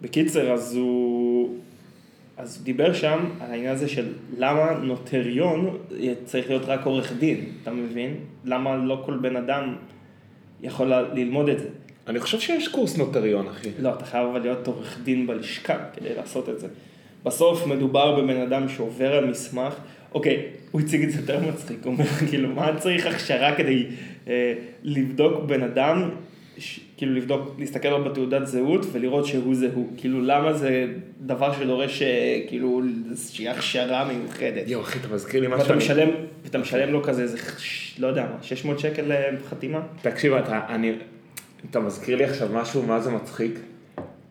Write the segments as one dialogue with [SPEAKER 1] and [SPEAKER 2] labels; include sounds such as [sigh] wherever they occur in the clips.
[SPEAKER 1] בקיצר, אז הוא... אז הוא דיבר שם על העניין הזה של למה נוטריון צריך להיות רק עורך דין, אתה מבין? למה לא כל בן אדם יכול ל- ללמוד את זה?
[SPEAKER 2] אני חושב שיש קורס נוטריון, אחי.
[SPEAKER 1] לא, אתה חייב אבל להיות עורך דין בלשכה כדי לעשות את זה. בסוף מדובר בבן אדם שעובר על מסמך, אוקיי, הוא הציג את זה יותר מצחיק, הוא אומר, כאילו, מה צריך הכשרה כדי אה, לבדוק בן אדם, ש, כאילו לבדוק, להסתכל לו בתעודת זהות ולראות שהוא זה הוא, כאילו, למה זה דבר שדורש, אה, כאילו, איזושהי הכשרה מיוחדת.
[SPEAKER 2] יואו, אחי, אתה מזכיר לי
[SPEAKER 1] ואתה
[SPEAKER 2] משהו.
[SPEAKER 1] משלם, ואתה משלם לו כזה, איזה, ש- לא יודע מה, 600 שקל אה, חתימה?
[SPEAKER 2] תקשיב, אתה, אני, אתה מזכיר לי עכשיו משהו, מה זה מצחיק?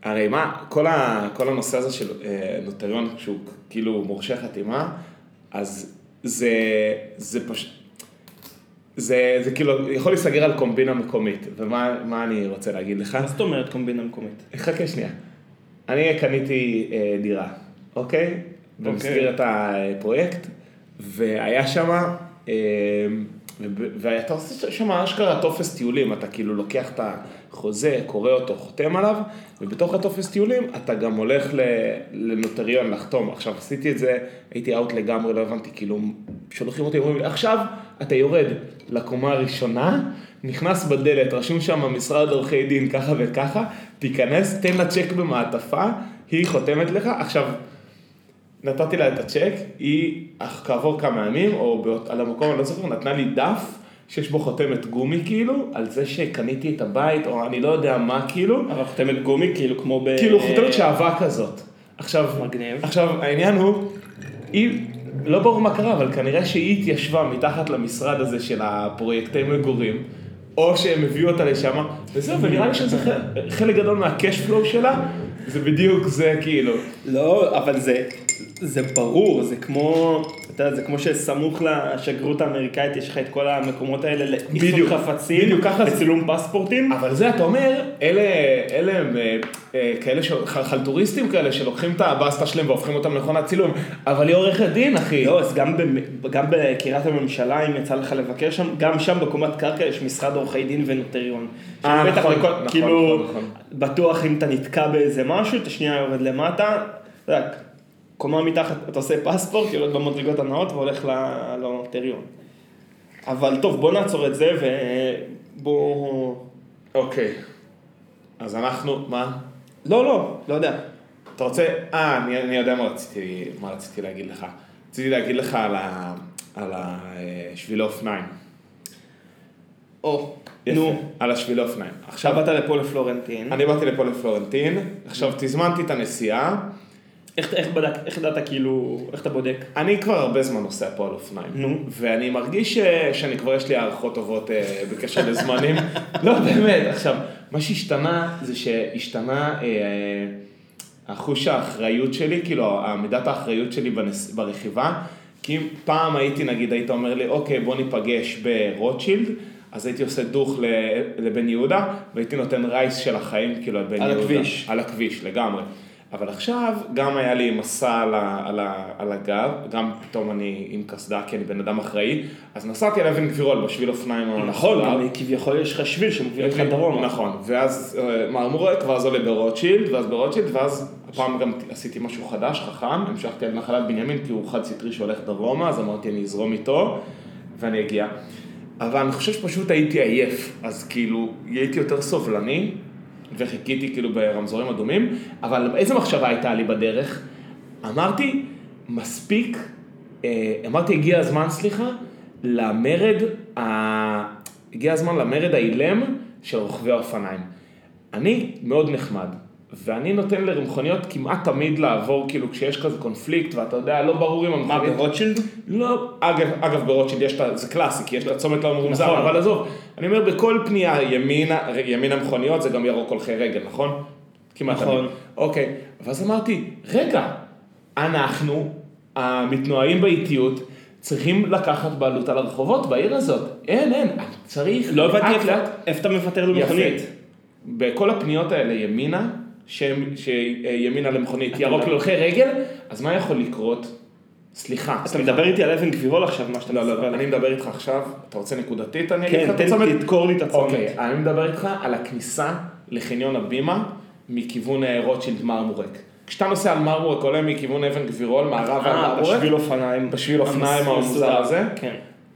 [SPEAKER 2] הרי מה, כל, ה, כל הנושא הזה של אה, נוטריון, שהוא כאילו מורשה חתימה, אז זה, זה פשוט... זה, זה כאילו יכול להיסגר על קומבינה מקומית, ומה מה אני רוצה להגיד לך?
[SPEAKER 1] מה זאת אומרת קומבינה מקומית?
[SPEAKER 2] חכה שנייה. אני קניתי אה, דירה, אוקיי? במסגרת הפרויקט, והיה שם, אה, וב- ואתה עושה שם אשכרה טופס טיולים, אתה כאילו לוקח את החוזה, קורא אותו, חותם עליו, ובתוך הטופס טיולים אתה גם הולך ל- לנוטריון לחתום. עכשיו עשיתי את זה, הייתי אאוט לגמרי, לא הבנתי, כאילו, שולחים אותי, אומרים לי, עכשיו אתה יורד לקומה הראשונה, נכנס בדלת, רשום שם משרד עורכי דין ככה וככה, תיכנס, תן לה צ'ק במעטפה, היא חותמת לך. עכשיו, נתתי לה את הצ'ק, היא אך כעבור כמה ימים, או באות, על המקום, אני לא זוכר, נתנה לי דף שיש בו חותמת גומי כאילו, על זה שקניתי את הבית, או אני לא יודע מה כאילו,
[SPEAKER 1] אבל חותמת גומי, כאילו, כמו ב...
[SPEAKER 2] כאילו חותמת שעבה כזאת. עכשיו,
[SPEAKER 1] מגניב.
[SPEAKER 2] עכשיו העניין הוא, היא, לא ברור מה קרה, אבל כנראה שהיא התיישבה מתחת למשרד הזה של הפרויקטי מגורים, או שהם הביאו אותה לשם, וזהו, ונראה לי שזה ח- חלק גדול מה-cash flow שלה, זה בדיוק זה כאילו.
[SPEAKER 1] לא, אבל זה, זה ברור, זה כמו, אתה יודע, זה כמו שסמוך לשגרירות האמריקאית, יש לך את כל המקומות האלה לאיסוף
[SPEAKER 2] בדיוק,
[SPEAKER 1] חפצים,
[SPEAKER 2] בדיוק, ככה זה.
[SPEAKER 1] לצילום פספורטים.
[SPEAKER 2] אבל זה אתה אומר, אלה, אלה הם אה, אה, כאלה ש... ח- חלטוריסטים כאלה שלוקחים את הבאסטה שלהם והופכים אותם למכונת צילום, אבל היא עורכת דין אחי.
[SPEAKER 1] לא, אז גם, במ- גם בקריית הממשלה, אם יצא לך לבקר שם, גם שם בקומת קרקע יש משרד עורכי דין ונוטריון.
[SPEAKER 2] אה,
[SPEAKER 1] שבטח
[SPEAKER 2] נכון,
[SPEAKER 1] לכל-
[SPEAKER 2] נכון,
[SPEAKER 1] כאילו,
[SPEAKER 2] נכון, נכון.
[SPEAKER 1] בטוח אם אתה נתקע באיזה משהו, אתה שנייה יורד למטה, רק קומה מתחת, אתה עושה פספורט, יורד במדרגות הנאות והולך ל- לנוטריון. אבל טוב, בוא נעצור את זה ובוא...
[SPEAKER 2] אוקיי. אז אנחנו, מה?
[SPEAKER 1] לא, לא, לא יודע.
[SPEAKER 2] אתה רוצה, אה, אני, אני יודע מה רציתי, מה רציתי להגיד לך. רציתי להגיד לך על, ה, אה, על השביל האופניים.
[SPEAKER 1] או,
[SPEAKER 2] יפה.
[SPEAKER 1] נו,
[SPEAKER 2] על השביל האופניים.
[SPEAKER 1] עכשיו באת לפה לפלורנטין.
[SPEAKER 2] אני באתי לפה לפלורנטין, עכשיו תזמנתי את הנסיעה,
[SPEAKER 1] איך איך בדק, איך ידעת כאילו, איך אתה בודק?
[SPEAKER 2] אני כבר הרבה זמן נוסע פה על אופניים.
[SPEAKER 1] נו.
[SPEAKER 2] ואני מרגיש ש... שאני כבר יש לי הערכות טובות אה, בקשר לזמנים. [laughs] לא, באמת. עכשיו, מה שהשתנה זה שהשתנה אה, החוש האחריות שלי, כאילו, מידת האחריות שלי בנס... ברכיבה. כי אם פעם הייתי, נגיד, היית אומר לי, אוקיי, בוא ניפגש ברוטשילד. אז הייתי עושה דוך ל- לבן יהודה, והייתי נותן רייס של החיים כאילו על בן
[SPEAKER 1] על
[SPEAKER 2] יהודה.
[SPEAKER 1] הכביש.
[SPEAKER 2] על הכביש לגמרי. אבל עכשיו, גם היה לי מסע על, ה, על, ה, על הגב, גם פתאום אני עם קסדה, כי אני בן אדם אחראי, אז נסעתי על אבן גבירול בשביל אופניים.
[SPEAKER 1] נכון,
[SPEAKER 2] המסודר.
[SPEAKER 1] גם כביכול יש לך שביל שמוביל
[SPEAKER 2] יש
[SPEAKER 1] אותך
[SPEAKER 2] לי-
[SPEAKER 1] דרומה.
[SPEAKER 2] נכון, ואז אה, מרמורק, ואז עולה ברוטשילד, ואז ברוטשילד, ואז הפעם גם עשיתי משהו חדש, חכם, המשכתי על נחלת בנימין, כי הוא חד סטרי שהולך דרומה, אז אמרתי אני אזרום איתו, ואני אגיע. אבל אני חושב שפשוט הייתי עייף, אז כאילו, הייתי יותר סובלני, וחיכיתי כאילו ברמזורים אדומים, אבל איזה מחשבה הייתה לי בדרך? אמרתי, מספיק, אה, אמרתי הגיע הזמן, סליחה, למרד, ה- הגיע הזמן למרד האילם של רוכבי האופניים. אני מאוד נחמד, ואני נותן לרמכוניות כמעט תמיד לעבור, כאילו כשיש כזה קונפליקט, ואתה יודע, לא ברור אם
[SPEAKER 1] מה,
[SPEAKER 2] המכונית...
[SPEAKER 1] ברוטשילד?
[SPEAKER 2] לא, אגב, אגב ברוטשילד יש את ה... זה קלאסי, כי יש את הצומת לא מרומזר,
[SPEAKER 1] נכון.
[SPEAKER 2] אבל עזוב, אני אומר בכל פנייה ימינה, ימינה מכוניות זה גם ירוק הולכי רגל, נכון? כמעט
[SPEAKER 1] נכון.
[SPEAKER 2] תמיד. אוקיי, ואז אמרתי, רגע, אנחנו, המתנועים באיטיות, צריכים לקחת בעלות על הרחובות בעיר הזאת. אין, אין, צריך
[SPEAKER 1] לא הבנתי
[SPEAKER 2] לאט
[SPEAKER 1] איפה-
[SPEAKER 2] לאט.
[SPEAKER 1] איפה אתה מוותר
[SPEAKER 2] יפה.
[SPEAKER 1] למכונית.
[SPEAKER 2] בכל הפניות האלה ימינה, שהם- שימינה למכונית, ירוק להולכי רגל, אז מה יכול לקרות? סליחה,
[SPEAKER 1] אתה מדבר איתי על אבן גבירול עכשיו, מה שאתה
[SPEAKER 2] לא, לא,
[SPEAKER 1] מספר
[SPEAKER 2] לא,
[SPEAKER 1] לי.
[SPEAKER 2] אני מדבר איתך עכשיו, אתה רוצה נקודתית? אני אגיד לך
[SPEAKER 1] כן,
[SPEAKER 2] את
[SPEAKER 1] תן
[SPEAKER 2] הצומת?
[SPEAKER 3] אוקיי,
[SPEAKER 1] אה, לי, תזכור לי את הצומת.
[SPEAKER 2] אוקיי, אני מדבר איתך על הכניסה לחניון הבימה,
[SPEAKER 3] מכיוון אה, רוטשילד מרמורק. כשאתה נוסע על מרמורק עולה מכיוון אבן גבירול, מערב על
[SPEAKER 1] אה,
[SPEAKER 3] מרמורק,
[SPEAKER 1] בשביל אופניים.
[SPEAKER 3] בשביל אופניים
[SPEAKER 1] המסלול
[SPEAKER 3] המוזר הזה.
[SPEAKER 1] כן.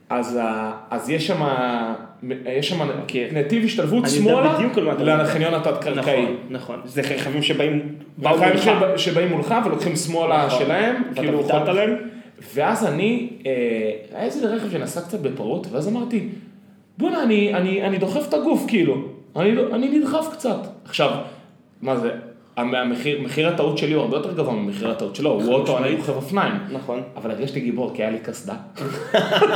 [SPEAKER 3] אז, ה- אז יש שם יש שם
[SPEAKER 2] אוקיי.
[SPEAKER 1] כן.
[SPEAKER 3] נתיב השתלבות
[SPEAKER 1] אני
[SPEAKER 3] שמאלה
[SPEAKER 1] יודע בדיוק על מה אתה מדבר.
[SPEAKER 3] לחניון התת-קרקעי.
[SPEAKER 1] נכון, נכון. זה רכבים שבאים, באו
[SPEAKER 3] והחיים
[SPEAKER 1] ממך.
[SPEAKER 2] נכון.
[SPEAKER 3] שב- שבאים מולך ולוקחים שמאלה
[SPEAKER 2] אה,
[SPEAKER 1] נכון.
[SPEAKER 3] שלהם,
[SPEAKER 1] ואתה
[SPEAKER 3] כאילו
[SPEAKER 1] ויתרת
[SPEAKER 3] חוק-
[SPEAKER 1] עליהם?
[SPEAKER 3] ואז אני, אה, היה איזה רכב שנסע קצת בפרעות, ואז אמרתי, בוא'נה, אני, אני, אני דוחף את הגוף, כאילו, אני, לא- אני נדחף קצת. עכשיו, מה זה, המ- המחיר, מחיר הטעות שלי הוא הרבה יותר גבוה ממחיר הטעות שלו, הוא אוטו, אני
[SPEAKER 1] משמעית.
[SPEAKER 3] רוכב אופניים.
[SPEAKER 1] נכון.
[SPEAKER 3] אבל הרגשתי גיבור, כי היה לי קסדה. [laughs]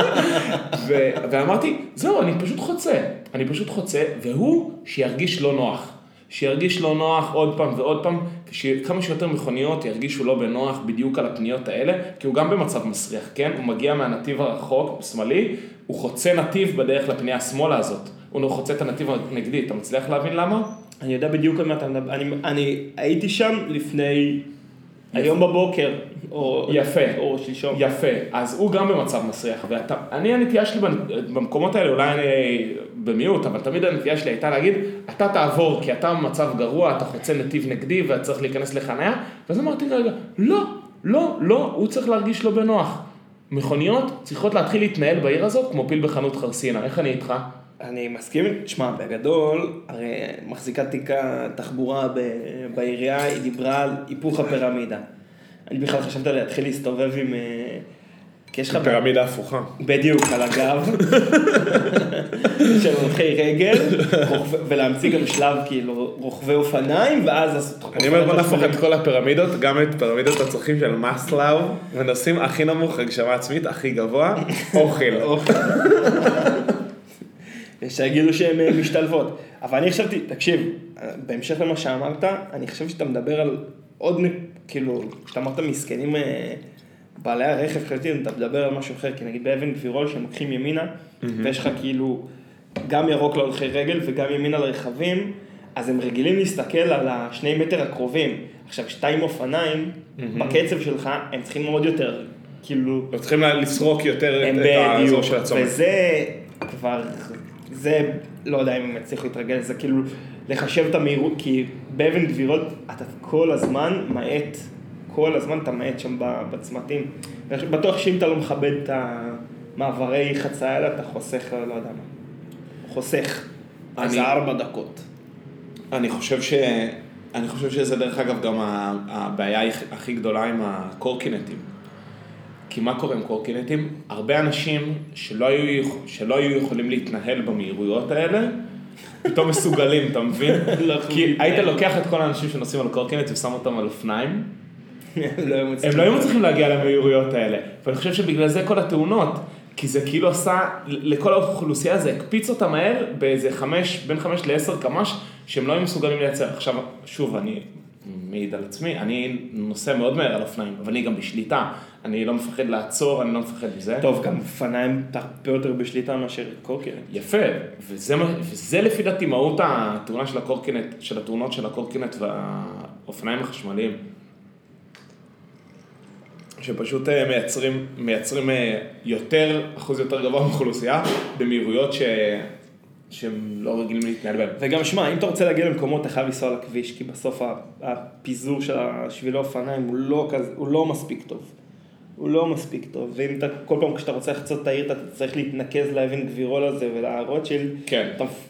[SPEAKER 3] ו- ואמרתי, זהו, אני פשוט חוצה. אני פשוט חוצה, והוא שירגיש לא נוח. שירגיש לא נוח עוד פעם ועוד פעם, שכמה שיותר מכוניות ירגישו לא בנוח בדיוק על הפניות האלה, כי הוא גם במצב מסריח, כן? הוא מגיע מהנתיב הרחוק, שמאלי, הוא חוצה נתיב בדרך לפנייה השמאלה הזאת. הוא לא חוצה את הנתיב הנגדי, אתה מצליח להבין למה?
[SPEAKER 1] אני יודע בדיוק על מה אתה מדבר. אני, אני הייתי שם לפני... היום בבוקר, או...
[SPEAKER 3] יפה.
[SPEAKER 1] או שלשום.
[SPEAKER 3] יפה, אז הוא גם במצב מסריח, ואתה, אני הנטייה שלי בנ- במקומות האלה, אולי אני במיעוט, אבל תמיד הנטייה שלי הייתה להגיד, אתה תעבור כי אתה במצב גרוע, אתה חוצה נתיב נגדי ואתה צריך להיכנס לחניה, ואז אמרתי רגע, לא, לא, לא, הוא צריך להרגיש לא בנוח. מכוניות צריכות להתחיל להתנהל בעיר הזאת כמו פיל בחנות חרסינה, איך אני איתך?
[SPEAKER 1] אני מסכים, תשמע, בגדול, הרי מחזיקת תיק התחבורה ב- בעירייה, היא דיברה על היפוך הפירמידה. אני בכלל חשבת להתחיל להסתובב עם... אה, כי יש לך...
[SPEAKER 3] הפוכה.
[SPEAKER 1] בדיוק, על הגב של הולכי רגל, רוכב- ולהמציא גם שלב כאילו רוכבי אופניים, ואז לעשות רוכבי אופניים.
[SPEAKER 3] כל הפירמידות, גם את פירמידות הצרכים של מאסלאו, ונשים הכי נמוך, הגשמה עצמית, הכי גבוה, אוכל.
[SPEAKER 1] אוקיי. [laughs] שיגידו שהן אה, משתלבות. אבל אני חשבתי, תקשיב, בהמשך למה שאמרת, אני חושב שאתה מדבר על עוד, נ- כאילו, כשאתה אמרת מסכנים אה, בעלי הרכב, חשבתי, אתה מדבר על משהו אחר, כי נגיד באבן גבירול שהם לוקחים ימינה, ויש לך כאילו גם ירוק להולכי רגל וגם ימין על רכבים, אז הם רגילים להסתכל על השני מטר הקרובים. עכשיו, שתיים אופניים, בקצב שלך, הם צריכים עוד יותר, כאילו,
[SPEAKER 3] הם צריכים לסרוק יותר
[SPEAKER 1] הם
[SPEAKER 3] את
[SPEAKER 1] בדיוק,
[SPEAKER 3] האזור של הצומת.
[SPEAKER 1] וזה כבר, זה, לא יודע אם הם יצליחו להתרגל, זה כאילו לחשב את המהירות, כי באבן גבירול אתה כל הזמן מאט, כל הזמן אתה מאט שם ב- בצמתים. בטוח שאם אתה לא מכבד את המעברי חצייה האלה, אתה חוסך, לא יודע מה. חוסך. אז
[SPEAKER 3] אני-
[SPEAKER 1] זה
[SPEAKER 3] [laughs]
[SPEAKER 1] ארבע דקות.
[SPEAKER 3] אני חושב ש... אני חושב שזה דרך אגב גם ה- הבעיה היח- הכי גדולה עם הקורקינטים. כי מה קורה עם קורקינטים? הרבה אנשים שלא היו, יכ- שלא היו יכולים להתנהל במהירויות האלה, פתאום מסוגלים, אתה מבין?
[SPEAKER 1] לא יכולים
[SPEAKER 3] כי היית
[SPEAKER 1] להתנהל.
[SPEAKER 3] לוקח את כל האנשים שנוסעים על קורקינט ושם אותם על אופניים,
[SPEAKER 1] לא היו מצליחים.
[SPEAKER 3] הם לא היו מצליחים להגיע למהירויות האלה. ואני חושב שבגלל זה כל התאונות, כי זה כאילו עשה, לכל האוכלוסייה זה הקפיץ אותה מהר באיזה חמש, בין חמש לעשר קמ"ש, שהם לא היו מסוגלים לייצר. עכשיו, שוב, אני מעיד על עצמי, אני נוסע מאוד מהר על אופניים, אבל אני גם בשליטה. אני לא מפחד לעצור, אני לא מפחד מזה.
[SPEAKER 1] טוב, גם אופניים אתה הרבה יותר בשליטה מאשר קורקינט.
[SPEAKER 3] יפה, וזה, מה- וזה לפי דעתי מהות התאונה של הקורקינט, של התאונות של הקורקינט והאופניים החשמליים. שפשוט אה, מייצרים, מייצרים אה, יותר, אחוז יותר גבוה באוכלוסייה, במהירויות ש... שהם לא רגילים להתנהל בהן.
[SPEAKER 1] וגם שמע, אם אתה רוצה להגיע למקומות, אתה חייב לנסוע על הכביש, כי בסוף ה- הפיזור של השביל האופניים הוא לא, כזה, הוא לא מספיק טוב. הוא לא מספיק טוב, ואם אתה, כל פעם כשאתה רוצה לחצות את העיר, אתה צריך להתנקז לאבן גבירול הזה ולרוטשילד.
[SPEAKER 3] כן.
[SPEAKER 1] אתה... מפ-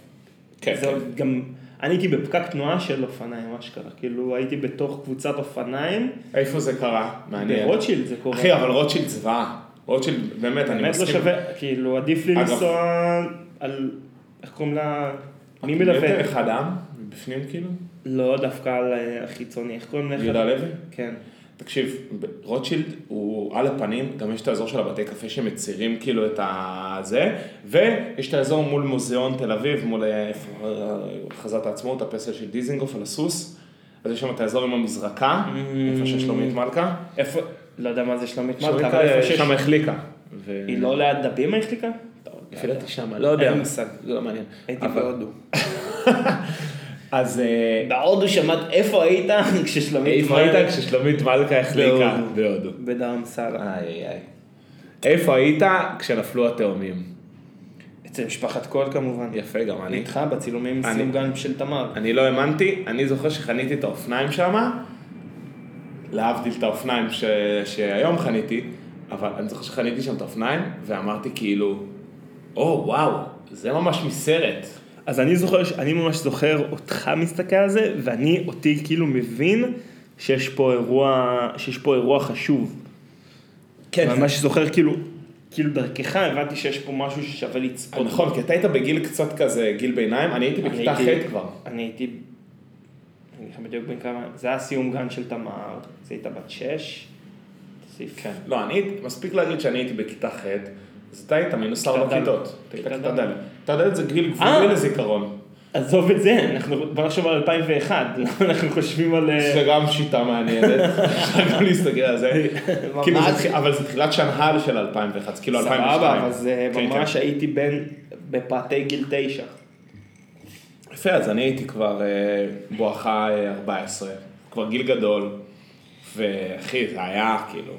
[SPEAKER 3] כן,
[SPEAKER 1] זה עוד גם, אני הייתי בפקק תנועה של אופניים, אשכרה. כאילו, הייתי בתוך קבוצת אופניים,
[SPEAKER 3] איפה זה קרה? מעניין.
[SPEAKER 1] ברוטשילד זה קורה.
[SPEAKER 3] אחי, אבל רוטשילד זוועה. רוטשילד, באמת, אני
[SPEAKER 1] באמת לא
[SPEAKER 3] מסכים.
[SPEAKER 1] שווה, כאילו, עדיף לי
[SPEAKER 3] אגב-
[SPEAKER 1] לנסוע על, איך קוראים לה, מי
[SPEAKER 3] יותר
[SPEAKER 1] מלווה?
[SPEAKER 3] אחד העם, מבפנים כאילו?
[SPEAKER 1] לא, דווקא על אה, החיצוני, איך קוראים לך?
[SPEAKER 3] יהודה לוי?
[SPEAKER 1] כן.
[SPEAKER 3] תקשיב, ב- רוטשילד הוא על הפנים, גם יש את האזור של הבתי קפה שמצירים כאילו את הזה, ויש את האזור מול מוזיאון תל אביב, מול אה, איפה, אה, חזת העצמאות, הפסל של דיזינגוף על הסוס, אז יש שם את האזור עם המזרקה, איפה שיש שלומית מלכה,
[SPEAKER 1] איפה, לא יודע מה זה שלומית
[SPEAKER 3] שלומית
[SPEAKER 1] מלכה, אבל איפה
[SPEAKER 3] מלכה
[SPEAKER 1] שיש...
[SPEAKER 3] שם החליקה. ו-
[SPEAKER 1] היא לא ליד דבים היחליקה? כן.
[SPEAKER 3] לפי דעתי שמה, לא יודע.
[SPEAKER 1] אין לי מושג.
[SPEAKER 3] זה לא מעניין.
[SPEAKER 1] הייתי
[SPEAKER 3] אבל-
[SPEAKER 1] בהודו.
[SPEAKER 3] אז אה,
[SPEAKER 1] בהודו שמעת איפה היית [laughs] כששלומית
[SPEAKER 3] איפה היית כששלומית מלכה החליקה? בהודו.
[SPEAKER 1] בדרם סאלה.
[SPEAKER 3] איי איי. איפה היית כשנפלו התאומים?
[SPEAKER 1] אצל משפחת קול כמובן.
[SPEAKER 3] יפה גם אני.
[SPEAKER 1] איתך בצילומים עם
[SPEAKER 3] אני-
[SPEAKER 1] סיום גן של תמר.
[SPEAKER 3] אני לא האמנתי, אני זוכר שחניתי את האופניים שם, להבדיל את האופניים ש... שהיום חניתי, אבל אני זוכר שחניתי שם את האופניים, ואמרתי כאילו, או וואו, זה ממש מסרט.
[SPEAKER 1] אז אני זוכר, ש- אני ממש זוכר אותך מסתכל על זה, ואני אותי כאילו מבין שיש פה אירוע, שיש פה אירוע חשוב.
[SPEAKER 3] כן,
[SPEAKER 1] ממש זוכר כאילו, כאילו דרכך הבנתי שיש פה משהו ששווה לצפות.
[SPEAKER 3] נכון, כי אתה היית בגיל קצת כזה, גיל ביניים, אני הייתי
[SPEAKER 1] אני
[SPEAKER 3] בכיתה
[SPEAKER 1] הייתי-
[SPEAKER 3] ח' כבר.
[SPEAKER 1] אני הייתי, אני אגיד לך בדיוק בן כמה, זה היה סיום גן של תמר, זה הייתה בת שש. תוסיף. כן.
[SPEAKER 3] לא, אני, מספיק להגיד שאני הייתי בכיתה ח', אז אתה היית מינוס
[SPEAKER 1] כיתה ד'.
[SPEAKER 3] ארבע כיתות. אתה היית
[SPEAKER 1] כיתה
[SPEAKER 3] כיתה
[SPEAKER 1] ד'.
[SPEAKER 3] ד'. כיתה ד' זה גיל
[SPEAKER 1] אה.
[SPEAKER 3] גבולי לזיכרון.
[SPEAKER 1] עזוב את זה, אנחנו, בוא נחשוב על 2001, [laughs] למה אנחנו חושבים על... אה,
[SPEAKER 3] זה גם
[SPEAKER 1] [laughs]
[SPEAKER 3] שיטה מעניינת, אפשר גם להסתכל על זה.
[SPEAKER 1] ממש.
[SPEAKER 3] כאילו זה תח- אבל זה תחילת שנהל של 2001, זה כאילו
[SPEAKER 1] לא,
[SPEAKER 3] 2002.
[SPEAKER 1] סבבה, אז אה,
[SPEAKER 3] כן,
[SPEAKER 1] ממש הייתי בן, בפאתי גיל תשע.
[SPEAKER 3] כן. יפה, אז אני הייתי כבר אה, בואכה אה, 14, כבר גיל גדול, ואחי, זה היה כאילו...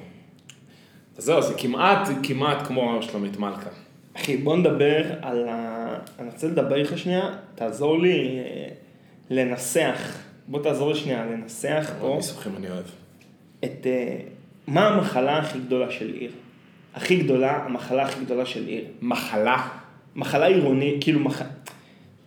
[SPEAKER 3] אז זהו, זה כמעט, כמעט כמו שלומית מלכה.
[SPEAKER 1] אחי, בוא נדבר על ה... אני רוצה לדבר איתך שנייה, תעזור לי אה, לנסח. בוא תעזור לי שנייה לנסח פה
[SPEAKER 3] ניסוחים אני אוהב.
[SPEAKER 1] את... אה, מה המחלה הכי גדולה של עיר? הכי גדולה, המחלה הכי גדולה של עיר.
[SPEAKER 3] מחלה.
[SPEAKER 1] מחלה עירונית, כאילו מח...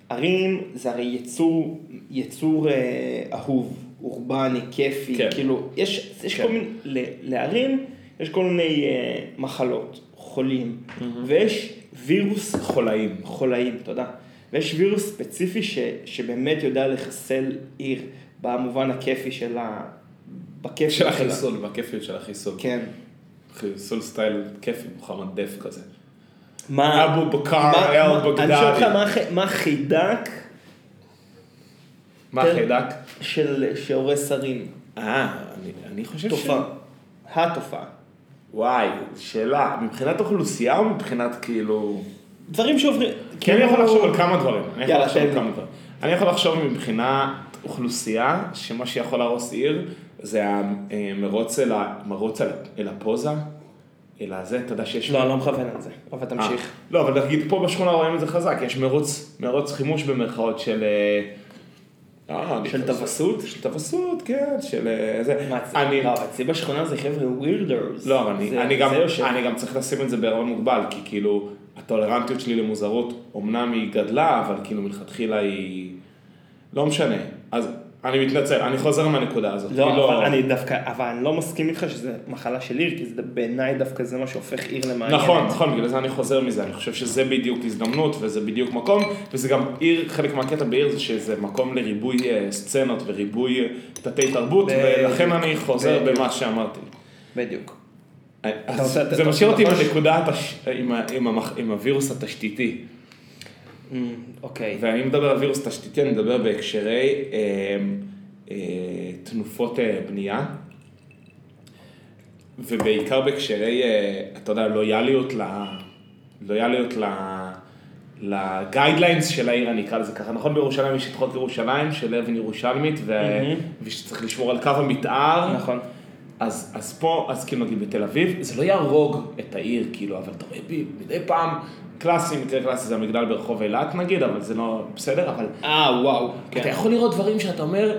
[SPEAKER 1] ערים זה הרי יצור, יצור אה, אהוב, אורבני, כיפי,
[SPEAKER 3] כן.
[SPEAKER 1] כן. כאילו, יש, יש
[SPEAKER 3] כן.
[SPEAKER 1] כן. כל מיני, ל, לערים יש כל מיני אה, מחלות, חולים, mm-hmm. ויש וירוס
[SPEAKER 3] חולאים.
[SPEAKER 1] חולאים, תודה. ויש וירוס ספציפי ש, שבאמת יודע לחסל עיר, במובן הכיפי של ה... בכיף
[SPEAKER 3] של החיסול, בכיפיות של החיסול.
[SPEAKER 1] כן.
[SPEAKER 3] חיסול סטייל כיפי, מוחמד דף כזה.
[SPEAKER 1] מה...
[SPEAKER 3] אבו
[SPEAKER 1] מה-
[SPEAKER 3] בקר
[SPEAKER 1] מה-
[SPEAKER 3] אל
[SPEAKER 1] אני שואל אותך
[SPEAKER 3] בגדדי.
[SPEAKER 1] מה הח- מה החיידק
[SPEAKER 3] מה
[SPEAKER 1] כן.
[SPEAKER 3] חיידק?
[SPEAKER 1] של שהורס ערים?
[SPEAKER 3] אה, אני- אני חושב
[SPEAKER 1] תופעה. התופעה.
[SPEAKER 3] וואי, שאלה, מבחינת אוכלוסייה או מבחינת כאילו...
[SPEAKER 1] דברים שעוברים...
[SPEAKER 3] כי אני יכול לחשוב על כמה דברים. אני יכול
[SPEAKER 1] יאללה,
[SPEAKER 3] לחשוב
[SPEAKER 1] תן
[SPEAKER 3] על
[SPEAKER 1] לי.
[SPEAKER 3] כמה דברים. אני יכול לחשוב מבחינת אוכלוסייה, שמה שיכול להרוס עיר, זה המרוץ אל, ה... מרוץ אל... אל הפוזה, אל הזה, אתה יודע שיש...
[SPEAKER 1] לא, אני לא מכוון על זה. אבל תמשיך.
[SPEAKER 3] אה, לא, אבל נגיד פה בשכונה רואים את זה חזק, יש מרוץ, מרוץ חימוש במרכאות של... אה, אה, אני
[SPEAKER 1] של
[SPEAKER 3] חושב-
[SPEAKER 1] טווסות?
[SPEAKER 3] של טווסות, כן, של אה, זה.
[SPEAKER 1] מה, זה-
[SPEAKER 3] אני...
[SPEAKER 1] לא, אבל אצלי בשכונה זה חבר'ה ווירדרס.
[SPEAKER 3] לא, אבל אני, אני, גם, אני גם צריך לשים את זה בערבון מוגבל, כי כאילו, הטולרנטיות שלי למוזרות, אמנם היא גדלה, אבל כאילו מלכתחילה היא... לא משנה. אז אני מתנצל, אני חוזר מהנקודה הזאת. כאילו- כי
[SPEAKER 1] לא, אבל אני דווקא, אבל אני לא מסכים איתך שזה מחלה של עיר, כי זה בעיניי דווקא זה מה שהופך עיר למעניינת.
[SPEAKER 3] נכון, נכון, בגלל זה אני חוזר מזה, אני חושב שזה בדיוק הזדמנות וזה בדיוק מקום, וזה גם עיר, חלק מהקטע בעיר זה שזה מקום לריבוי אה, סצנות וריבוי אה, תתי תרבות,
[SPEAKER 1] ב-
[SPEAKER 3] ולכן אני חוזר
[SPEAKER 1] בדיוק.
[SPEAKER 3] במה שאמרתי.
[SPEAKER 1] בדיוק.
[SPEAKER 3] אז
[SPEAKER 1] רוצה- אתה
[SPEAKER 3] זה
[SPEAKER 1] רוצה
[SPEAKER 3] משאיר אותי עם
[SPEAKER 1] לחוש?
[SPEAKER 3] הנקודה, התש- עם ה- עם המח- עם הווירוס התשתיתי.
[SPEAKER 1] Mm, אוקיי.
[SPEAKER 3] ואני מדבר על וירוס תשתיתי, אני מדבר בהקשרי אה, אה, תנופות אה, בנייה, ובעיקר בהקשרי, אה, אתה יודע, לויאליות ל... לויאליות ל... לגיידליינס של העיר, אני אקרא לזה ככה. נכון, בירושלים יש את חוק ירושלים של אבן ירושלמית, ו...
[SPEAKER 1] מהמם.
[SPEAKER 3] ושצריך לשמור על קו המתאר.
[SPEAKER 1] נכון.
[SPEAKER 3] אז, אז פה, אז כאילו נגיד בתל אביב, זה לא יהרוג את העיר, כאילו, אבל אתה רואה בי, מדי פעם, קלאסי, מקרה קלאסי זה המגדל ברחוב אילת נגיד, אבל זה לא בסדר, אבל
[SPEAKER 1] אה, וואו.
[SPEAKER 3] כן. אתה
[SPEAKER 1] כן.
[SPEAKER 3] יכול לראות דברים שאתה אומר,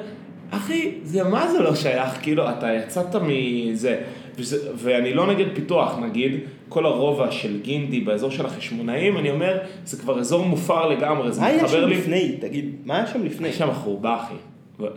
[SPEAKER 3] אחי, זה מה זה לא שייך, כאילו, אתה יצאת מזה, וזה, ואני לא נגד פיתוח, נגיד, כל הרובע של גינדי באזור של החשמונאים, אני אומר, זה כבר אזור מופר לגמרי, זה
[SPEAKER 1] מה היה
[SPEAKER 3] מתחבר
[SPEAKER 1] שם
[SPEAKER 3] לי,
[SPEAKER 1] לפני? תגיד, מה היה שם לפני?
[SPEAKER 3] יש שם חורבה, אחי.
[SPEAKER 1] אה,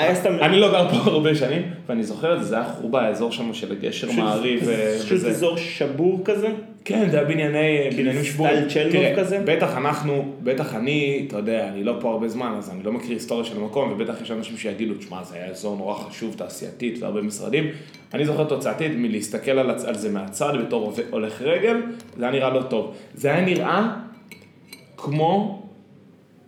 [SPEAKER 1] היה סתם...
[SPEAKER 3] אני לא גר פה הרבה שנים, ואני זוכר את זה, זה היה חורבה, האזור שם של גשר
[SPEAKER 1] פשוט-
[SPEAKER 3] מעריב ו-
[SPEAKER 1] פשוט
[SPEAKER 3] וזה.
[SPEAKER 1] אזור שבור כזה? כאילו
[SPEAKER 3] כן, זה היה בנייני, בניינים שבורים.
[SPEAKER 1] סטייל צ'לנוב
[SPEAKER 3] תראה,
[SPEAKER 1] כזה?
[SPEAKER 3] בטח אנחנו, בטח אני, אתה יודע, אני לא פה הרבה זמן, אז אני לא מכיר היסטוריה של המקום, ובטח יש אנשים שיגידו, תשמע, זה היה אזור נורא חשוב, תעשייתית והרבה משרדים. אני זוכר תוצאתית מלהסתכל על הצ- על זה מהצד בתור הוב- הולך רגל, זה היה נראה לא טוב. זה היה נראה כמו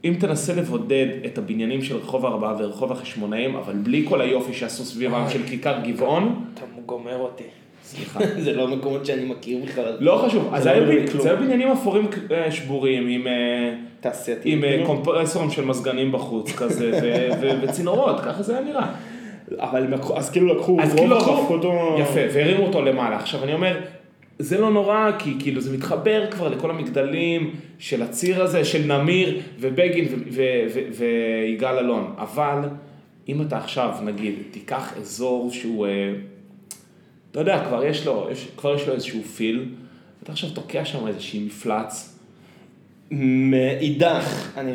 [SPEAKER 3] אם תנסה לבודד את הבניינים של רחוב הארבעה ורחוב החשמונאים, אבל בלי כל היופי שעשו סביבם של כיכר גבעון,
[SPEAKER 1] אתה גומר אותי.
[SPEAKER 3] סליחה.
[SPEAKER 1] [laughs] זה לא מקומות שאני מכיר בכלל.
[SPEAKER 3] לא חשוב, אז
[SPEAKER 1] זה
[SPEAKER 3] זה
[SPEAKER 1] לא
[SPEAKER 3] היו
[SPEAKER 1] מבין
[SPEAKER 3] ב-
[SPEAKER 1] כלום.
[SPEAKER 3] זה היו בניינים אפורים אה, שבורים עם... אה,
[SPEAKER 1] תעשייתי.
[SPEAKER 3] עם אה, קומפרסורים של מזגנים בחוץ כזה, ו- ו- וצינורות, ככה זה היה נראה.
[SPEAKER 1] אבל הם לקחו, אז כאילו לקחו
[SPEAKER 3] אז
[SPEAKER 1] רובע
[SPEAKER 3] כאילו
[SPEAKER 1] והפכו
[SPEAKER 3] לקחו,
[SPEAKER 1] אותו...
[SPEAKER 3] יפה, והרימו אותו למעלה. עכשיו אני אומר, זה לא נורא, כי כאילו זה מתחבר כבר לכל המגדלים של הציר הזה, של נמיר ובגין ו- ו- ו- ויגאל אלון. אבל אם אתה עכשיו, נגיד, תיקח אזור שהוא, אה, אתה יודע, כבר יש לו, יש, כבר יש לו איזשהו פיל, אתה עכשיו תוקע שם איזשהי מפלץ.
[SPEAKER 1] מאידך, אני...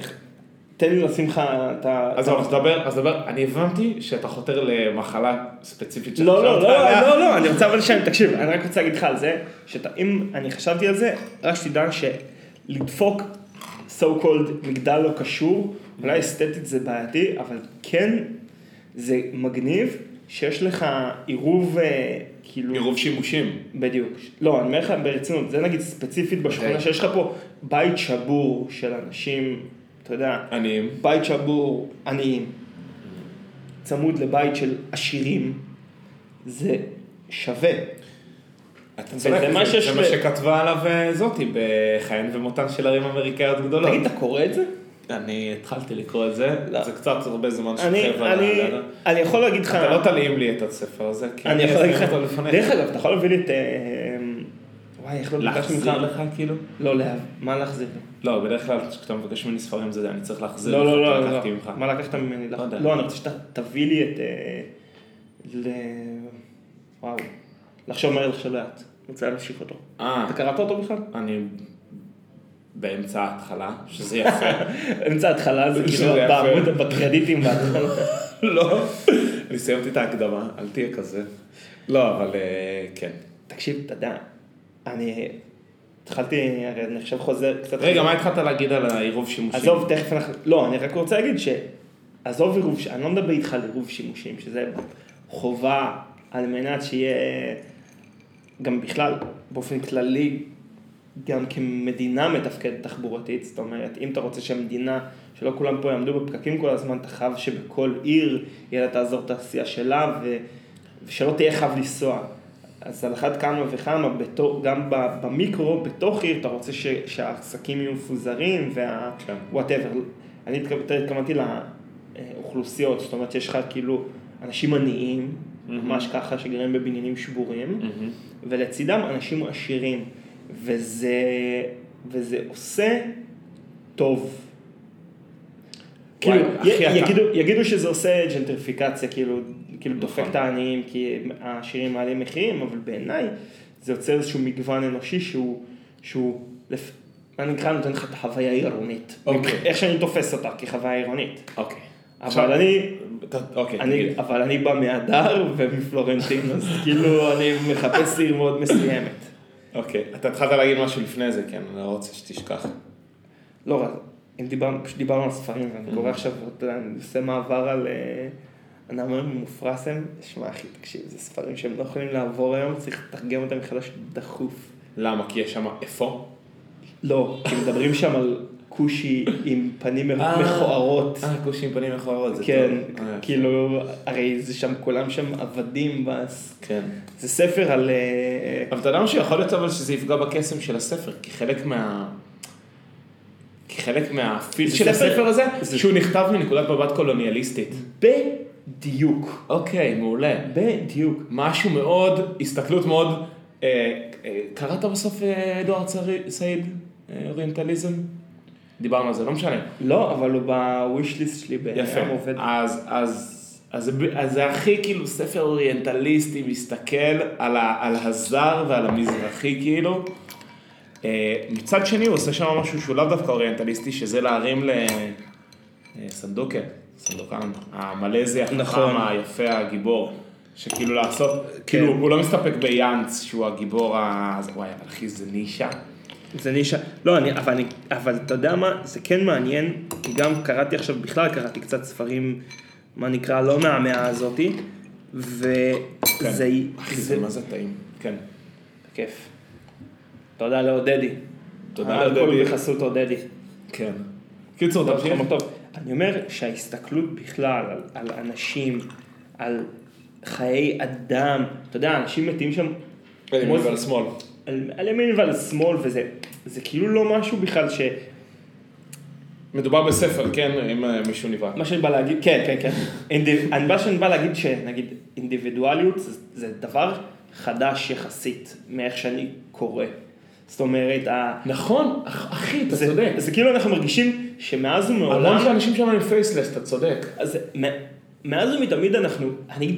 [SPEAKER 1] תן לי לשים לך את ה...
[SPEAKER 3] אז
[SPEAKER 1] את ה-
[SPEAKER 3] אבל, אז דבר, אז דבר, אני הבנתי שאתה חותר למחלה ספציפית
[SPEAKER 1] לא, לא,
[SPEAKER 3] שחשבת
[SPEAKER 1] לא,
[SPEAKER 3] עליה.
[SPEAKER 1] לא, לא, אני רוצה אבל שם, תקשיב, אני רק רוצה להגיד לך על זה, שאתה, אם אני חשבתי על זה, רק שתדע שלדפוק so called מגדל לא קשור, אולי אסתטית זה בעייתי, אבל כן, זה מגניב שיש לך עירוב, אה, כאילו...
[SPEAKER 3] עירוב שימושים.
[SPEAKER 1] בדיוק. לא, אני אומר לך ברצינות, זה נגיד ספציפית בשכונה,
[SPEAKER 3] אוקיי.
[SPEAKER 1] שיש לך פה בית שבור של אנשים, אתה יודע,
[SPEAKER 3] עניים.
[SPEAKER 1] בית שבור עניים, צמוד לבית של עשירים, זה שווה.
[SPEAKER 3] אתה
[SPEAKER 1] וזה
[SPEAKER 3] צודק,
[SPEAKER 1] מה
[SPEAKER 3] זה
[SPEAKER 1] שיש
[SPEAKER 3] זה מה
[SPEAKER 1] ב-
[SPEAKER 3] שכתבה עליו אה, זאתי בחייהן ומותן של ערים אמריקאיות גדולות.
[SPEAKER 1] תגיד, אתה קורא את זה?
[SPEAKER 3] אני התחלתי לקרוא את לא, זה,
[SPEAKER 1] לא.
[SPEAKER 3] זה קצת הרבה זמן
[SPEAKER 1] אני,
[SPEAKER 3] שוכב על
[SPEAKER 1] אני,
[SPEAKER 3] ה...
[SPEAKER 1] אני יכול להגיד לך...
[SPEAKER 3] לא, אתה לא תלאים לי את הספר הזה, כי
[SPEAKER 1] אני יכול להגיד
[SPEAKER 3] אסיים
[SPEAKER 1] לך...
[SPEAKER 3] אותו לפניך.
[SPEAKER 1] דרך אגב, אתה יכול להביא לי את... אה, וואי, איך לא ביקשתי ממך?
[SPEAKER 3] להחזיר לך כאילו?
[SPEAKER 1] לא, להב... מה להחזיר? לי?
[SPEAKER 3] לא, בדרך כלל כשאתה מבקש ממני ספרים זה אני צריך להחזיר
[SPEAKER 1] לא,
[SPEAKER 3] לך,
[SPEAKER 1] לא,
[SPEAKER 3] כי
[SPEAKER 1] לא,
[SPEAKER 3] לקחתי
[SPEAKER 1] לא.
[SPEAKER 3] ממך.
[SPEAKER 1] מה לקחת ממני? לך?
[SPEAKER 3] יודע.
[SPEAKER 1] לא, אני רוצה שאתה תביא לי את... אה, ל... וואו. לחשוב מהר לחשוב לאט. אני רוצה להמשיך אותו.
[SPEAKER 3] אה,
[SPEAKER 1] אתה קראת אותו בכלל?
[SPEAKER 3] אני באמצע ההתחלה, שזה יפה.
[SPEAKER 1] אמצע ההתחלה זה
[SPEAKER 3] שזה
[SPEAKER 1] כאילו
[SPEAKER 3] יפה.
[SPEAKER 1] בעמוד, בקרדיטים בהתחלה.
[SPEAKER 3] [laughs]
[SPEAKER 1] [laughs]
[SPEAKER 3] לא, אני סיימתי את ההקדמה, אל תהיה כזה. לא, אבל אה, כן.
[SPEAKER 1] תקשיב, אתה יודע, אני התחלתי, הרי אני עכשיו חוזר קצת...
[SPEAKER 3] רגע, מה התחלת להגיד על העירוב שימושים?
[SPEAKER 1] עזוב, תכף אנחנו... לא, אני רק רוצה להגיד ש... עזוב עירוב, ש- אני לא מדבר איתך על עירוב שימושים, שזה חובה על מנת שיהיה גם בכלל, באופן כללי, גם כמדינה מתפקדת תחבורתית, זאת אומרת, אם אתה רוצה שהמדינה, שלא כולם פה יעמדו בפקקים כל הזמן, אתה חייב שבכל עיר יהיה לה את האזור תעשייה שלה, ו... ושלא תהיה חייב לנסוע. אז על אחת כמה וכמה, בתור, גם ב- במיקרו, בתוך עיר, אתה רוצה ש... שהעסקים יהיו מפוזרים, וה...
[SPEAKER 3] כן.
[SPEAKER 1] וואטאבר. אני התכו- יותר התכוונתי לאוכלוסיות, אה, זאת אומרת שיש לך כאילו אנשים עניים, ממש ככה, שגרים בבניינים שבורים,
[SPEAKER 3] מהמם.
[SPEAKER 1] ולצידם אנשים עשירים, וזה, וזה עושה טוב.
[SPEAKER 3] וואי,
[SPEAKER 1] כאילו,
[SPEAKER 3] אחי,
[SPEAKER 1] י-
[SPEAKER 3] אתה-
[SPEAKER 1] יגידו, יגידו שזה עושה ג'נטריפיקציה, כאילו, כאילו דופק
[SPEAKER 3] נכון.
[SPEAKER 1] את העניים כי העשירים מעלים מחירים, אבל בעיניי זה יוצר איזשהו מגוון אנושי שהוא, שהוא לפ... מה נקרא, נותן לך את החוויה העירונית.
[SPEAKER 3] אוקיי.
[SPEAKER 1] איך שאני תופס אותה כחוויה עירונית.
[SPEAKER 3] אוקיי.
[SPEAKER 1] אבל אני,
[SPEAKER 3] ת- אוקיי,
[SPEAKER 1] אני,
[SPEAKER 3] תגיד.
[SPEAKER 1] אבל אני בא מהדר ומפלורנטין, אז כאילו אני מחפש עיר מאוד מסוימת.
[SPEAKER 3] אוקיי. אתה התחלת להגיד משהו לפני זה, כן, אני לא רוצה שתשכח.
[SPEAKER 1] לא רע, אם דיברנו, פשוט דיברנו על ספרים, ואני
[SPEAKER 3] Mm.
[SPEAKER 1] קורא עכשיו, אתה יודע, אני עושה מעבר על אה, הנאמר ממופרסם, שמע אחי, תקשיב, זה ספרים שהם לא יכולים לעבור היום, צריך לתרגם אותם מחדש דחוף.
[SPEAKER 3] למה? כי יש שם אפוא?
[SPEAKER 1] לא, כי מדברים שם על כושי עם פנים
[SPEAKER 3] אה.
[SPEAKER 1] מכוערות.
[SPEAKER 3] אה, כושי עם פנים מכוערות, זה טוב.
[SPEAKER 1] כן,
[SPEAKER 3] אה, יפה.
[SPEAKER 1] כאילו, הרי זה שם, כולם שם עבדים, ואז...
[SPEAKER 3] כן.
[SPEAKER 1] זה ספר על... אה,
[SPEAKER 3] אבל אתה יודע משהו? יכול להיות אבל שזה יפגע בקסם של הספר, כי חלק מה... כי חלק מהפיל
[SPEAKER 1] זה
[SPEAKER 3] של
[SPEAKER 1] ספר-
[SPEAKER 3] הספר הזה,
[SPEAKER 1] זה-
[SPEAKER 3] שהוא נכתב מנקודת מבט קולוניאליסטית.
[SPEAKER 1] בדיוק,
[SPEAKER 3] אוקיי, מעולה.
[SPEAKER 1] בדיוק.
[SPEAKER 3] משהו מאוד, הסתכלות מאוד... אה, אה, קראת בסוף אה, אדוארד סעיד- סעיד, אה, אוריינטליזם? דיברנו על זה, לא משנה.
[SPEAKER 1] לא, אבל הוא בוויש ליסט שלי,
[SPEAKER 3] יפה.
[SPEAKER 1] בעם עובד.
[SPEAKER 3] אז, אז, אז, זה ב- אז זה הכי כאילו ספר אוריינטליסטי מסתכל על, ה, על הזר ועל המזרחי כאילו. אה, מצד שני הוא עושה שם משהו שהוא לאו דווקא אוריינטליסטי, שזה להרים ל... אה, סנדוקה, סנדוקן, המלזי החכם,
[SPEAKER 1] נכון.
[SPEAKER 3] היפה, הגיבור. שכאילו לעשות, כאילו הוא לא מסתפק ביאנץ שהוא הגיבור ה... זה- וואי, אבל אחי זה נישה.
[SPEAKER 1] זה נישה, לא, אני, אבל, אני, אבל אתה יודע מה, זה כן מעניין, כי גם קראתי עכשיו, בכלל קראתי קצת ספרים, מה נקרא, לא מהמאה הזאתי, וזה,
[SPEAKER 3] כן.
[SPEAKER 1] זה,
[SPEAKER 3] אחי זה מה זה טעים. כן.
[SPEAKER 1] כיף. תודה לעודדי.
[SPEAKER 3] תודה
[SPEAKER 1] האלכוהול
[SPEAKER 3] לעודדי.
[SPEAKER 1] בחסות עודדי.
[SPEAKER 3] כן. קיצור,
[SPEAKER 1] טוב,
[SPEAKER 3] תמשיך.
[SPEAKER 1] טוב, טוב. אני אומר שההסתכלות בכלל על, על אנשים, על חיי אדם, אתה יודע, אנשים מתים שם,
[SPEAKER 3] על ימין
[SPEAKER 1] כמו-
[SPEAKER 3] ועל שמאל.
[SPEAKER 1] על, על ימין ועל שמאל, וזה זה כאילו לא משהו בכלל ש...
[SPEAKER 3] מדובר בספר, כן, אם אה, מישהו נבהל.
[SPEAKER 1] מה שאני בא להגיד, כן, כן, כן. אינדיב- אני- מה שאני בא להגיד, שנגיד אינדיבידואליות זה- זה דבר חדש יחסית מאיך שאני קורא. זאת אומרת, ה...
[SPEAKER 3] נכון, אח- אחי, אתה
[SPEAKER 1] זה,
[SPEAKER 3] צודק.
[SPEAKER 1] זה כאילו אנחנו מרגישים שמאז
[SPEAKER 3] המון של
[SPEAKER 1] ומעולם,
[SPEAKER 3] אנשים שם הם פייסלס, אתה צודק.
[SPEAKER 1] אז מ- מאז ומתמיד אנחנו, אני,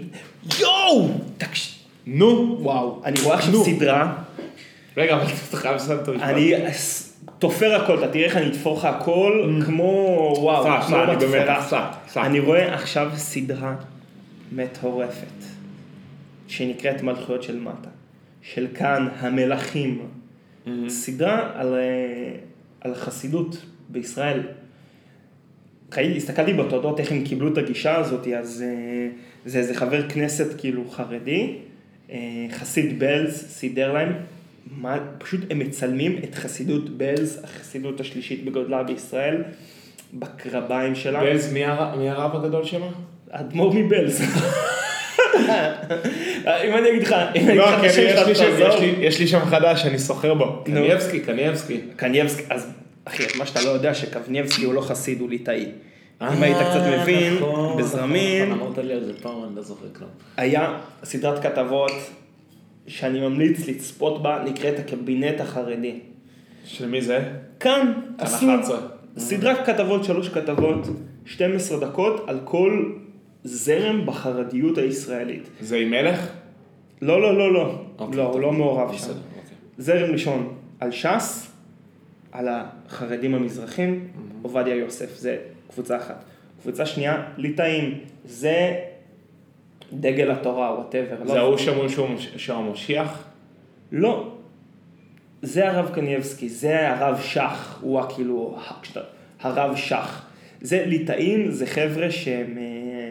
[SPEAKER 1] יואו! תקש...
[SPEAKER 3] נו.
[SPEAKER 1] וואו, אני רואה עכשיו
[SPEAKER 3] נו.
[SPEAKER 1] סדרה,
[SPEAKER 3] רגע, אבל אתה חייב לסיים את המשפט.
[SPEAKER 1] אני אס- תופר הכל, אתה תראה איך אני אתפור לך הכל,
[SPEAKER 3] Mm.
[SPEAKER 1] כמו, וואו,
[SPEAKER 3] סע,
[SPEAKER 1] כמו
[SPEAKER 3] סע, אני
[SPEAKER 1] בתפרה.
[SPEAKER 3] באמת, סע, סע.
[SPEAKER 1] אני רואה עכשיו סדרה מטורפת, שנקראת מלכויות של מטה, של כאן המלכים.
[SPEAKER 3] Mm-hmm.
[SPEAKER 1] סדרה על, אה, על חסידות בישראל. ראיתי, הסתכלתי בתודות איך הם קיבלו את הגישה הזאת, אז אה, זה איזה חבר כנסת כאילו חרדי, אה, חסיד בלז סידר להם, מה, פשוט הם מצלמים את חסידות בלז, החסידות השלישית בגודלה בישראל, בקרביים שלה,
[SPEAKER 3] בלז, מי הר- מי הרב הגדול שמה?
[SPEAKER 1] אדמו"ר מבלז. אם אני אגיד לך, אם אני אגיד
[SPEAKER 3] לא,
[SPEAKER 1] לך את
[SPEAKER 3] כן,
[SPEAKER 1] השם
[SPEAKER 3] יש
[SPEAKER 1] שלך,
[SPEAKER 3] לי שם-
[SPEAKER 1] תעזור.
[SPEAKER 3] יש לי- יש לי שם חדש, אני סוחר בו.
[SPEAKER 1] נו.
[SPEAKER 3] קנייבסקי, קנייבסקי.
[SPEAKER 1] קנייבסקי, אז אחי, את מה שאתה לא יודע, שקנייבסקי הוא לא חסיד, הוא ליטאי. אם
[SPEAKER 3] אה,
[SPEAKER 1] היית קצת מבין,
[SPEAKER 3] נכון,
[SPEAKER 1] בזרמים,
[SPEAKER 3] נכון, אמרת לי על זה פעם, אני לא זוכר כלום.
[SPEAKER 1] היה סדרת כתבות שאני ממליץ לצפות בה, נקראת הקבינט החרדי.
[SPEAKER 3] של מי זה?
[SPEAKER 1] כאן
[SPEAKER 3] כאן
[SPEAKER 1] עשו
[SPEAKER 3] 11. Mm.
[SPEAKER 1] סדרת כתבות, שלוש כתבות, 12 דקות, על כל זרם בחרדיות הישראלית.
[SPEAKER 3] זה עם מלך?
[SPEAKER 1] לא, לא, לא, לא.
[SPEAKER 3] אוקיי,
[SPEAKER 1] לא, הוא
[SPEAKER 3] טוב.
[SPEAKER 1] לא מעורב שם.
[SPEAKER 3] בסדר, אוקיי.
[SPEAKER 1] זרם ראשון על ש"ס, על החרדים המזרחים, עובדיה יוסף, זה קבוצה אחת. קבוצה שנייה, ליטאים, זה דגל התורה, לא וואטאבר.
[SPEAKER 3] זה ההוא שאומרים שהוא מש- שהוא המשיח?
[SPEAKER 1] לא. זה הרב קנייבסקי, זה הרב שך, הוא הכאילו, ה- כשאתה- הרב שך. זה ליטאים, זה חבר'ה שהם... אה,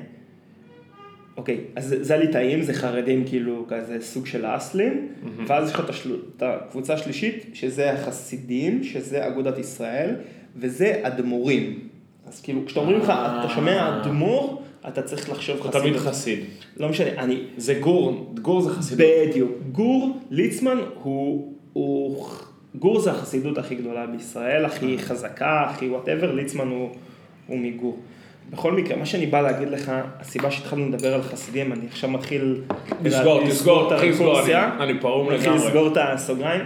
[SPEAKER 1] אוקיי, אז זה- זה הליטאים, זה חרדים כאילו כזה סוג של האסלים, ואז יש לך את השל- את הקבוצה השלישית, שזה החסידים, שזה אגודת ישראל, וזה אדמו"רים. אז כאילו, כשאומרים לך,
[SPEAKER 3] אה.
[SPEAKER 1] אתה שומע אדמו"ר, אתה צריך לחשוב
[SPEAKER 3] הוא
[SPEAKER 1] חסיד.
[SPEAKER 3] תמיד חסיד.
[SPEAKER 1] לא משנה, אני,
[SPEAKER 3] זה גור, גור זה חסידות.
[SPEAKER 1] בדיוק. גור ליצמן הוא, הוא... גור זה החסידות הכי גדולה בישראל,
[SPEAKER 3] אה.
[SPEAKER 1] הכי חזקה, הכי וואטאבר, ליצמן הוא, הוא מגור. בכל מקרה, מה שאני בא להגיד לך, הסיבה שהתחלנו לדבר על חסידים, אני עכשיו מתחיל...
[SPEAKER 3] תסגור, תסגור,
[SPEAKER 1] את
[SPEAKER 3] תתחיל לסגור,
[SPEAKER 1] הרקורסיה.
[SPEAKER 3] אני- אני פרום
[SPEAKER 1] נתחיל
[SPEAKER 3] לגמרי.
[SPEAKER 1] לסגור את הסוגריים.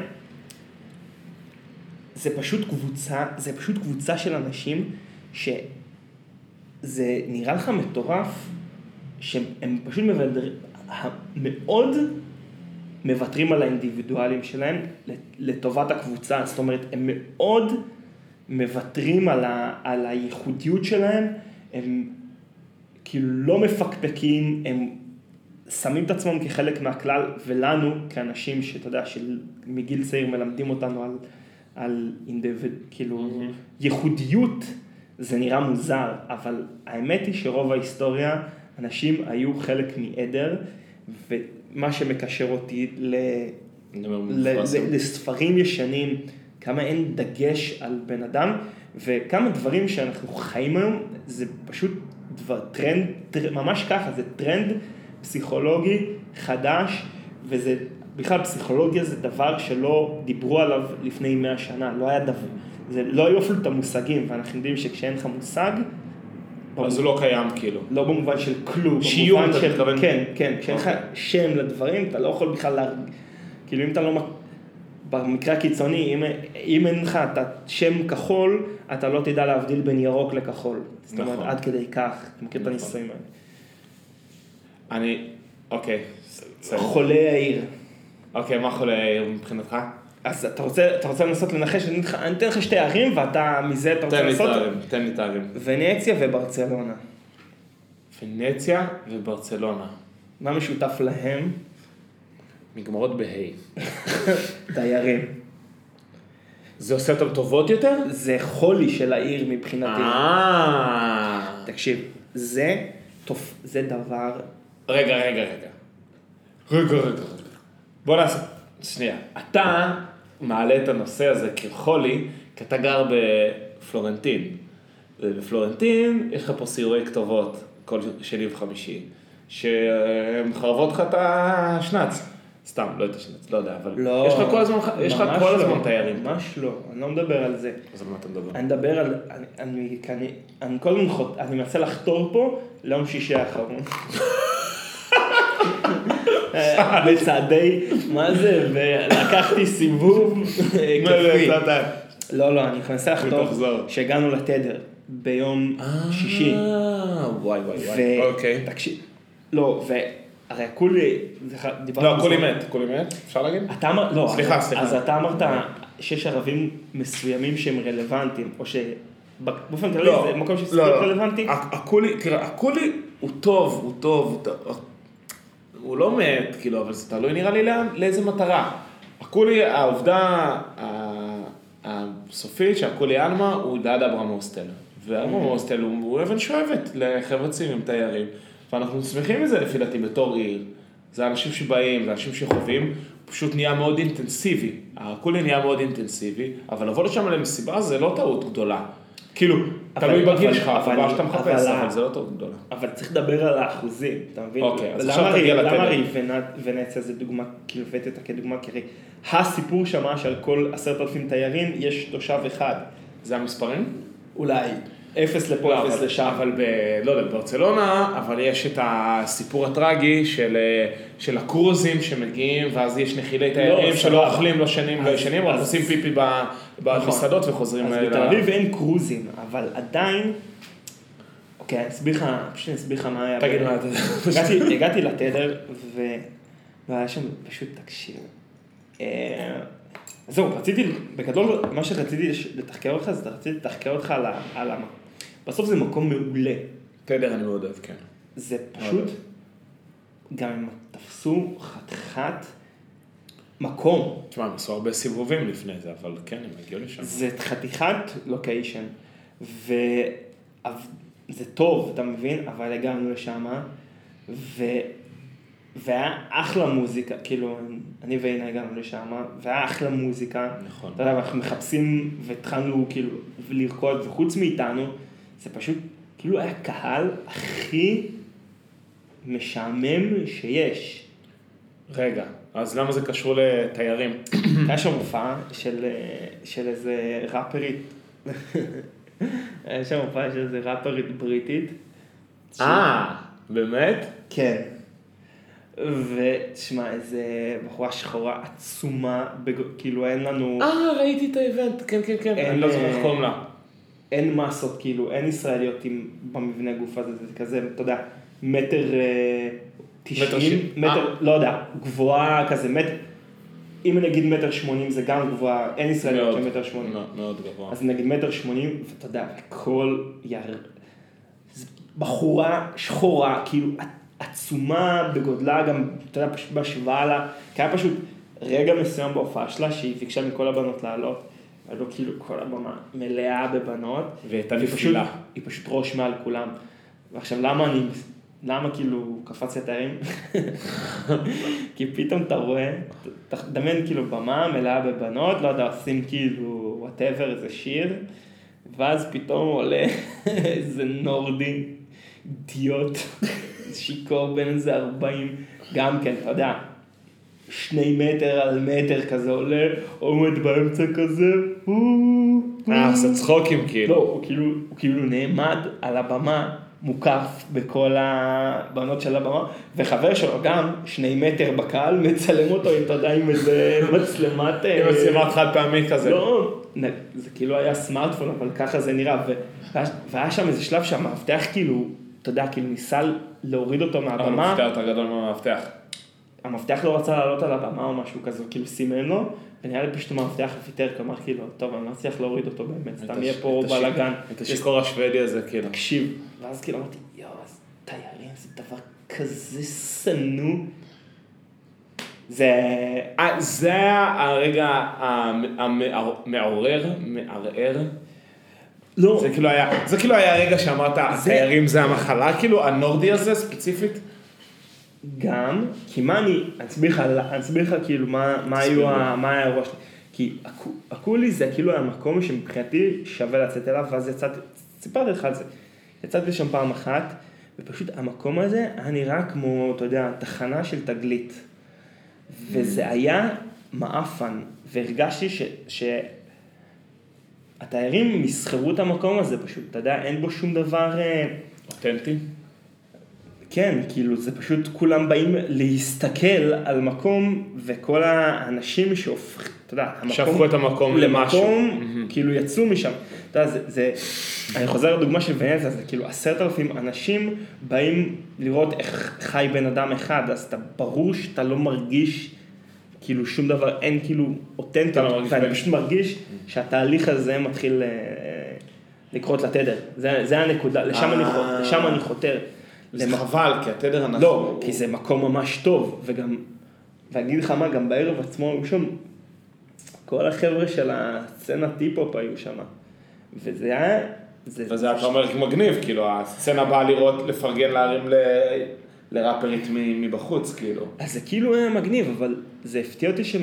[SPEAKER 1] זה פשוט קבוצה, זה פשוט קבוצה של אנשים שזה נראה לך מטורף, שהם פשוט מוודרים, מאוד מוותרים על האינדיבידואלים שלהם לטובת הקבוצה, זאת אומרת, הם מאוד מוותרים על, ה, על הייחודיות שלהם, הם כאילו לא מפקפקים, הם שמים את עצמם כחלק מהכלל, ולנו, כאנשים שאתה יודע, שמגיל צעיר מלמדים אותנו על, על אינדיביד, כאילו, ייחודיות, זה נראה מוזר, אבל האמת היא שרוב ההיסטוריה, אנשים היו חלק מעדר, ומה שמקשר אותי ל...
[SPEAKER 3] אני אומר,
[SPEAKER 1] ל-
[SPEAKER 3] מופרס.
[SPEAKER 1] ל- לספרים ישנים, כמה אין דגש על בן אדם, וכמה דברים שאנחנו חיים היום, זה פשוט דבר, טרנד, טר, ממש ככה, זה טרנד פסיכולוגי חדש, וזה, בכלל פסיכולוגיה זה דבר שלא דיברו עליו לפני 100 שנה, לא היה דבר, זה לא היו אפילו את המושגים, ואנחנו יודעים שכשאין לך מושג,
[SPEAKER 3] אז הוא לא קיים כאילו.
[SPEAKER 1] לא במובן של כלום.
[SPEAKER 3] שיום,
[SPEAKER 1] במובן
[SPEAKER 3] אתה
[SPEAKER 1] של-
[SPEAKER 3] מתכוון? אוקיי.
[SPEAKER 1] כן, כן. כשאין לך שם לדברים, אתה לא יכול בכלל לה... כאילו אם אתה לא... מ- במקרה הקיצוני, אם, אם אין לך את השם כחול, אתה לא תדע להבדיל בין ירוק לכחול. זאת אומרת,
[SPEAKER 3] נכון.
[SPEAKER 1] עד כדי כך, אתה מכיר את
[SPEAKER 3] נכון.
[SPEAKER 1] הניסויים האלה.
[SPEAKER 3] אני, אוקיי. ס- בסדר.
[SPEAKER 1] חולי העיר.
[SPEAKER 3] אוקיי, מה יכול להעיר מבחינתך?
[SPEAKER 1] אז אתה רוצה, אתה רוצה לנסות לנחש, אני אתן לך- אני אתן לך שתי ערים ואתה מזה אתה רוצה
[SPEAKER 3] תן לי
[SPEAKER 1] לעשות?
[SPEAKER 3] תארים, תן לי תארים.
[SPEAKER 1] ונציה וברצלונה.
[SPEAKER 3] פנציה וברצלונה.
[SPEAKER 1] מה משותף להם? [laughs]
[SPEAKER 3] נגמרות בהיי.
[SPEAKER 1] דיירים.
[SPEAKER 3] זה עושה אותן טובות יותר?
[SPEAKER 1] זה חולי של העיר מבחינתי.
[SPEAKER 3] אה.
[SPEAKER 1] תקשיב, זה, תופ... זה דבר,
[SPEAKER 3] רגע, רגע, רגע. רגע, רגע, רגע. בוא נעשה... שנייה. אתה מעלה את הנושא הזה כחולי, כי אתה גר בפלורנטין. ובפלורנטין יש לך פה סיורי כתובות כל שני וחמישי, שמחרבות לך את השנץ. סתם, לא את השנץ, לא יודע, אבל
[SPEAKER 1] לא,
[SPEAKER 3] יש לך כל הזמן, יש לך
[SPEAKER 1] ממש
[SPEAKER 3] כל
[SPEAKER 1] לא,
[SPEAKER 3] הזמן תיירים.
[SPEAKER 1] ממש לא, אני לא מדבר על זה.
[SPEAKER 3] אז על מה אתה מדבר?
[SPEAKER 1] אני מדבר על, אני, אני, אני, אני כל הזמן חוט...
[SPEAKER 3] [laughs]
[SPEAKER 1] אני מנסה לחתור פה ליום שישי האחרון. אה, בצעדי, מה זה, ולקחתי סיבוב אה, כפי. לא, לא, אני מנסה לחתוך
[SPEAKER 3] ותחזור.
[SPEAKER 1] שהגענו לתדר ביום שישי.
[SPEAKER 3] אה, וואי וואי וואי.
[SPEAKER 1] ו-
[SPEAKER 3] אוקיי.
[SPEAKER 1] תקשיב, לא, והרי הכולי, דיברנו
[SPEAKER 3] לא,
[SPEAKER 1] על
[SPEAKER 3] הכולי
[SPEAKER 1] זה.
[SPEAKER 3] מת. הכולי מת? אפשר להגיד?
[SPEAKER 1] אתה אמר, לא,
[SPEAKER 3] סליחה,
[SPEAKER 1] אז,
[SPEAKER 3] סליחה.
[SPEAKER 1] אז אתה אמרת שיש ערבים מסוימים שהם רלוונטיים, או שבאופן כללי
[SPEAKER 3] לא,
[SPEAKER 1] זה מקום שספורט רלוונטי?
[SPEAKER 3] הכ- הכולי, תראה, הכולי הוא טוב, הוא טוב, הוא טוב. הוא לא מת, כאילו, אבל זה תלוי נראה לי לאן, לאיזה מטרה. הכולי, העובדה ה- הסופית שהכולי עלמא הוא דעד אברהם הוסטל.
[SPEAKER 1] Mm-hmm.
[SPEAKER 3] ואברהם הוסטל הוא הוא אבן שואבת לחבר'ה צעירים תיירים. ואנחנו שמחים מזה לפי דעתי בתור עיר. זה אנשים שבאים, זה אנשים שחווים, פשוט נהיה מאוד אינטנסיבי. הכולי נהיה מאוד אינטנסיבי, אבל לבוא לשם למסיבה זה לא טעות גדולה. כאילו,
[SPEAKER 1] אבל-
[SPEAKER 3] תלוי בגיל
[SPEAKER 1] אבל-
[SPEAKER 3] שלך,
[SPEAKER 1] אבל-
[SPEAKER 3] אבל שאתה מחפש,
[SPEAKER 1] אבל-
[SPEAKER 3] אבל זה לא טעות גדולה.
[SPEAKER 1] אבל צריך לדבר על האחוזים, אתה מבין?
[SPEAKER 3] אוקיי, אז
[SPEAKER 1] למה
[SPEAKER 3] עכשיו
[SPEAKER 1] הרי-
[SPEAKER 3] תגיע לתדר.
[SPEAKER 1] למה הרי ונ- ונציה זה דוגמה, כאילו הבאת אותה כדוגמה, כי הרי הסיפור שמה שעל כל עשרת אלפים תיירים יש תושב אחד,
[SPEAKER 3] זה המספרים?
[SPEAKER 1] אולי אפס לפה, אפס
[SPEAKER 3] לא, אבל-
[SPEAKER 1] לשם.
[SPEAKER 3] אבל ב... לא יודע, בברצלונה, אבל יש את הסיפור הטרגי של, אה, של הקרוזים שמגיעים, ואז יש נחילי תיירים
[SPEAKER 1] לא,
[SPEAKER 3] שלא
[SPEAKER 1] סבבה.
[SPEAKER 3] אוכלים, לא שנים, לא
[SPEAKER 1] אז-
[SPEAKER 3] ישנים, אבל
[SPEAKER 1] אז-
[SPEAKER 3] עושים פיפי ב- במסעדות וחוזרים אה,
[SPEAKER 1] אז
[SPEAKER 3] ל-
[SPEAKER 1] בתל אביב אין קרוזים, אבל עדיין... אוקיי, אני אסביר לך, פשוט אני אסביר לך מה היה.
[SPEAKER 3] תגיד מה אתה...
[SPEAKER 1] הגעתי, הגעתי לתדר, ו... והיה שם פשוט, תקשיב. אה, זהו, רציתי, בגדול, מה שרציתי לש- לתחקר אותך, זה רציתי לתחקר אותך על ה... על ה... בסוף זה מקום מעולה.
[SPEAKER 3] תדר אני מאוד אוהב, כן.
[SPEAKER 1] זה פשוט,
[SPEAKER 3] אוקיי.
[SPEAKER 1] גם אם תפסו חתיכת מקום.
[SPEAKER 3] תשמע, הם עשו הרבה סיבובים לפני זה, אבל כן, הם הגיעו לשם.
[SPEAKER 1] זה חתיכת לוקיישן, וזה טוב, אתה מבין? אבל הגענו לשם, ו... והיה אחלה מוזיקה, כאילו, אני ואינה הגענו לשם, והיה אחלה מוזיקה.
[SPEAKER 3] נכון.
[SPEAKER 1] אתה יודע, ואנחנו מחפשים, והתחלנו כאילו לרקוד, וחוץ מאיתנו, זה פשוט, כאילו היה קהל הכי משעמם שיש.
[SPEAKER 3] רגע, אז למה זה קשור לתיירים?
[SPEAKER 1] היה שם הופעה של, אה, של איזה ראפרית. [laughs] היה שם הופעה של איזה ראפרית בריטית.
[SPEAKER 3] אה, באמת?
[SPEAKER 1] כן. ותשמע, איזה בחורה שחורה עצומה, בג... כאילו אין לנו,
[SPEAKER 3] אה, ראיתי את האיבנט, כן, כן, כן.
[SPEAKER 1] אין,
[SPEAKER 3] אני לא זוכר איך
[SPEAKER 1] אה,
[SPEAKER 3] קוראים לה.
[SPEAKER 1] אין מסות, כאילו, אין ישראליות עם, במבנה גוף הזה, זה כזה, אתה יודע, מטר אה, תשעים,
[SPEAKER 3] ש-
[SPEAKER 1] מטר,
[SPEAKER 3] אה.
[SPEAKER 1] לא יודע, גבוהה כזה, מטר, אם נגיד מטר שמונים זה גם גבוהה, אין ישראליות של מטר שמונים.
[SPEAKER 3] מאוד, מאוד גבוה.
[SPEAKER 1] אז נגיד מטר שמונים, ואתה יודע, הכל יר... זו בחורה שחורה, כאילו עצומה בגודלה, גם, אתה יודע, פשוט בהשוואה לה, כי היה פשוט רגע מסוים בהופעה שלה, שהיא ביקשה מכל הבנות לעלות, עלו כאילו כל הבמה מלאה בבנות,
[SPEAKER 3] והיא הייתה
[SPEAKER 1] והיא פשוט,
[SPEAKER 3] נפילה.
[SPEAKER 1] היא פשוט ראש מעל כולם. ועכשיו, למה אני, למה כאילו קפץ לתארים? [laughs] כי פתאום אתה רואה, ת- תדמיין כאילו במה מלאה בבנות, לא יודע, עושים כאילו וואטאבר, איזה שיר, ואז פתאום עולה [laughs] איזה נורדי, אידיוט, [laughs] שיכור בן איזה 40, גם כן, אתה יודע, שני מטר על מטר כזה עולה, עומד באמצע כזה, "או, או".
[SPEAKER 3] אה, עשה צחוקים
[SPEAKER 1] לא,
[SPEAKER 3] כאילו.
[SPEAKER 1] הוא כאילו, הוא כאילו נעמד על הבמה, מוקף בכל הבנות של הבמה, וחבר שלו גם, שני מטר בקהל, מצלם אותו, אתה יודע, עם איזה מצלמת...
[SPEAKER 3] עם
[SPEAKER 1] אה,
[SPEAKER 3] מצלמת חד פעמי כזה.
[SPEAKER 1] לא, נ- זה כאילו היה סמארטפון, אבל ככה זה נראה, ו- והיה- והיה שם איזה שלב שהמאבטח כאילו, אתה יודע, כאילו ניסה להוריד אותו מהבמה,
[SPEAKER 3] המפתח יותר גדול מהמפתח.
[SPEAKER 1] המאבטח לא רצה לעלות על הבמה או משהו כזה, כאילו סימן לו, ונראה לי פשוט המאבטח ויתר, כלומר כאילו, טוב, אני לא אצליח להוריד אותו באמת, סתם יהיה פה
[SPEAKER 3] את הש-
[SPEAKER 1] בלאגן.
[SPEAKER 3] את השיכור השוודי הזה כאילו.
[SPEAKER 1] תקשיב. ואז כאילו אמרתי, יואו, אז תיירים זה דבר כזה שנוא. זה...
[SPEAKER 3] אה, זה הרגע המ- המעור- מעורר, מערער.
[SPEAKER 1] לא,
[SPEAKER 3] זה כאילו היה, זה כאילו היה הרגע שאמרת, התיירים זה המחלה, כאילו, הנורדי הזה ספציפית.
[SPEAKER 1] גם, כי מה אני, אני אסביר לך, אני אסביר לך כאילו מה, מה היו, ה, מה היה האירוע שלי. כי הקו- הקולי זה כאילו המקום שמבחינתי שווה לצאת אליו, ואז יצאתי, סיפרתי לך על זה. יצאתי שם פעם אחת, ופשוט המקום הזה היה נראה כמו, אתה יודע, תחנה של תגלית. וזה היה מעפן, והרגשתי ש... ש... התיירים מסחרו את המקום הזה פשוט, אתה יודע, אין בו שום דבר... אה,
[SPEAKER 3] אותנטי.
[SPEAKER 1] כן, כאילו זה פשוט כולם באים להסתכל על מקום וכל האנשים שהופכים, אתה יודע, המקום,
[SPEAKER 3] שהפכו את המקום למשהו.
[SPEAKER 1] למקום, כאילו יצאו משם. אתה יודע, זה, זה, אני חוזר לדוגמה של ונציה, זה כאילו עשרת אלפים אנשים באים לראות איך חי בן אדם אחד, אז אתה ברור שאתה לא מרגיש כאילו שום דבר, אין כאילו
[SPEAKER 3] אתה
[SPEAKER 1] אותנטיות,
[SPEAKER 3] לא מרגיש
[SPEAKER 1] ואני
[SPEAKER 3] בן-
[SPEAKER 1] פשוט מרגיש שהתהליך הזה מתחיל אה, לקרות לתדר, זה, זה הנקודה, לשם אני, חו-
[SPEAKER 3] אה.
[SPEAKER 1] לשם אני חותר.
[SPEAKER 3] זה
[SPEAKER 1] למ-
[SPEAKER 3] חבל, כי התדר אנחנו...
[SPEAKER 1] לא, כי זה מקום ממש טוב, וגם, ואגיד לך מה, גם בערב עצמו היו שם, כל החבר'ה של הסצנה טיפ-הופ היו שם, וזה היה, זה,
[SPEAKER 3] וזה היה אתה אומר מגניב, כאילו, הסצנה באה לראות, לפרגן להרים ל- לראפרית מ- מבחוץ, כאילו.
[SPEAKER 1] אז זה כאילו היה מגניב, אבל זה הפתיע אותי ש...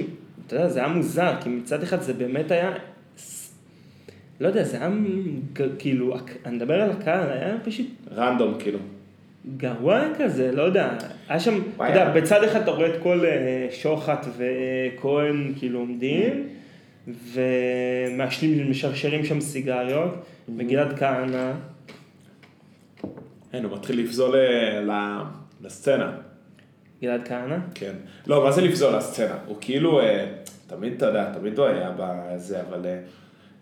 [SPEAKER 1] אתה יודע, זה היה מוזר, כי מצד אחד זה באמת היה... ס- לא יודע, זה היה ג- כאילו, הק- אני מדבר על הקהל, היה פשוט
[SPEAKER 3] רנדום, כאילו.
[SPEAKER 1] גרוע כזה, לא יודע. היה שם, אתה
[SPEAKER 3] וואי,
[SPEAKER 1] יודע,
[SPEAKER 3] היה-
[SPEAKER 1] בצד אחד אתה רואה את כל אה, שוחט וכהן כאילו עומדים, ומעשנים, משרשרים שם סיגריות,
[SPEAKER 3] Mhm.
[SPEAKER 1] וגלעד כהנא,
[SPEAKER 3] אין, הוא מתחיל לפזול אה, ל- לסצנה.
[SPEAKER 1] גלעד כהנא,
[SPEAKER 3] כן. לא, מה זה לפזול לסצנה? הוא כאילו, אה, תמיד, אתה יודע, תמיד הוא היה בזה, אבל אה,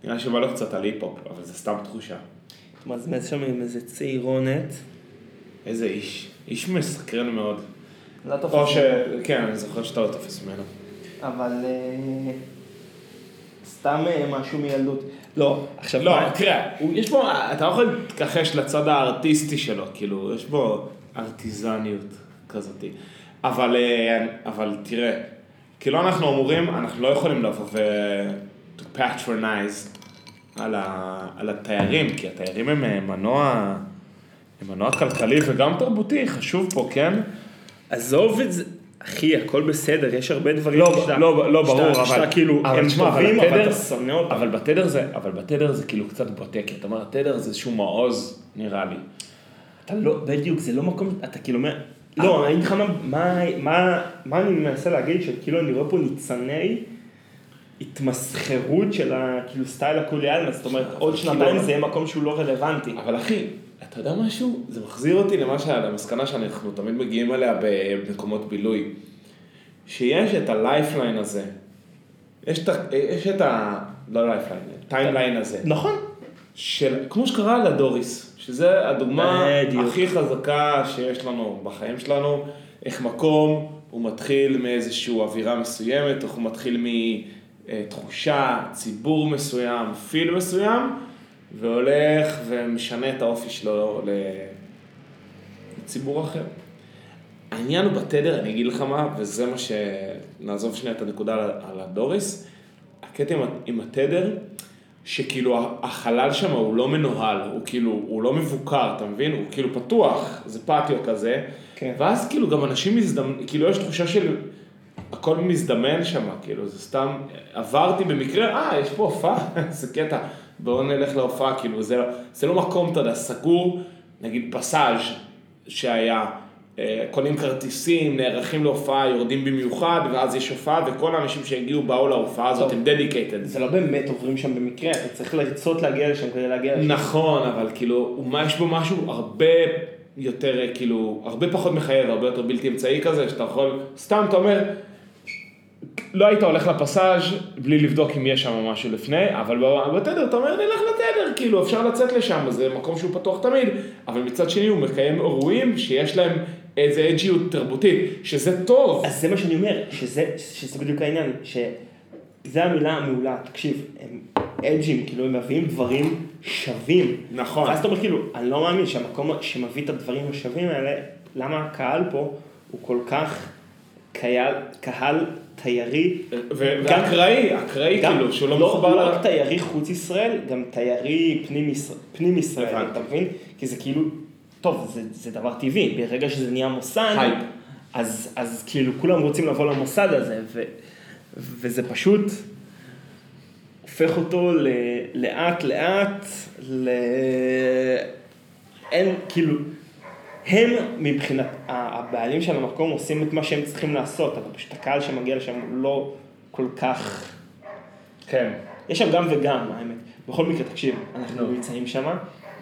[SPEAKER 3] נראה שבא לו קצת על היפ-הופ, אבל זה סתם תחושה.
[SPEAKER 1] מזמז שם עם איזה צעירונת.
[SPEAKER 3] איזה איש. איש מסקרן מאוד.
[SPEAKER 1] לא
[SPEAKER 3] או ש... כן, אני זוכר שאתה לא תופס ממנו.
[SPEAKER 1] אבל אה, סתם אה, משהו מילדות. לא, עכשיו
[SPEAKER 3] לא,
[SPEAKER 1] מה-
[SPEAKER 3] תראה, הוא- יש בו, אתה לא יכול להתכחש לצד הארטיסטי שלו, כאילו, יש בו ארטיזניות כזאת. אבל, אה, אבל תראה, כאילו אנחנו אמורים, אנחנו לא יכולים לבוא ו... to patronize על, ה... על התיירים, כי התיירים הם אה, מנוע, הם מנוע כלכלי וגם תרבותי, חשוב פה, כן?
[SPEAKER 1] עזוב את זה, אחי, הכל בסדר, יש הרבה דברים
[SPEAKER 3] לא, לא, לא, ברור, אבל...
[SPEAKER 1] שאתה כאילו,
[SPEAKER 3] אבל
[SPEAKER 1] הם
[SPEAKER 3] תשמע, אבל
[SPEAKER 1] טובים, אבל
[SPEAKER 3] התדר-
[SPEAKER 1] אתה שונא אותם.
[SPEAKER 3] אבל בתדר זה, אבל בתדר זה כאילו קצת בוטה, כי אתה אומר, התדר זה איזשהו מעוז, נראה לי.
[SPEAKER 1] אתה לא, בדיוק, זה לא מקום, אתה כאילו אומר, לא, אני אגיד לך מה, מה- מה- מה אני מנסה להגיד, שכאילו אני רואה פה ניצני התמסחרות של ה... כאילו סטייל הקולי עלמה, זאת אומרת, עוד
[SPEAKER 3] כאילו-
[SPEAKER 1] שנתיים זה יהיה מקום שהוא לא רלוונטי.
[SPEAKER 3] אבל אחי, אתה יודע משהו? זה מחזיר אותי למה שה- למסקנה שאנחנו תמיד מגיעים אליה במקומות בילוי. שיש את הלייפליין הזה. יש את ה... יש את ה... לא לייפליין, טיימליין הזה.
[SPEAKER 1] נכון.
[SPEAKER 3] של... כמו שקרה לדוריס, שזה הדוגמה
[SPEAKER 1] בדיוק.
[SPEAKER 3] הכי חזקה שיש לנו בחיים שלנו, איך מקום, הוא מתחיל מאיזושהי אווירה מסוימת, איך הוא מתחיל מתחושה, ציבור מסוים, פיל מסוים, והולך ומשנה את האופי שלו ל- לציבור אחר. העניין הוא בתדר, אני אגיד לך מה, וזה מה ש... נעזוב שנייה את הנקודה על- על הדוריס. הקטע עם, ה- עם התדר, שכאילו ה- החלל שם הוא לא מנוהל, הוא כאילו, הוא לא מבוקר, אתה מבין? הוא כאילו פתוח, זה פטיו כזה.
[SPEAKER 1] כן.
[SPEAKER 3] ואז כאילו גם אנשים מזדמנים, כאילו יש תחושה של... הכל מזדמן שם, כאילו זה סתם, עברתי במקרה, אה, יש פה הופעה, [laughs] איזה קטע, בואו נלך להופעה, כאילו זה, זה לא מקום, אתה יודע, סגור, נגיד פסאז' שהיה, אה, קונים כרטיסים, נערכים להופעה, יורדים במיוחד, ואז יש הופעה, וכל האנשים שהגיעו באו להופעה הזאת
[SPEAKER 1] טוב.
[SPEAKER 3] הם דדיקייטד.
[SPEAKER 1] זה לא באמת עוברים שם במקרה, אתה צריך לרצות להגיע לשם כדי להגיע לשם.
[SPEAKER 3] נכון, אבל כאילו, מה- יש בו משהו הרבה יותר, אה, כאילו, הרבה פחות מחייב, הרבה יותר בלתי אמצעי כזה, שאתה יכול, סתם אתה אומר, לא היית הולך לפסאז' בלי לבדוק אם יש שם משהו לפני, אבל ב- בתדר אתה אומר, נלך לתדר, כאילו, אפשר לצאת לשם, זה מקום שהוא פתוח תמיד, אבל מצד שני הוא מקיים אירועים שיש להם איזה אג'יות תרבותית, שזה טוב.
[SPEAKER 1] אז זה מה שאני אומר, שזה, שזה בדיוק העניין, שזה המילה המעולה, תקשיב, הם אג'ים, כאילו הם מביאים דברים שווים.
[SPEAKER 3] נכון.
[SPEAKER 1] ואז אתה אומר כאילו, אני לא מאמין שהמקום שמביא את הדברים השווים האלה, למה הקהל פה הוא כל כך קהל, קהל תיירי,
[SPEAKER 3] ו-
[SPEAKER 1] גם-
[SPEAKER 3] ואקראי, אקראי
[SPEAKER 1] גם-
[SPEAKER 3] כאילו, שהוא לא
[SPEAKER 1] לא,
[SPEAKER 3] מחובר
[SPEAKER 1] לא
[SPEAKER 3] ל...
[SPEAKER 1] רק תיירי חוץ ישראל, גם תיירי פנים, ישראל- פנים ישראל,
[SPEAKER 3] הבנתי.
[SPEAKER 1] אתה מבין? כי זה כאילו, טוב, זה, זה דבר טבעי, ברגע שזה נהיה מוסד,
[SPEAKER 3] הייפ.
[SPEAKER 1] אז, אז כאילו כולם רוצים לבוא למוסד הזה, ו, וזה פשוט הופך אותו ל, לאט לאט, ל... אין, כאילו, הם מבחינת, ה- הבעלים של המקום עושים את מה שהם צריכים לעשות, אבל פשוט הקהל שמגיע לשם הוא לא כל כך...
[SPEAKER 3] כן.
[SPEAKER 1] יש שם גם וגם, האמת. בכל מקרה, תקשיב, אנחנו
[SPEAKER 3] נו.
[SPEAKER 1] נמצאים שם,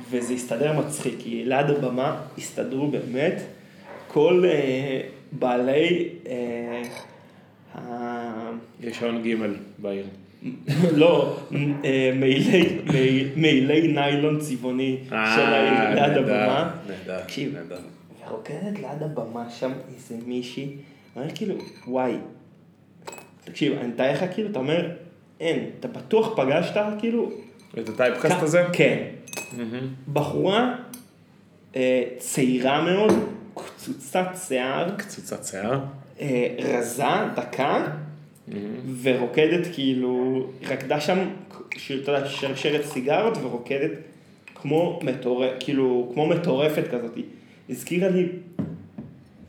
[SPEAKER 1] וזה הסתדר מצחיק, כי ליד הבמה הסתדרו באמת כל אה, בעלי... אה, ה-
[SPEAKER 3] רישיון ג' בעיר.
[SPEAKER 1] לא, אה, מעילי- מעיל- מעילי ניילון צבעוני של
[SPEAKER 3] אה,
[SPEAKER 2] אה,
[SPEAKER 1] העיר ליד הבמה.
[SPEAKER 4] נהדר,
[SPEAKER 1] תקשיב,
[SPEAKER 4] נהדר.
[SPEAKER 1] ורוקדת ליד הבמה שם איזה מישהי, אני אומר כאילו, וואי. תקשיב, אני מתאר לך כאילו, אתה אומר, אין, אתה בטוח פגשת כאילו...
[SPEAKER 3] את הטייפקאסט הזה?
[SPEAKER 1] כן. בחורה אה, צעירה מאוד, קצוצת שיער,
[SPEAKER 3] קצוצת שיער.
[SPEAKER 1] אה, רזה, דקה, ורוקדת כאילו, רקדה שם, ש- אתה יודע, שרשרת סיגרות ורוקדת כמו מטורפת, כאילו, כמו מטורפת כזאת. הזכירה לי,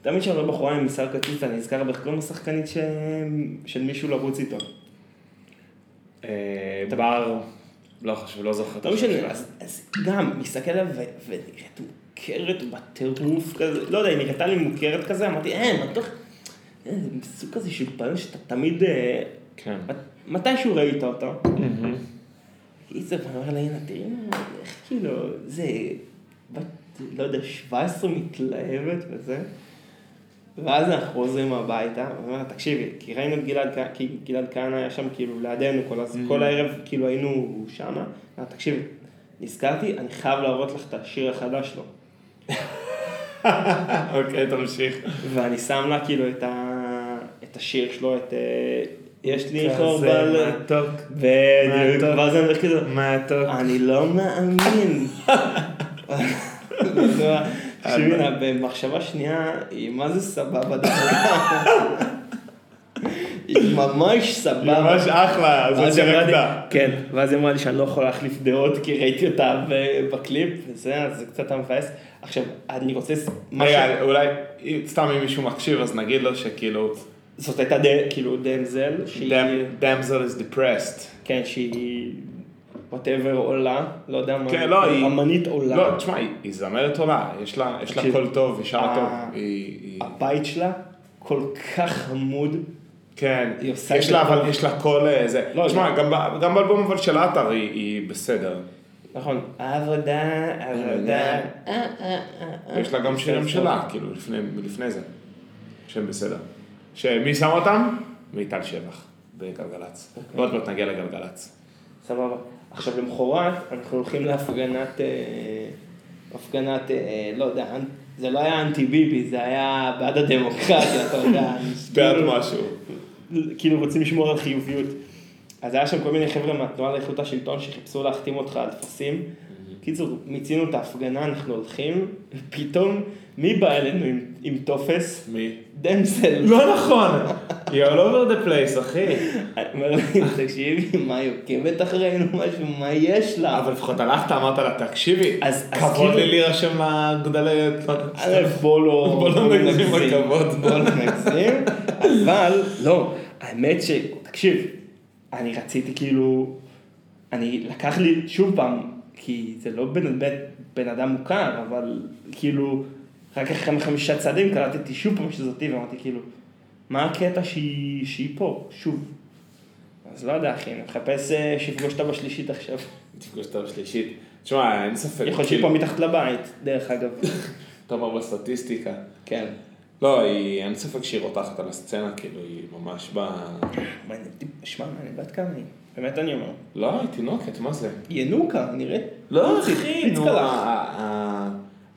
[SPEAKER 1] תמיד כשאני רואה בחורה עם שיער קצוץ, אני נזכר בך קוראים לשחקנית ש... של מישהו לרוץ איתו.
[SPEAKER 3] אה, בר, לא חשוב, לא זוכר. את
[SPEAKER 1] לא
[SPEAKER 3] השם
[SPEAKER 1] משנה,
[SPEAKER 3] שלה.
[SPEAKER 1] אז, אז גם, מסתכל עליה ו- ונראית מוכרת בטירוף כזה, לא יודע, היא נראתה לי מוכרת כזה, אמרתי, אה, מה אתה... אה, זה סוג כזה של פנים שאתה תמיד... אה,
[SPEAKER 3] כן.
[SPEAKER 1] מת- מתישהו ראית אותה. איזה, ואני אומר לה, הנה, תראי, מה- איך כאילו, זה... בת, לא יודע, 17 מתלהבת וזה. ואז אנחנו חוזרים הביתה, ואומר, לה, תקשיבי, כי ראינו את גלעד, כ- כי גלעד כהנא היה שם כאילו לידינו כל, הז...
[SPEAKER 3] Mm.
[SPEAKER 1] כל הערב, כאילו היינו שמה, אמר, תקשיבי, נזכרתי, אני חייב להראות לך את השיר החדש שלו.
[SPEAKER 3] [laughs] אוקיי, תמשיך.
[SPEAKER 1] ואני שם לה כאילו את, ה... את השיר שלו, את אה, יש לי
[SPEAKER 3] כזה
[SPEAKER 1] חור בלב.
[SPEAKER 3] מתוק.
[SPEAKER 1] בדיוק,
[SPEAKER 3] מה טוב.
[SPEAKER 1] ואז אני אומר כאילו,
[SPEAKER 3] מתוק.
[SPEAKER 1] אני לא מאמין. תקשיבי לה, במחשבה שנייה, היא מה זה סבבה דווקא. היא ממש סבבה.
[SPEAKER 3] ממש אחלה, זאת
[SPEAKER 1] ואז היא אמרה לי-
[SPEAKER 3] שרקדה.
[SPEAKER 1] כן, ואז היא אמרה לי שאני לא יכול להחליף דעות כי ראיתי אותה ב- בקליפ, וזה, אז זה קצת היה מבאס. עכשיו, אני רוצה... ס- מה ש-
[SPEAKER 3] רגע, אולי, סתם אם מישהו מקשיב, אז נגיד לו שכאילו,
[SPEAKER 1] זאת הייתה ד- כאילו דמזל, שהיא...
[SPEAKER 3] דמזל is depressed.
[SPEAKER 1] כן, שהיא... וואטאבר עולה, לא יודע מה.
[SPEAKER 3] כן, לא, היא-
[SPEAKER 1] אמנית עולה.
[SPEAKER 3] לא, תשמע, היא היא זמרת עולה, יש לה יש לה
[SPEAKER 1] תקשיב,
[SPEAKER 3] קול טוב, היא שרה
[SPEAKER 1] אה,
[SPEAKER 3] טוב. היא- היא-
[SPEAKER 1] הבית שלה כל כך חמוד.
[SPEAKER 3] כן,
[SPEAKER 1] היא עושה את
[SPEAKER 3] יש
[SPEAKER 1] זה
[SPEAKER 3] לה
[SPEAKER 1] טוב.
[SPEAKER 3] אבל, יש לה קול אה, זה.
[SPEAKER 1] לא,
[SPEAKER 3] תשמע, גם ב- גם באלבום אבל של עטר היא- היא בסדר.
[SPEAKER 1] נכון. אה, עבודה, עבודה.
[SPEAKER 3] עבודה.
[SPEAKER 1] אה.
[SPEAKER 3] יש לה גם שירים שלה, כאילו, לפני- לפני זה. שהם בסדר. שמי שם אותם? מיטל שבח, בגלגלצ. ועוד מעט נגיע לגלגלצ.
[SPEAKER 1] סבבה. עכשיו למחרת, אנחנו הולכים להפגנת, אה, הפגנת, אה, לא יודע, אנ- זה לא היה אנטי ביבי, זה היה בעד הדמוקרטיה, אתה יודע. [laughs]
[SPEAKER 3] בעד
[SPEAKER 1] כאילו-
[SPEAKER 3] משהו.
[SPEAKER 1] כאילו רוצים לשמור על חיוביות. אז היה שם כל מיני חבר'ה מהתנועה לאיכות השלטון שחיפשו להחתים אותך על טפסים. קיצור, מיצינו את ההפגנה, אנחנו הולכים, פתאום, מי בא אלינו עם- עם טופס?
[SPEAKER 3] מי?
[SPEAKER 1] דמסל.
[SPEAKER 3] לא נכון! You're all over the place, אחי.
[SPEAKER 1] אני אומר להם, תקשיבי, מה היא עוקבת אחרינו משהו? מה יש לה?
[SPEAKER 3] אבל לפחות הלכת, אמרת לה, תקשיבי,
[SPEAKER 1] אז- אז
[SPEAKER 3] כבוד
[SPEAKER 1] כאילו-
[SPEAKER 3] לי להירשם לגדלי...
[SPEAKER 1] א', בוא לא
[SPEAKER 3] בוא לא נגזים בכבוד.
[SPEAKER 1] בוא לא נגזים, אבל לא, האמת ש... תקשיב, אני רציתי כאילו... אני לקח לי שוב פעם, כי זה לא בן, בן, בן אדם מוכר, אבל כאילו, רק אחרי כמה חמישה צעדים קלטתי שוב פעם שזאתי ואמרתי כאילו, מה הקטע שהיא, שהיא פה, שוב. אז לא יודע אחי, אני מחפש אה, שיפגוש אותה בשלישית עכשיו.
[SPEAKER 3] תפגוש אותה בשלישית. תשמע, אין ספק.
[SPEAKER 1] יכול להיות שהיא
[SPEAKER 3] כאילו,
[SPEAKER 1] פה מתחת לבית, דרך אגב.
[SPEAKER 3] אתה אומר בסטטיסטיקה.
[SPEAKER 1] כן.
[SPEAKER 3] לא, היא, אין ספק שהיא רותחת על הסצנה, כאילו, היא ממש ב...
[SPEAKER 1] מה, אני- שמע, מה, אני בת כמה היא? באמת אני אומר.
[SPEAKER 3] לא, היא תינוקת, מה זה?
[SPEAKER 1] ינוקה, נראית.
[SPEAKER 3] לא,
[SPEAKER 1] לא,
[SPEAKER 3] נו,
[SPEAKER 1] פיצקלח.
[SPEAKER 3] ה- ה- ה- אה,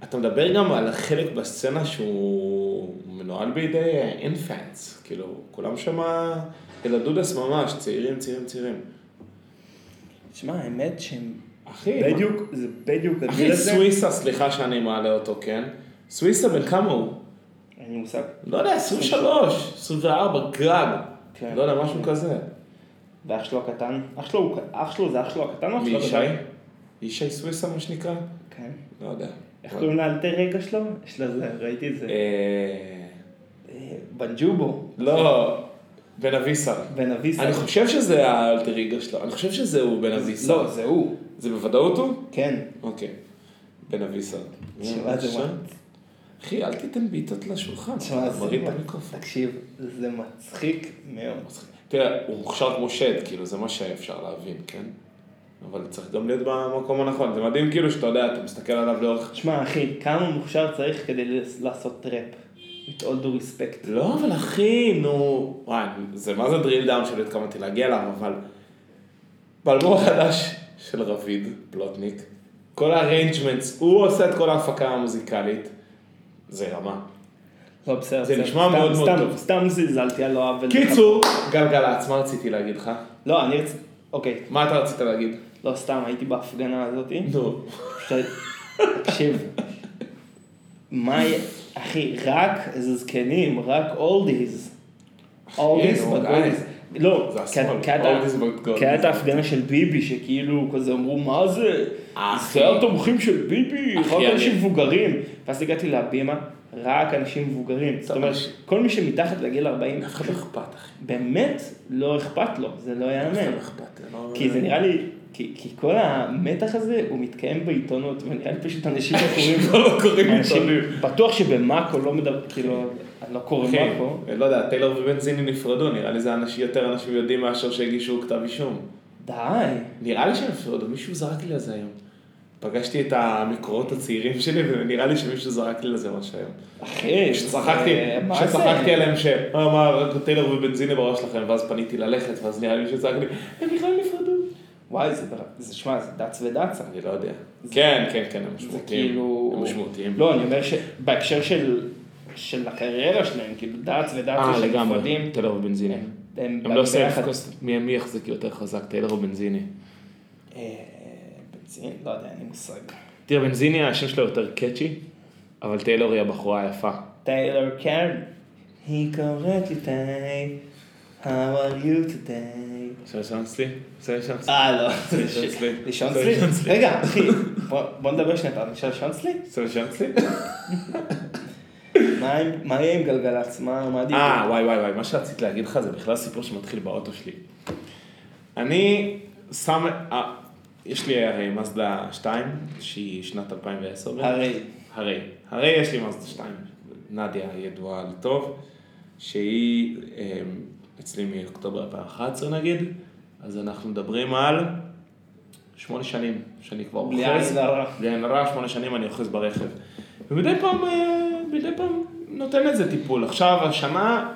[SPEAKER 3] אתה מדבר גם על החלק בסצנה שהוא מנוהל בידי אינפאנס, כאילו, כולם שמה ילדודס ממש, צעירים, צעירים, צעירים.
[SPEAKER 1] שמע, האמת שהם...
[SPEAKER 3] אחי, מה-
[SPEAKER 1] בדיוק, זה בדיוק הגיל
[SPEAKER 3] אחי,
[SPEAKER 1] הזה.
[SPEAKER 3] סוויסה, סליחה שאני מעלה אותו, כן? סוויסה בן כמה הוא?
[SPEAKER 1] אין לי מושג.
[SPEAKER 3] לא יודע, 23, 24, גג.
[SPEAKER 1] כן.
[SPEAKER 3] לא יודע, משהו כזה.
[SPEAKER 1] ואח שלו הקטן. אח שלו, הוא- אח שלו זה אח שלו הקטן או אח
[SPEAKER 3] מי
[SPEAKER 1] שלו
[SPEAKER 3] ישי?
[SPEAKER 1] הקטן?
[SPEAKER 3] ישי סוויסה, מה שנקרא?
[SPEAKER 1] כן.
[SPEAKER 3] לא יודע.
[SPEAKER 1] איך קוראים לאלתר רגע שלו? יש לו זה, ראיתי את זה.
[SPEAKER 3] אה,
[SPEAKER 1] אה, בנג'ובו.
[SPEAKER 3] לא, בן אביסר.
[SPEAKER 1] בן אביסה.
[SPEAKER 3] אני חושב שזה האלטריגה שלו, אני חושב שזה הוא בן אביסר.
[SPEAKER 1] לא, זה הוא.
[SPEAKER 3] זה בוודאות הוא?
[SPEAKER 1] כן.
[SPEAKER 3] אוקיי. בן אביסר.
[SPEAKER 1] תשמע, זה
[SPEAKER 3] בבקשה.
[SPEAKER 1] מצ-
[SPEAKER 3] אחי, אל תיתן בעיטות לשולחן.
[SPEAKER 1] תשמע, זה
[SPEAKER 3] מרים את
[SPEAKER 1] מצ-
[SPEAKER 3] המיקרופון.
[SPEAKER 1] תקשיב, זה מצחיק מאוד.
[SPEAKER 3] תראה, הוא מוכשר כמו שד, כאילו, זה מה שאפשר להבין, כן? אבל צריך גם להיות במקום הנכון. זה מדהים, כאילו, שאתה יודע, אתה מסתכל עליו לאורך...
[SPEAKER 1] תשמע, אחי, כמה מוכשר צריך כדי לעשות טראפ? With all due respect.
[SPEAKER 3] לא, אבל אחי, נו, וואי, זה מה זה drill down שלא התכוונתי להגיע אליו, אבל... באלבום החדש של רביד, פלוטניק, כל האריינג'מנטס, הוא עושה את כל ההפקה המוזיקלית, זה רמה.
[SPEAKER 1] לא, בסדר.
[SPEAKER 3] זה
[SPEAKER 1] בסדר.
[SPEAKER 3] נשמע
[SPEAKER 1] סתם-
[SPEAKER 3] מאוד מאוד
[SPEAKER 1] סתם-
[SPEAKER 3] טוב.
[SPEAKER 1] סתם זלזלתי על לא עוול.
[SPEAKER 3] קיצור, גלגלצ, מה רציתי להגיד לך?
[SPEAKER 1] לא, אני רציתי... אוקיי.
[SPEAKER 3] מה אתה רצית להגיד?
[SPEAKER 1] לא, סתם, הייתי בהפגנה הזאתי.
[SPEAKER 3] נו.
[SPEAKER 1] פשוט- תקשיב. מה... י- אחי, רק איזה זקנים, רק אולדיז. אולדיז
[SPEAKER 3] נו,
[SPEAKER 1] בגולדיז. לא,
[SPEAKER 3] זה
[SPEAKER 1] כי-
[SPEAKER 3] השמאל,
[SPEAKER 1] כי הייתה-
[SPEAKER 3] oldies but goldies.
[SPEAKER 1] כי הייתה כן, ההפגנה של ביבי, שכאילו כזה אמרו, מה זה?
[SPEAKER 3] אחי.
[SPEAKER 1] זה התומכים של ביבי,
[SPEAKER 3] אחי,
[SPEAKER 1] רק
[SPEAKER 3] אני-
[SPEAKER 1] אנשים מבוגרים. ואז הגעתי להבימה, רק אנשים מבוגרים. זאת אומרת,
[SPEAKER 3] אנשים-
[SPEAKER 1] כל מי שמתחת לגיל 40,
[SPEAKER 3] אף אחד לא אכפת, אחי.
[SPEAKER 1] באמת לא אכפת לו, זה לא
[SPEAKER 3] אף אחד
[SPEAKER 1] ייאמן.
[SPEAKER 3] לא אכפת, זה לא-
[SPEAKER 1] כי זה נראה לי, כי, כי כל המתח הזה הוא מתקיים בעיתונות, ונראה לי פשוט
[SPEAKER 3] [laughs]
[SPEAKER 1] אנשים שקוראים,
[SPEAKER 3] לא קוראים
[SPEAKER 1] אנשים,
[SPEAKER 3] עיתונים.
[SPEAKER 1] בטוח שבמאקו לא מדבר, כאילו, אני לא קורא
[SPEAKER 3] אחי,
[SPEAKER 1] מאקו,
[SPEAKER 3] לא יודע, טיילור ובנזיני נפרדו, נראה לי זה אנשים, יותר אנשים יודעים מאשר שהגישו כתב אישום.
[SPEAKER 1] די.
[SPEAKER 3] נראה לי שהם נפרדו, מישהו זרק לי על זה היום. פגשתי את המקורות הצעירים שלי, ונראה לי שמישהו זרק לי על זה משהו היום.
[SPEAKER 1] אחי,
[SPEAKER 3] שצחקתי,
[SPEAKER 1] זה- אה, מה זה?
[SPEAKER 3] שצחקתי עליהם ש... אה, מה, רק טיילור ובנזיני בראש לכם, ואז פניתי ללכת, ואז נראה לי שצעק לי, הם בכלל נפרדו.
[SPEAKER 1] וואי, זה, בר- זה שמע, זה דץ ודצה.
[SPEAKER 3] אני לא יודע. כן, כן, כן, הם
[SPEAKER 1] זה
[SPEAKER 3] משמעותיים.
[SPEAKER 1] כאילו...
[SPEAKER 3] הם משמעותיים.
[SPEAKER 1] לא, אני אומר שבהקשר של, של הקריירה שלהם, כאילו, דץ ודצה
[SPEAKER 3] אה,
[SPEAKER 1] שהם
[SPEAKER 3] לגמרי,
[SPEAKER 1] נפרדים,
[SPEAKER 3] טיילור ובנזיני.
[SPEAKER 1] הם-
[SPEAKER 3] הם לא עושים
[SPEAKER 1] ביחד.
[SPEAKER 3] פוקוס, מי מי יחזיק יותר חזק, טיילור או בנזיני.
[SPEAKER 1] אה, בנזין, לא יודע, אין לי מושג.
[SPEAKER 3] תראה, בנזיני השם שלו יותר קאצ'י, אבל טיילור היא הבחורה היפה.
[SPEAKER 1] Taylor Karen, he קוראת לי טיי, how are you today?
[SPEAKER 3] אפשר לישון אצלי? אפשר לישון אצלי?
[SPEAKER 1] אה, לא.
[SPEAKER 3] זה לישון אצלי.
[SPEAKER 1] לישון
[SPEAKER 3] זה
[SPEAKER 1] אצלי?
[SPEAKER 3] לישון אצלי.
[SPEAKER 1] רגע, אחי, בוא- בוא נדבר שניה, אתה אפשר לישון אצלי?
[SPEAKER 3] אפשר לישון אצלי?
[SPEAKER 1] מה עם- מה יהיה עם גלגלצ? מה מה דיבר?
[SPEAKER 3] אה, וואי וואי וואי, מה שרציתי להגיד לך זה בכלל סיפור שמתחיל באוטו שלי. אני שם, אה, יש לי הרי מזדה 2, שהיא שנת 2010. בערך.
[SPEAKER 1] הרי,
[SPEAKER 3] הרי, הרי יש לי מזדה 2, נדיה ידועה לטוב, שהיא אמ, אצלי מאוקטובר 2011 נגיד, אז אנחנו מדברים על שמונה שנים שאני כבר
[SPEAKER 1] בלי
[SPEAKER 3] אוחז,
[SPEAKER 1] עין הרע.
[SPEAKER 3] בלי עין הרע, שמונה שנים אני אוחז ברכב. ומדי פעם, אה, מדי פעם נותן לזה טיפול. עכשיו, השנה,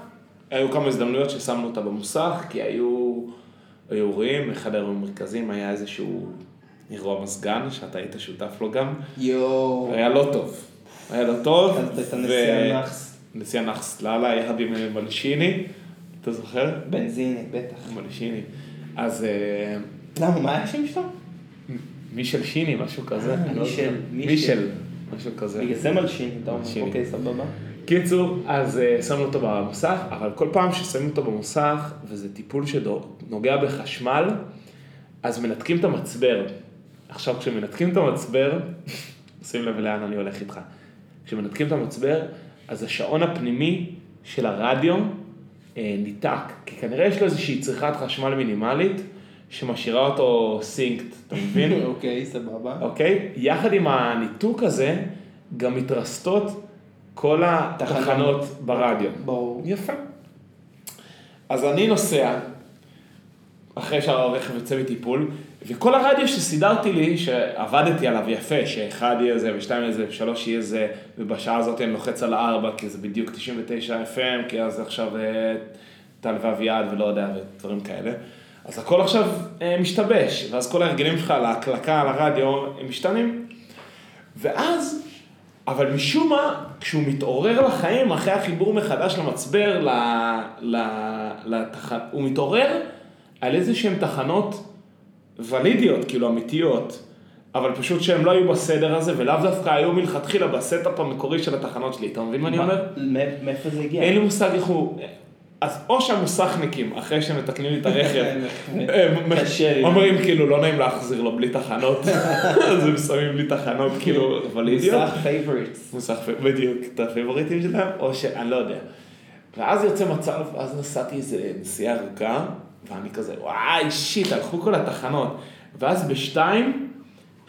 [SPEAKER 3] היו כמה הזדמנויות ששמנו אותה במוסך, כי היו היו אירועים, אחד האירועים המרכזיים היה איזשהו אירוע מזגן, שאתה היית שותף לו גם.
[SPEAKER 1] יואו.
[SPEAKER 3] היה לא טוב. היה לא טוב.
[SPEAKER 1] אז את
[SPEAKER 3] ו-
[SPEAKER 1] הנשיא הנאחס.
[SPEAKER 3] נשיא הנאחס לאללה, יחד עם מלשיני, אתה זוכר?
[SPEAKER 1] בנזינית, בטח.
[SPEAKER 3] מלשיני. אז אה,
[SPEAKER 1] למה, מה היה השם שלו?
[SPEAKER 3] מישל שיני, משהו כזה.
[SPEAKER 1] אה,
[SPEAKER 3] אני לא
[SPEAKER 1] מישל,
[SPEAKER 3] זוכר.
[SPEAKER 1] מישל.
[SPEAKER 3] מישל, משהו כזה.
[SPEAKER 1] בגלל זה מלשין, אתה אומר,
[SPEAKER 3] מלשין.
[SPEAKER 1] אוקיי, סבבה. [laughs]
[SPEAKER 3] קיצור, אז אה, שמנו אותו במוסך, אבל כל פעם ששמים אותו במוסך, וזה טיפול שנוגע בחשמל, אז מנתקים את המצבר. עכשיו, כשמנתקים את המצבר, [laughs] שים לב לאן אני הולך איתך. כשמנתקים את המצבר, אז השעון הפנימי של הרדיו אה, ניתק, כי כנראה יש לו איזושהי צריכת חשמל מינימלית, שמשאירה אותו סינקט, אתה מבין?
[SPEAKER 1] אוקיי, סבבה.
[SPEAKER 3] אוקיי? יחד עם הניתוק הזה, גם מתרסטות כל התחנות ברדיו.
[SPEAKER 1] ברור.
[SPEAKER 3] יפה. אז אני נוסע, אחרי שהרכב יוצא מטיפול, וכל הרדיו שסידרתי לי, שעבדתי עליו יפה, שאחד יהיה זה, ושתיים יהיה זה, ושלוש יהיה זה, ובשעה הזאת אני לוחץ על ארבע, כי זה בדיוק 99 FM, כי אז עכשיו אה, טל ואביעד ולא יודע, ודברים כאלה. אז הכל עכשיו אה, משתבש, ואז כל ההרגלים שלך על ההקלקה, על הרדיו, הם משתנים. ואז, אבל משום מה, כשהוא מתעורר לחיים אחרי החיבור מחדש למצבר, ל, ל, לתח... הוא מתעורר על איזה שהן תחנות ולידיות, כאילו אמיתיות, אבל פשוט שהן לא היו בסדר הזה, ולאו דווקא היו מלכתחילה בסטאפ המקורי של התחנות שלי, אתה מבין מה אני
[SPEAKER 1] מה- כן.
[SPEAKER 3] אומר?
[SPEAKER 1] מא- מאיפה זה הגיע?
[SPEAKER 3] אין לי מושג איך הוא... אז או שהמוסכניקים, אחרי שהם מתקנים לי אה, את
[SPEAKER 1] [laughs]
[SPEAKER 3] הרכב, הם
[SPEAKER 1] קשה לי.
[SPEAKER 3] אומרים כאילו לא נעים להחזיר לו בלי תחנות,
[SPEAKER 1] [laughs]
[SPEAKER 3] אז הם שמים לי תחנות כאילו ולידיות.
[SPEAKER 1] מוסך פייבוריטס.
[SPEAKER 3] מוסך, פ- בדיוק, את הפייבוריטים שלהם, או שאני לא יודע. ואז יוצא מצב, אז נסעתי איזה נסיעה ארוכה, ואני כזה, וואי, שיט, הלכו כל התחנות. ואז בשתיים,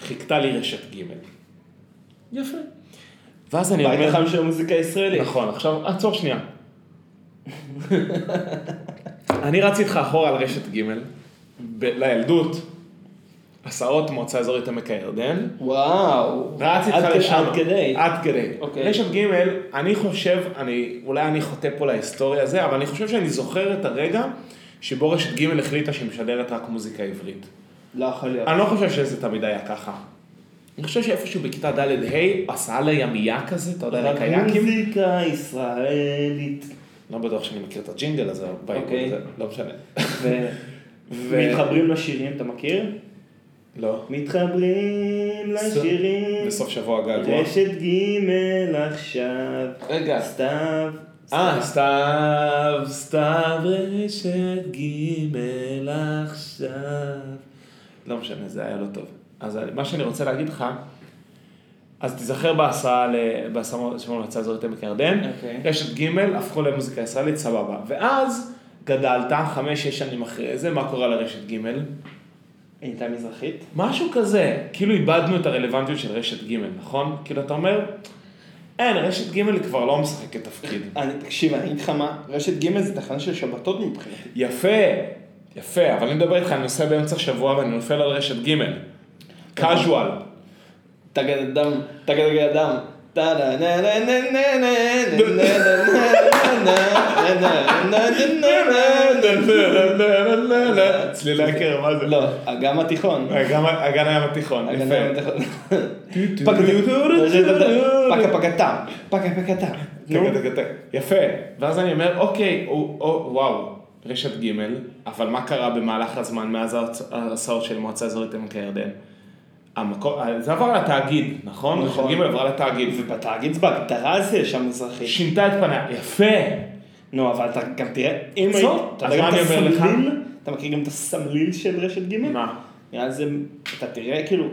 [SPEAKER 3] חיכתה לי רשת ג'. יפה. ואז אני
[SPEAKER 1] בית
[SPEAKER 3] אומר...
[SPEAKER 1] החם של המוזיקה הישראלית.
[SPEAKER 3] נכון, עכשיו, עצור שנייה. [laughs] אני רץ איתך אחורה על רשת ג' ב- לילדות, הסעות מועצה אזורית עמק הירדן.
[SPEAKER 1] וואו.
[SPEAKER 3] רץ
[SPEAKER 1] עד
[SPEAKER 3] איתך
[SPEAKER 1] כ-
[SPEAKER 3] לשם. אה,
[SPEAKER 1] עד כדי.
[SPEAKER 3] עד כדי.
[SPEAKER 1] אוקיי.
[SPEAKER 3] רשת ג', אני חושב, אני, אולי אני חוטא פה להיסטוריה הזה, אבל אני חושב שאני זוכר את הרגע שבו רשת ג' החליטה שהיא משדרת רק מוזיקה עברית.
[SPEAKER 1] לא יכול להיות.
[SPEAKER 3] אני לא חושב שזה תמיד היה ככה. אני חושב שאיפשהו בכיתה ד'-ה', הסעה לימייה כזה, אתה יודע, לקייקים.
[SPEAKER 1] מוזיקה ישראלית. [laughs]
[SPEAKER 3] לא בטוח שאני מכיר את הג'ינגל הזה, אבל בעיקר
[SPEAKER 1] אוקיי.
[SPEAKER 3] זה, לא משנה. ו-
[SPEAKER 1] ומתחברים לששירים, אתה מכיר?
[SPEAKER 3] לא.
[SPEAKER 1] מתחברים לשירים.
[SPEAKER 3] בסוף שבוע געגוע.
[SPEAKER 1] רשת ג' עכשיו.
[SPEAKER 3] רגע.
[SPEAKER 1] סתיו.
[SPEAKER 3] אה,
[SPEAKER 1] סתיו.
[SPEAKER 3] סתיו, סתיו רשת ג' עכשיו. לא משנה, זה היה לא טוב. אז מה שאני רוצה להגיד לך, אז תיזכר בהסעה ל- בהסעה של המועצה האזורית עמק הירדן,
[SPEAKER 1] אוקיי.
[SPEAKER 3] רשת ג' הפכו למוזיקה ישראלית, סבבה. ואז גדלת, חמש-שש שנים אחרי זה, מה קורה לרשת ג'?
[SPEAKER 1] היא הייתה מזרחית?
[SPEAKER 3] משהו כזה, כאילו איבדנו את הרלוונטיות של רשת ג', נכון? כאילו אתה אומר, אין, רשת ג' היא כבר לא משחקת תפקיד.
[SPEAKER 1] אני, תקשיב, אני אגיד לך מה, רשת ג' זה תחנה של שבתות מבחינתי.
[SPEAKER 3] יפה, יפה, אבל אני מדבר איתך, אני נוסע באמצע שבוע ואני נופל על רשת ג' קאז'ואל.
[SPEAKER 1] טגד אדם, טגד אדם. טה נה נה נה נה נה נה נה נה נה נה נה נה נה נה נה
[SPEAKER 3] צלילי הקרב, מה זה?
[SPEAKER 1] לא, אגן התיכון.
[SPEAKER 3] אגן- אגן לא, הים התיכון,
[SPEAKER 1] אגן
[SPEAKER 3] יפה.
[SPEAKER 1] התיכון.
[SPEAKER 3] טו,
[SPEAKER 1] פקה
[SPEAKER 3] טו, טו, טו.
[SPEAKER 1] פקה פקתה. פקה פקתה. נו.
[SPEAKER 3] תק, תק, תק. יפה, ואז אני אומר, אוקיי, או- או- וואו, רשת ג', אבל מה קרה במהלך הזמן מאז ההצ- ההסעות של מועצה אזורית עמק הירדן? המקום, זה עבר לתאגיד, נכון?
[SPEAKER 1] נכון.
[SPEAKER 3] רשת ג' עברה לתאגיד.
[SPEAKER 1] ובתאגיד בהגדרה זה ישר מזרחי.
[SPEAKER 3] שינתה את פניה, יפה,
[SPEAKER 1] נו, אבל אתה גם תראה, אם
[SPEAKER 3] זאת.
[SPEAKER 1] אתה
[SPEAKER 3] אז
[SPEAKER 1] יודע
[SPEAKER 3] מה
[SPEAKER 1] גם את
[SPEAKER 3] אני אומר לך?
[SPEAKER 1] הסמליל? אתה מכיר גם את הסמליל של רשת ג'?
[SPEAKER 3] מה?
[SPEAKER 1] נראה לי זה, אתה תראה כאילו,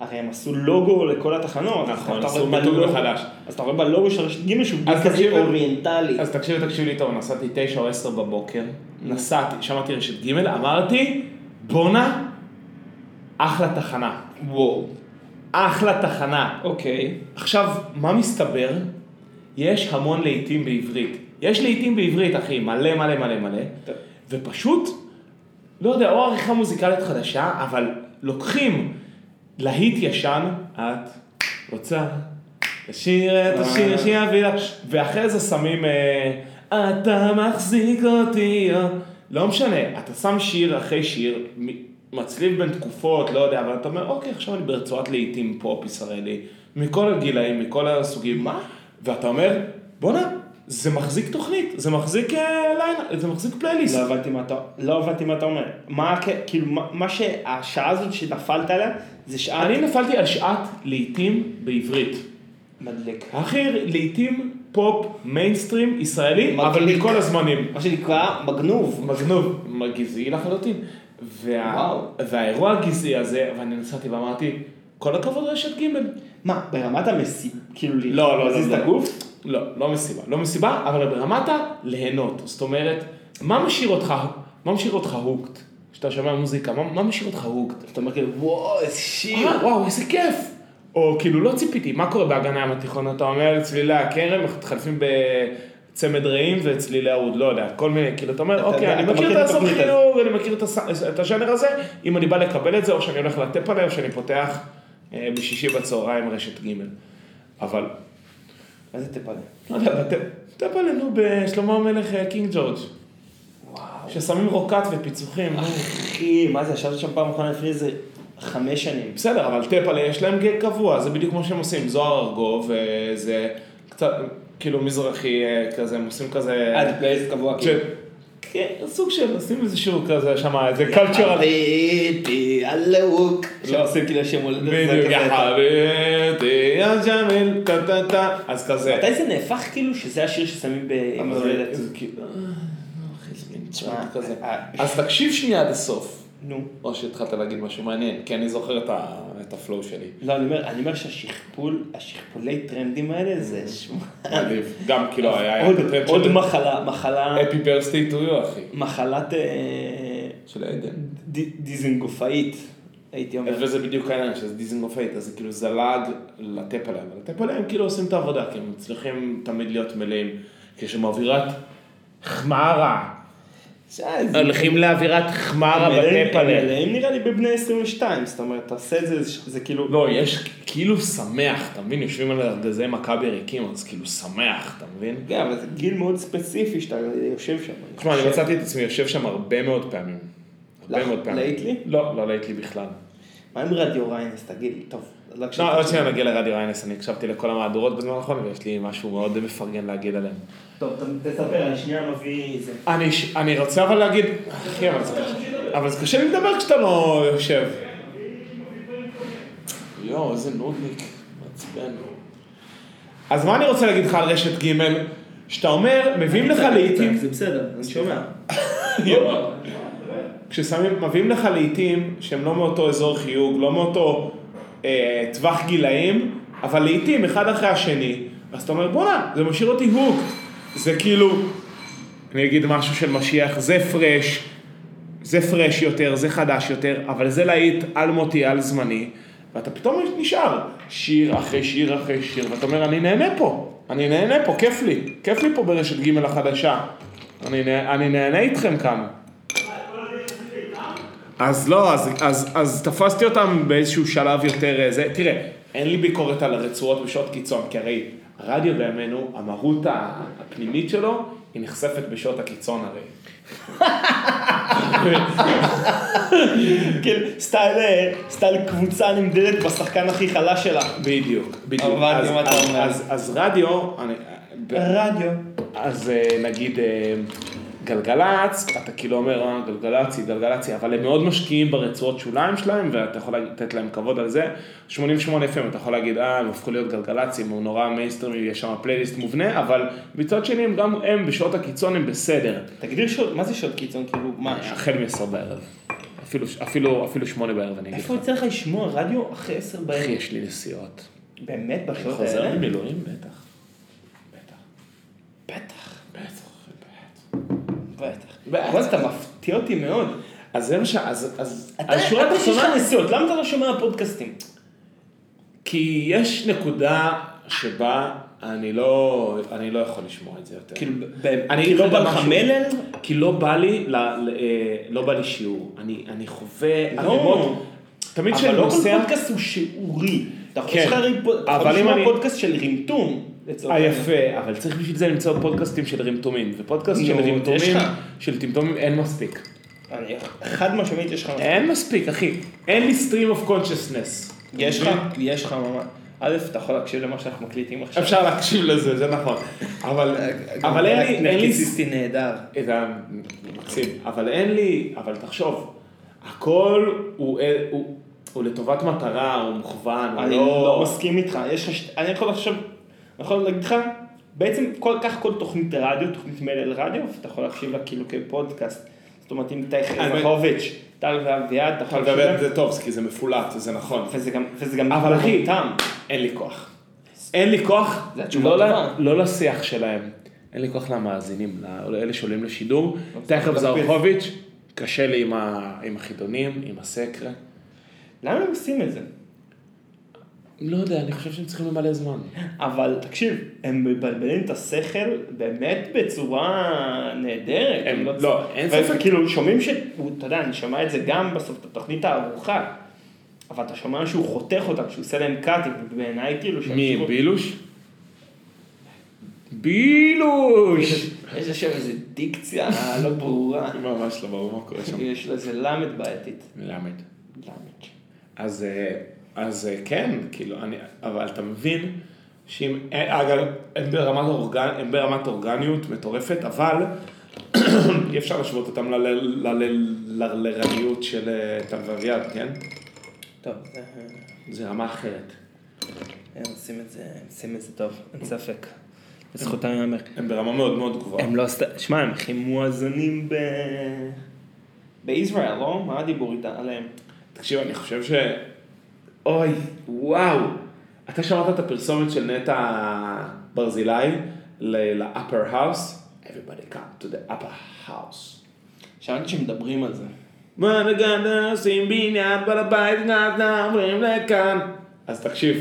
[SPEAKER 1] הרי הם עשו לוגו לכל התחנות. אז
[SPEAKER 3] נכון,
[SPEAKER 1] אתה
[SPEAKER 3] עשו
[SPEAKER 1] רואה
[SPEAKER 3] מיתוג
[SPEAKER 1] בלוגו-
[SPEAKER 3] מחדש.
[SPEAKER 1] אז אתה רואה בלוגו של רשת ג' שהוא
[SPEAKER 3] אז
[SPEAKER 1] כזה
[SPEAKER 3] תקשיב-
[SPEAKER 1] אוריינטלי.
[SPEAKER 3] אז תקשיב, תקשיב לי טוב, נסעתי תשע או עשר בבוקר, נסעתי, שמעתי רשת ג', אמרתי, בואנה, אחלה תחנה.
[SPEAKER 1] וואו.
[SPEAKER 3] אחלה תחנה.
[SPEAKER 1] אוקיי.
[SPEAKER 3] עכשיו, מה מסתבר? יש המון להיטים בעברית. יש להיטים בעברית, אחי, מלא מלא מלא מלא,
[SPEAKER 1] טוב.
[SPEAKER 3] ופשוט, לא יודע, או עריכה מוזיקלית חדשה, אבל לוקחים להיט ישן, את רוצה לשיר את השיר שיביא לך, ואחרי זה שמים, אה, אתה מחזיק אותי, אה." לא משנה, אתה שם שיר אחרי שיר, מ- מצליב בין תקופות, לא יודע, אבל אתה אומר, אוקיי, עכשיו אני ברצועת לעיתים פופ ישראלי, מכל הגילאים, מכל הסוגים, מה? ואתה אומר, בואנה, זה מחזיק תוכנית, זה מחזיק אה, ליינה, זה מחזיק פלייליסט.
[SPEAKER 1] לא הבנתי מה אתה, לא הבנתי מה אתה אומר. מה, הכ- כאילו, מה- מה שהשעה הזאת שנפלת עליה, זה שעה
[SPEAKER 3] אני נפלתי על שעת לעיתים בעברית.
[SPEAKER 1] מדליק.
[SPEAKER 3] הכי לעיתים פופ, מיינסטרים, ישראלי,
[SPEAKER 1] מגניב.
[SPEAKER 3] אבל מכל הזמנים.
[SPEAKER 1] מה שנקרא מגנוב.
[SPEAKER 3] מגנוב, גזעי לחלוטין. וה...
[SPEAKER 1] וואו.
[SPEAKER 3] והאירוע הגזעי הזה, ואני נסעתי ואמרתי, כל הכבוד רשת ג'
[SPEAKER 1] מה, ברמת המסיב, כאילו,
[SPEAKER 3] לא, לא, לא,
[SPEAKER 1] להזיז את
[SPEAKER 3] לא.
[SPEAKER 1] הגוף?
[SPEAKER 3] לא, לא מסיבה, לא מסיבה, אבל ברמת הליהנות. זאת אומרת, מה משאיר אותך, מה משאיר אותך הוקט? כשאתה שומע מוזיקה, מה, מה משאיר אותך הוקט?
[SPEAKER 1] אתה אומר כאילו, וואו, איזה שיר.
[SPEAKER 3] אה, וואו, איזה כיף. או כאילו, לא ציפיתי, מה קורה באגן הים התיכון? אתה אומר, צלילי הכרם, מתחלפים בצמד רעים וצלילי אהוד, לא יודע, כל מיני, כאילו, אתה אומר,
[SPEAKER 1] אתה
[SPEAKER 3] אוקיי,
[SPEAKER 1] יודע,
[SPEAKER 3] אני
[SPEAKER 1] אתה
[SPEAKER 3] מכיר
[SPEAKER 1] מכיר
[SPEAKER 3] את
[SPEAKER 1] את
[SPEAKER 3] הסוף
[SPEAKER 1] התוכנית הזאת."
[SPEAKER 3] חיוב, אני מכיר את הס- את השאנר הזה, אם אני בא לקבל את זה, או שאני הולך לטפ עליה, או שאני פותח אה, בשישי בצהריים רשת ג'. אבל,
[SPEAKER 1] מה זה תפלא?
[SPEAKER 3] לא יודע, בטפ- טפ עלינו בשלמה המלך אה, קינג ג'ורג',
[SPEAKER 1] וואו.
[SPEAKER 3] ששמים רוקט ופיצוחים. נו.
[SPEAKER 1] אחי, מה זה, ישבת שם פעם אחרונה לפני איזה חמש שנים.
[SPEAKER 3] בסדר, אבל טפלה יש להם גג קבוע, זה בדיוק כמו שהם עושים, זוהר ארגוב, אה, זה קצת, כאילו מזרחי אה, כזה, הם עושים כזה...
[SPEAKER 1] עד פלייסט קבוע,
[SPEAKER 3] ש-
[SPEAKER 1] כאילו.
[SPEAKER 3] כן, סוג של, עושים איזשהו כזה, שמה, איזה קלצ'ר...
[SPEAKER 1] חביבי, הלוק.
[SPEAKER 3] לא.
[SPEAKER 1] שעושים כאילו שם הולדת. זה
[SPEAKER 3] בדיוק,
[SPEAKER 1] כזה.
[SPEAKER 3] יא חביבי, יא ג'מיל, טה טה טה, אז כזה.
[SPEAKER 1] מתי זה נהפך כאילו שזה השיר ששמים ביום
[SPEAKER 3] אבל זה-
[SPEAKER 1] הולדת?
[SPEAKER 3] זה כאילו, אה, לא, אחי, זה מין צ'אנט
[SPEAKER 1] אה,
[SPEAKER 3] כזה.
[SPEAKER 1] אה.
[SPEAKER 3] אז תקשיב שנייה עד הסוף,
[SPEAKER 1] נו.
[SPEAKER 3] או שהתחלת להגיד משהו מעניין, כי אני זוכר את ה- את הפלואו
[SPEAKER 1] [laughs]
[SPEAKER 3] שלי.
[SPEAKER 1] לא, אני אומר, אני אומר שהשכפול, השכפולי טרנדים האלה זה שמע.
[SPEAKER 3] מדהים. גם כאילו אה. היה היה את
[SPEAKER 1] עוד-
[SPEAKER 3] הטרנד
[SPEAKER 1] עוד
[SPEAKER 3] של
[SPEAKER 1] מחלה, מחלה,
[SPEAKER 3] אפי ברסטי טו יו אחי.
[SPEAKER 1] מחלת אה,
[SPEAKER 3] של עדן.
[SPEAKER 1] ד- דיזנגופאית, הייתי אומר.
[SPEAKER 3] וזה בדיוק העניין, שזה דיזנגופייט, אז זה כאילו זלג לטפ עליהם. הטפ עליהם כאילו עושים את העבודה, כי הם מצליחים תמיד להיות מלאים. כשמעבירת חמרה, הולכים לאווירת חמרה
[SPEAKER 1] מלאים-
[SPEAKER 3] בפנל.
[SPEAKER 1] מלאים נראה לי בבני 22, זאת אומרת, תעשה את זה, זה- זה כאילו...
[SPEAKER 3] לא, יש כאילו שמח, אתה מבין? יושבים על ארגזי מכבי ריקים, אז כאילו שמח, אתה מבין?
[SPEAKER 1] כן, אבל זה גיל מאוד ספציפי שאתה יושב שם. אני
[SPEAKER 3] תשמע, אני
[SPEAKER 1] חושב.
[SPEAKER 3] מצאתי את עצמי יושב שם הרבה מאוד פעמים. הרבה
[SPEAKER 1] לך-
[SPEAKER 3] מאוד פעמים.
[SPEAKER 1] לאיטלי?
[SPEAKER 3] לא, לא לאיטלי בכלל.
[SPEAKER 1] מה עם רדיו ריינס, תגיד לי, טוב. אז לא
[SPEAKER 3] לא,
[SPEAKER 1] הקשבתי.
[SPEAKER 3] עוד שנייה נגיע לרדיו איינס, אני הקשבתי לכל המהדורות בזמן האחרון, ויש לי משהו מאוד מפרגן להגיד עליהם.
[SPEAKER 1] טוב, ת- תספר, אני שנייה מביא זה.
[SPEAKER 3] אני, אני רוצה אבל להגיד, אחי, אבל זה קשה, אבל זה קשה לי לדבר כשאתה לא יושב. יואו, לא, איזה נודניק, מעצבן. אז מה אני רוצה להגיד לך על רשת ג' שאתה אומר, מביאים לך לעיתים,
[SPEAKER 1] זה בסדר, אני שומע.
[SPEAKER 3] [laughs] כששמים, מביאים לך לעיתים שהם לא מאותו אזור חיוג, לא מאותו אה, טווח גילאים, אבל לעיתים אחד אחרי השני, אז אתה אומר בואנה, זה משאיר אותי הוק. זה כאילו, אני אגיד משהו של משיח, זה פרש, זה פרש יותר, זה חדש יותר, אבל זה להיט על מותי, על זמני, ואתה פתאום נשאר שיר אחרי שיר אחרי שיר, ואתה אומר, אני נהנה פה, אני נהנה פה, כיף לי, כיף לי פה ברשת ג' החדשה. אני, נה- אני נהנה איתכם כאן. אז לא, אז, אז, אז תפסתי אותם באיזשהו שלב יותר אה, זה. תראה, אין לי ביקורת על הרצועות בשעות קיצון, כי הרי הרדיו בימינו, המהות ה- הפנימית שלו, היא נחשפת בשעות הקיצון הרי.
[SPEAKER 1] כן, סטייל, אה, סטייל קבוצה נמדדת בשחקן הכי חלש שלה.
[SPEAKER 3] בדיוק, בדיוק.
[SPEAKER 1] הבנתי
[SPEAKER 3] אז,
[SPEAKER 1] מה אתה
[SPEAKER 3] אז-
[SPEAKER 1] אומר.
[SPEAKER 3] אז, אז רדיו, אני,
[SPEAKER 1] רדיו.
[SPEAKER 3] אז אה, נגיד אה, גלגלצ, אתה כאילו אומר, אה, גלגלצ היא גלגלצ היא", אבל הם מאוד משקיעים ברצועות שוליים שלהם, ואתה יכול לתת להם כבוד על זה. 88 FM, אתה יכול להגיד, אה, הם הפכו להיות גלגלצים, הוא נורא מיינסטרימי, יש שם פלייליסט מובנה, אבל מצד שני, הם גם הם בשעות הקיצון הם בסדר.
[SPEAKER 1] תגדיר שעות, מה זה שעות קיצון? כאילו, מה?
[SPEAKER 3] החל מ-10 בערב. אפילו, אפילו, אפילו 8 בערב אני אגיד לך.
[SPEAKER 1] איפה יוצא לך לשמוע רדיו אחרי עשר
[SPEAKER 3] אחי,
[SPEAKER 1] בערב?
[SPEAKER 3] יש לי נסיעות.
[SPEAKER 1] באמת, בשעות
[SPEAKER 3] חוזר
[SPEAKER 1] האלה?
[SPEAKER 3] ממילואים? בטח. בטח.
[SPEAKER 1] בטח,
[SPEAKER 3] בטח. בטח.
[SPEAKER 1] בטח.
[SPEAKER 3] בטח.
[SPEAKER 1] וואי, אתה מפתיע אותי מאוד.
[SPEAKER 3] אז זה מה ש... אז... אז...
[SPEAKER 1] אתה
[SPEAKER 3] אז שורה
[SPEAKER 1] אתה שיש
[SPEAKER 3] תחתונה,
[SPEAKER 1] לך נסיעות, למה אתה לא שומע פודקאסטים?
[SPEAKER 3] כי יש נקודה שבה אני לא, אני לא יכול לשמוע את זה יותר.
[SPEAKER 1] כאילו, ב- ב-
[SPEAKER 3] אני
[SPEAKER 1] כי
[SPEAKER 3] אגיד
[SPEAKER 1] לא
[SPEAKER 3] לך
[SPEAKER 1] בא לך
[SPEAKER 3] משהו.
[SPEAKER 1] מלל?
[SPEAKER 3] כי לא בא לי, ל, ל, אה, לא בא לי שיעור. אני, אני חווה...
[SPEAKER 1] לא.
[SPEAKER 3] אני מאוד- תמיד
[SPEAKER 1] אבל
[SPEAKER 3] כשאני
[SPEAKER 1] לא כל
[SPEAKER 3] נוסע...
[SPEAKER 1] פודקאסט הוא שיעורי. אתה יכול
[SPEAKER 3] כן.
[SPEAKER 1] יש לך הרי פוד- אתה יכול
[SPEAKER 3] אבל אם
[SPEAKER 1] לשמוע
[SPEAKER 3] אני-
[SPEAKER 1] פודקאסט של רימטום. לצורך
[SPEAKER 3] אה
[SPEAKER 1] העניין.
[SPEAKER 3] יפה, אבל צריך בשביל זה למצוא פודקאסטים של רימטומים, ופודקאסט
[SPEAKER 1] נו,
[SPEAKER 3] של
[SPEAKER 1] יש
[SPEAKER 3] רימטומים,
[SPEAKER 1] לך.
[SPEAKER 3] של טמטומים אין מספיק.
[SPEAKER 1] אני- חד משמעית יש לך...
[SPEAKER 3] אין מספיק, אחי. אין לי stream of consciousness.
[SPEAKER 1] יש לך, יש לך ממש. א', אתה יכול להקשיב למה שאנחנו מקליטים עכשיו.
[SPEAKER 3] אפשר להקשיב לזה, זה נכון. אבל,
[SPEAKER 1] אה,
[SPEAKER 3] אבל אין לי, אין לי
[SPEAKER 1] נרקיסיסטי נהדר.
[SPEAKER 3] את ה... מקסים. אבל אין לי, אבל תחשוב, הכל הוא, אה, הוא, הוא לטובת מטרה, הוא מכוון, הוא
[SPEAKER 1] אני לא
[SPEAKER 3] לא...
[SPEAKER 1] מסכים איתך. יש לך, ש- אני יכול עכשיו, אני יכול להגיד לך, בעצם כל כך כל תוכנית רדיו, תוכנית מלל רדיו, אתה יכול להקשיב לה כאילו כפודקאסט. זאת אומרת, אם אתה יחד
[SPEAKER 3] אני-
[SPEAKER 1] זכוביץ', טל ואביעד, אתה
[SPEAKER 3] אתה
[SPEAKER 1] יכול להקשיב
[SPEAKER 3] מדבר על
[SPEAKER 1] להם.
[SPEAKER 3] זה טוב, כי זה מפולט, זה נכון.
[SPEAKER 1] וזה גם, וזה גם,
[SPEAKER 3] אבל אחי,
[SPEAKER 1] טעם.
[SPEAKER 3] אין לי כוח. אין לי כוח
[SPEAKER 1] זה התשובה
[SPEAKER 3] לא, ל,
[SPEAKER 1] הטובה.
[SPEAKER 3] לא לשיח שלהם. אין לי כוח למאזינים, לא- לאלה שעולים לשידור.
[SPEAKER 1] לא צריך
[SPEAKER 3] תכף
[SPEAKER 1] להקפיד.
[SPEAKER 3] זרחוביץ', קשה לי עם, ה, עם החידונים, עם
[SPEAKER 1] לא
[SPEAKER 3] הסקרה.
[SPEAKER 1] למה הם עושים את זה?
[SPEAKER 3] לא יודע, אני חושב שהם צריכים למלא זמן.
[SPEAKER 1] אבל תקשיב, הם מבלבלים את השכל באמת בצורה נהדרת.
[SPEAKER 3] הם-
[SPEAKER 1] צ-
[SPEAKER 3] לא, אין
[SPEAKER 1] והם
[SPEAKER 3] ספק.
[SPEAKER 1] כאילו שומעים ש... הוא- אתה יודע, אני שומע את זה גם בסוף, בתוכנית הארוחה. אבל אתה שומע שהוא חותך אותם, שהוא עושה להם קאטים, ובעיניי כאילו... שהם
[SPEAKER 3] מי,
[SPEAKER 1] שוב-
[SPEAKER 3] בילוש? בילוש!
[SPEAKER 1] יש לשם איזה דיקציה לא ברורה.
[SPEAKER 3] ממש לא ברור מה קורה שם.
[SPEAKER 1] יש לו איזה למד בעייתית.
[SPEAKER 3] מלמד.
[SPEAKER 1] למד.
[SPEAKER 3] אז, אה, אז אה, כן, כאילו, אני, אבל אתה מבין שאם, אה, אגב, הם ברמת, אורגן, הם ברמת אורגניות מטורפת, אבל [clears throat] אי אפשר להשוות אותם לל- לל- לל- לרדיות של אה, טל ואביעד, כן?
[SPEAKER 1] טוב, זה-
[SPEAKER 3] זה רמה אחרת.
[SPEAKER 1] הם עושים את זה, הם עושים את זה טוב, אין ספק. לזכותם ייאמר.
[SPEAKER 3] הם ברמה מאוד מאוד גבוהה.
[SPEAKER 1] הם לא עשתה, שמע, הם הכי מואזנים ב... בישראל, לא? מה הדיבור איתה עליהם?
[SPEAKER 3] תקשיב, אני חושב ש... אוי, וואו. אתה שמעת את הפרסומת של נטע ברזילי ל- ל-upper house? Everybody come to the upper house.
[SPEAKER 1] שמעתי שמדברים על זה.
[SPEAKER 3] מה נגן עושים בניין בעל הבית נעד עוברים לכאן. אז תקשיב,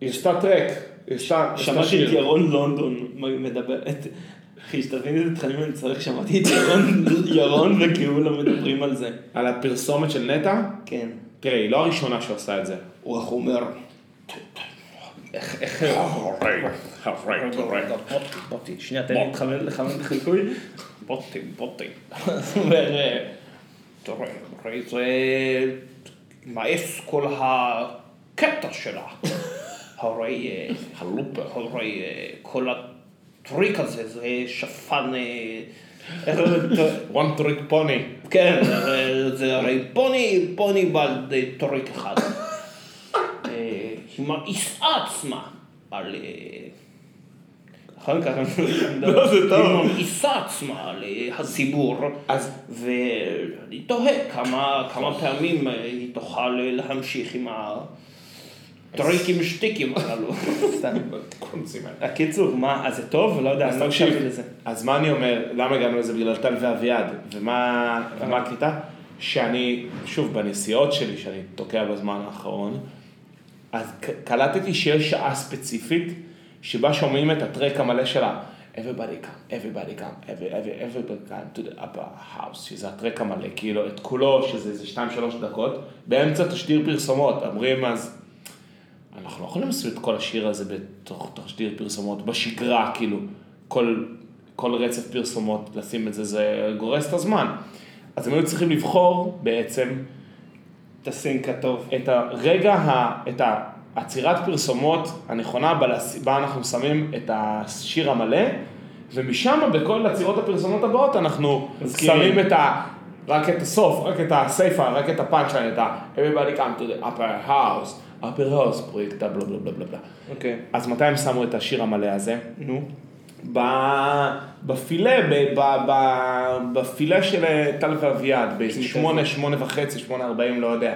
[SPEAKER 3] יש את הטרק, יש את ה- יש את
[SPEAKER 1] שמעתי את
[SPEAKER 3] השיר.
[SPEAKER 1] ירון לונדון מדבר, את אחי, שתבין איזה תכנים אני צריך, שמעתי את ירון, ירון וגאולה מדברים על זה.
[SPEAKER 3] על הפרסומת של נטע,
[SPEAKER 1] כן.
[SPEAKER 3] תראה, היא לא הראשונה שעושה את זה.
[SPEAKER 1] הוא איך הוא אומר. בוטים, בוטים, שנייה, תן לי להתחמם לחמם את החיקוי. בוטים, [laughs] בוטים. אז הוא אומר, אה, תראה, תראה, זה מעיף כל הקטע שלה. הרי אה, הלופר, הרי אה, כל הטריק הזה זה שפן... אה, איך זה?
[SPEAKER 3] one trick pony.
[SPEAKER 1] כן, זה- זה הרי פוני, פוני בעל אה, טורק אחד. אה, היא מעיסה עצמה על... אה, אחר כך
[SPEAKER 3] לא, זה טוב.
[SPEAKER 1] היא מעיסה עצמה על אה, הציבור,
[SPEAKER 3] אז-
[SPEAKER 1] ואני תוהה כמה, כמה פעמים אה, היא תוכל להמשיך עם הטריקים שטיקים הללו. סתם.
[SPEAKER 3] קונצים האלה.
[SPEAKER 1] הקיצור, מה, אז זה טוב? לא יודע, אני לא הקשבתי לזה.
[SPEAKER 3] אז מה אני אומר, למה הגענו לזה בגלל טל ואביעד, ומה ומה הקליטה? שאני, שוב, בנסיעות שלי, שאני תוקע בזמן האחרון, אז ק- קלטתי שיש שעה ספציפית שבה שומעים את הטרק המלא שלה. Everybody come, everybody come, every- every- everybody come to the upper house, שזה הטרק המלא, כאילו, את כולו, שזה איזה 2-3 דקות, באמצע תשדיר פרסומות, אומרים אז, אנחנו לא יכולים לעשות את כל השיר הזה בתוך תשדיר פרסומות, בשגרה, כאילו, כל, כל רצף פרסומות, לשים את זה, זה גורס את הזמן. אז הם היו צריכים לבחור בעצם
[SPEAKER 1] את הסינק הטוב.
[SPEAKER 3] את הרגע, ה, את העצירת פרסומות הנכונה בה לס- בה אנחנו שמים את השיר המלא, ומשם בכל עצירות הפרסומות הבאות אנחנו
[SPEAKER 1] מזכירים.
[SPEAKER 3] שמים את ה... רק את הסוף, רק את הסיפה, רק את הפאנצ'ליין, את ה... everybody come to the upper house, upper house, פרויקט הבלה בלה בלה בלה בלה.
[SPEAKER 1] אוקיי.
[SPEAKER 3] אז מתי הם שמו את השיר המלא הזה?
[SPEAKER 1] נו.
[SPEAKER 3] ב- בפילה, ב- ב- ב- בפילה של אה, טל ואביעד, באיזה
[SPEAKER 1] כזה.
[SPEAKER 3] שמונה, שמונה וחצי, שמונה ארבעים, לא יודע.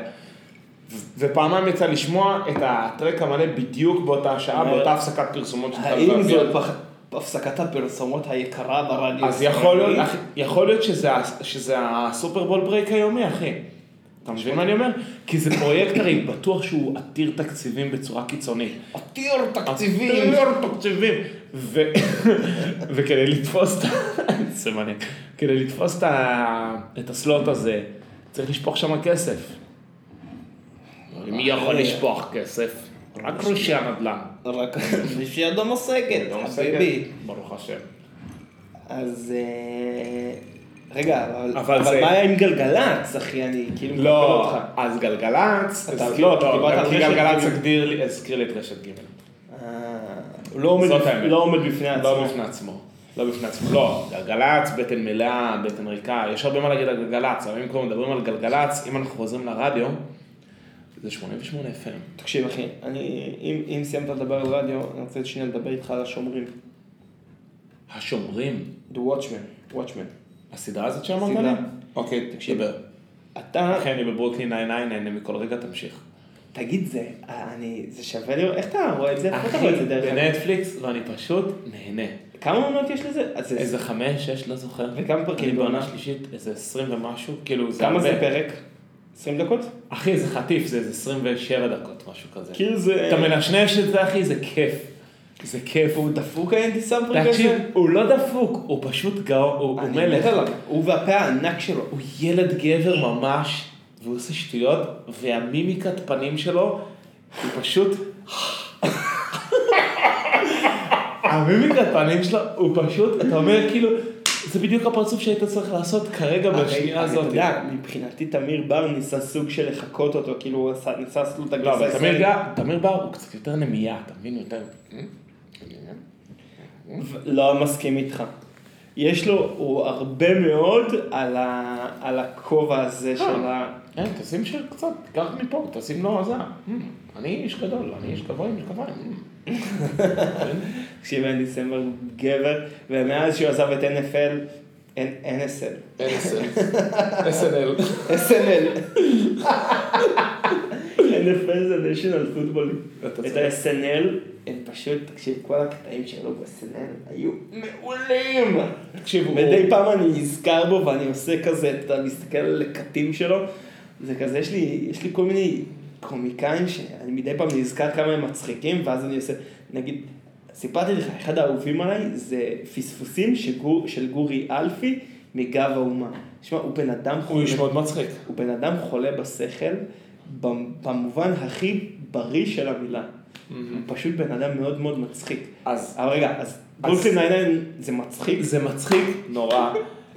[SPEAKER 3] ו- ופעמיים יצא לשמוע את הטרק המלא בדיוק באותה שעה,
[SPEAKER 1] אומר,
[SPEAKER 3] באותה הפסקת פרסומות של טל
[SPEAKER 1] האם
[SPEAKER 3] ואביעד.
[SPEAKER 1] זו הפח- לא הפסקת הפרסומות היקרה ברדיו?
[SPEAKER 3] אז
[SPEAKER 1] הישראלי?
[SPEAKER 3] יכול להיות, אח- יכול להיות שזה ה- שזה הסופרבול ברייק היומי, אחי. אתה מבין מה אני אומר? כי זה פרויקט הרי בטוח שהוא עתיר תקציבים בצורה קיצונית.
[SPEAKER 1] עתיר תקציבים.
[SPEAKER 3] טריליון תקציבים. ו- [laughs] וכדי לתפוס את ה... [laughs] זה מעניין. כדי לתפוס את ה- את הסלוט הזה, צריך לשפוך שם כסף. מי יכול
[SPEAKER 1] אה.
[SPEAKER 3] לשפוך כסף? רק ראשי הנדל"ן.
[SPEAKER 1] רק לא שידו משגת, חביבי.
[SPEAKER 3] ברוך השם.
[SPEAKER 1] אז... אה, רגע, אבל
[SPEAKER 3] אבל
[SPEAKER 1] אבל
[SPEAKER 3] זה-
[SPEAKER 1] מה היה עם גלגלצ, אחי? אני כאילו...
[SPEAKER 3] לא,
[SPEAKER 1] מקבל אותך.
[SPEAKER 3] אז גלגלצ,
[SPEAKER 1] אתה-
[SPEAKER 3] אז לא,
[SPEAKER 1] אתה דיברת
[SPEAKER 3] לא,
[SPEAKER 1] על
[SPEAKER 3] כי
[SPEAKER 1] רשת
[SPEAKER 3] גלגלצ
[SPEAKER 1] ג'.
[SPEAKER 3] הגדיר לי, הזכיר לי את רשת ג'.
[SPEAKER 1] אה, הוא לא עומד
[SPEAKER 3] זאת
[SPEAKER 1] בפ-
[SPEAKER 3] האמת.
[SPEAKER 1] לא עומד בפני
[SPEAKER 3] לא
[SPEAKER 1] עצמו.
[SPEAKER 3] בפני עצמו. לא בפני עצמו, לא, גלגלצ, בטן מלאה, בטן ריקה, יש הרבה מה להגיד על גלגלצ, אבל אם כבר מדברים על גלגלצ, אם אנחנו חוזרים לרדיו, זה 88 FM.
[SPEAKER 1] תקשיב, אחי, אני... אם- אם סיימת לדבר על רדיו, אני רוצה שנייה לדבר איתך על השומרים.
[SPEAKER 3] השומרים,
[SPEAKER 1] The Watchman. Watchman.
[SPEAKER 3] הסדרה הזאת שאמרת
[SPEAKER 1] סדרה.
[SPEAKER 3] לי? אוקיי, תקשיב. דבר.
[SPEAKER 1] אתה...
[SPEAKER 3] אחי, אני כן, בברוקלין 99, נהנה מכל רגע, תמשיך.
[SPEAKER 1] תגיד זה, אה, אני... זה שווה לראות... איך אתה רואה את זה? איך אתה
[SPEAKER 3] אחי,
[SPEAKER 1] רואה את זה דרך אגב?
[SPEAKER 3] בנטפליקס, ואני פשוט נהנה.
[SPEAKER 1] כמה עונות יש לזה? אז זה-
[SPEAKER 3] איזה חמש, שש, לא זוכר.
[SPEAKER 1] וכמה פרקים
[SPEAKER 3] אני
[SPEAKER 1] בעונה?
[SPEAKER 3] בעונה שלישית, איזה 20 ומשהו, כאילו, זה
[SPEAKER 1] כמה
[SPEAKER 3] הרבה.
[SPEAKER 1] זה פרק? 20 דקות?
[SPEAKER 3] אחי, זה חטיף, זה איזה 27 דקות, משהו כזה.
[SPEAKER 1] כאילו זה...
[SPEAKER 3] אתה מנשנש את זה, אחי, זה כיף. זה כיף.
[SPEAKER 1] הוא דפוק האנטי סמפרינג הזה?
[SPEAKER 3] תקשיב, הוא לא דפוק, הוא פשוט גאון, הוא הוא
[SPEAKER 1] אני
[SPEAKER 3] מלך.
[SPEAKER 1] מת עליו. הוא והפה הענק שלו.
[SPEAKER 3] הוא ילד גבר ממש, והוא עושה שטויות, והמימיקת פנים שלו, הוא פשוט... המימיקת פנים שלו, הוא פשוט, אתה אומר כאילו, זה בדיוק הפרצוף שהיית צריך לעשות כרגע בשנייה
[SPEAKER 1] הרי,
[SPEAKER 3] הזאת.
[SPEAKER 1] אתה אה, יודע, מבחינתי תמיר בר ניסה סוג של לחקות אותו, כאילו הוא עשה- ניסה לעשות לו את
[SPEAKER 3] לא,
[SPEAKER 1] הגרסה
[SPEAKER 3] אבל תמיר גא- תמיר בר הוא קצת יותר נמייה, אתה מבין? הוא יותר...
[SPEAKER 1] ו- לא מסכים איתך. יש לו, הוא הרבה מאוד על ה- על הכובע הזה של ה...
[SPEAKER 3] כן, תשים שיר קצת, תיקח מפה, תשים לו זה. Mm, אני איש גדול, אני איש גבוה עם משקפיים. mm.
[SPEAKER 1] תקשיב, אנדי סמבר הוא גבר, ומאז שהוא עזב את NFL, אין- אין NSL.
[SPEAKER 3] [laughs] SNL.
[SPEAKER 1] SNL. NFL זה national football.
[SPEAKER 3] אתה
[SPEAKER 1] את
[SPEAKER 3] צודק.
[SPEAKER 1] ה-SNL, הם לא, פשוט, תקשיב, כל הקטעים שלו ב-SNL היו מעולים.
[SPEAKER 3] תקשיב, הוא-
[SPEAKER 1] מדי פעם אני נזכר בו ואני עושה כזה, אתה מסתכל על לקטים שלו, זה כזה, יש לי, יש לי כל מיני קומיקאים שאני מדי פעם נזכר כמה הם מצחיקים, ואז אני עושה, נגיד, סיפרתי לך, אחד האהובים עליי זה פספוסים שגור, של גורי אלפי מגב האומה. שמע, הוא בן אדם
[SPEAKER 3] הוא
[SPEAKER 1] חולה,
[SPEAKER 3] איש מאוד מצחיק.
[SPEAKER 1] הוא בן אדם חולה בשכל, במ- במובן הכי בריא של המילה. הוא פשוט בן אדם מאוד מאוד מצחיק.
[SPEAKER 3] אז
[SPEAKER 1] אבל רגע, אז ברוקלין ניין זה מצחיק?
[SPEAKER 3] זה מצחיק נורא,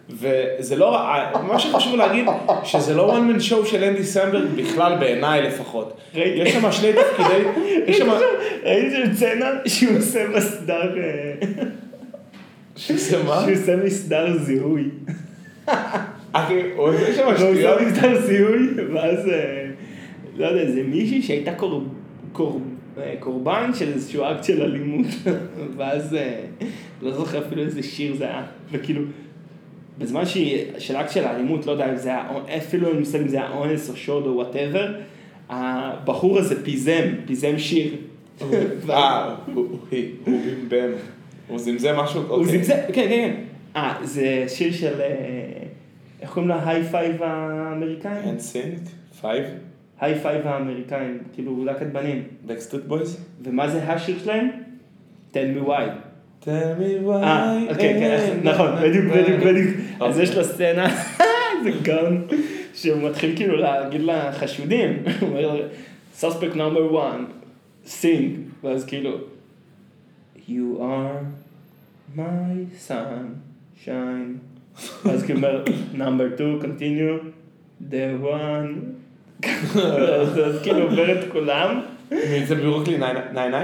[SPEAKER 3] וזה לא, רע- מה שחשוב להגיד, שזה לא one man show של אנדי סמברג בכלל בעיניי לפחות.
[SPEAKER 1] ראיתי.
[SPEAKER 3] יש שם שני תפקידי, יש שם,
[SPEAKER 1] ראיתי שם צנע שהוא עושה מסדר, אה,
[SPEAKER 3] שזה מה?
[SPEAKER 1] שהוא עושה מסדר זיהוי.
[SPEAKER 3] אחי, אוקיי, הוא עושה שם
[SPEAKER 1] הוא
[SPEAKER 3] לא, שטויות.
[SPEAKER 1] עושה מסדר זיהוי, לא ואז, אה, לא יודע, זה מישהי שהייתה קור- קור- אה, קורבן של איזשהו אקט של אלימות, [laughs] ואז אה, לא זוכר אפילו איזה שיר זה היה, וכאילו, בזמן שהיא, של אקט של האלימות, לא יודע אם זה היה, אונ- אפילו אין לי מושג אם זה היה אונס או שוד או וואטאבר, הבחור הזה פיזם, פיזם שיר.
[SPEAKER 3] אה, הוא הוא- הוא בן. הוא זמזם משהו,
[SPEAKER 1] הוא
[SPEAKER 3] אוקיי.
[SPEAKER 1] זמזם, כן, כן, כן. אה, זה שיר של, אה, איך קוראים לה? היי פייב האמריקאים?
[SPEAKER 3] אין סינק, פייב,
[SPEAKER 1] היי פייב האמריקאים, כאילו להקת בנים.
[SPEAKER 3] בקסטוט בויז.
[SPEAKER 1] ומה זה השיר שלהם? tell me why.
[SPEAKER 3] Tell me why.
[SPEAKER 1] אה, אוקיי, כן,
[SPEAKER 3] אין-
[SPEAKER 1] נכון, בדיוק, בדיוק, בדיוק. אז
[SPEAKER 3] אוקיי.
[SPEAKER 1] יש לו סצנה, [laughs] זה גאון, שהוא מתחיל כאילו להגיד לחשודים, הוא אומר, suspect number one, sing, ואז כאילו, you are my sunshine, ואז כאילו אומר, number two, continue, the
[SPEAKER 3] [laughs]
[SPEAKER 1] one, אז אז כאילו עובר את כולם,
[SPEAKER 3] מי זה ברוקלין 99?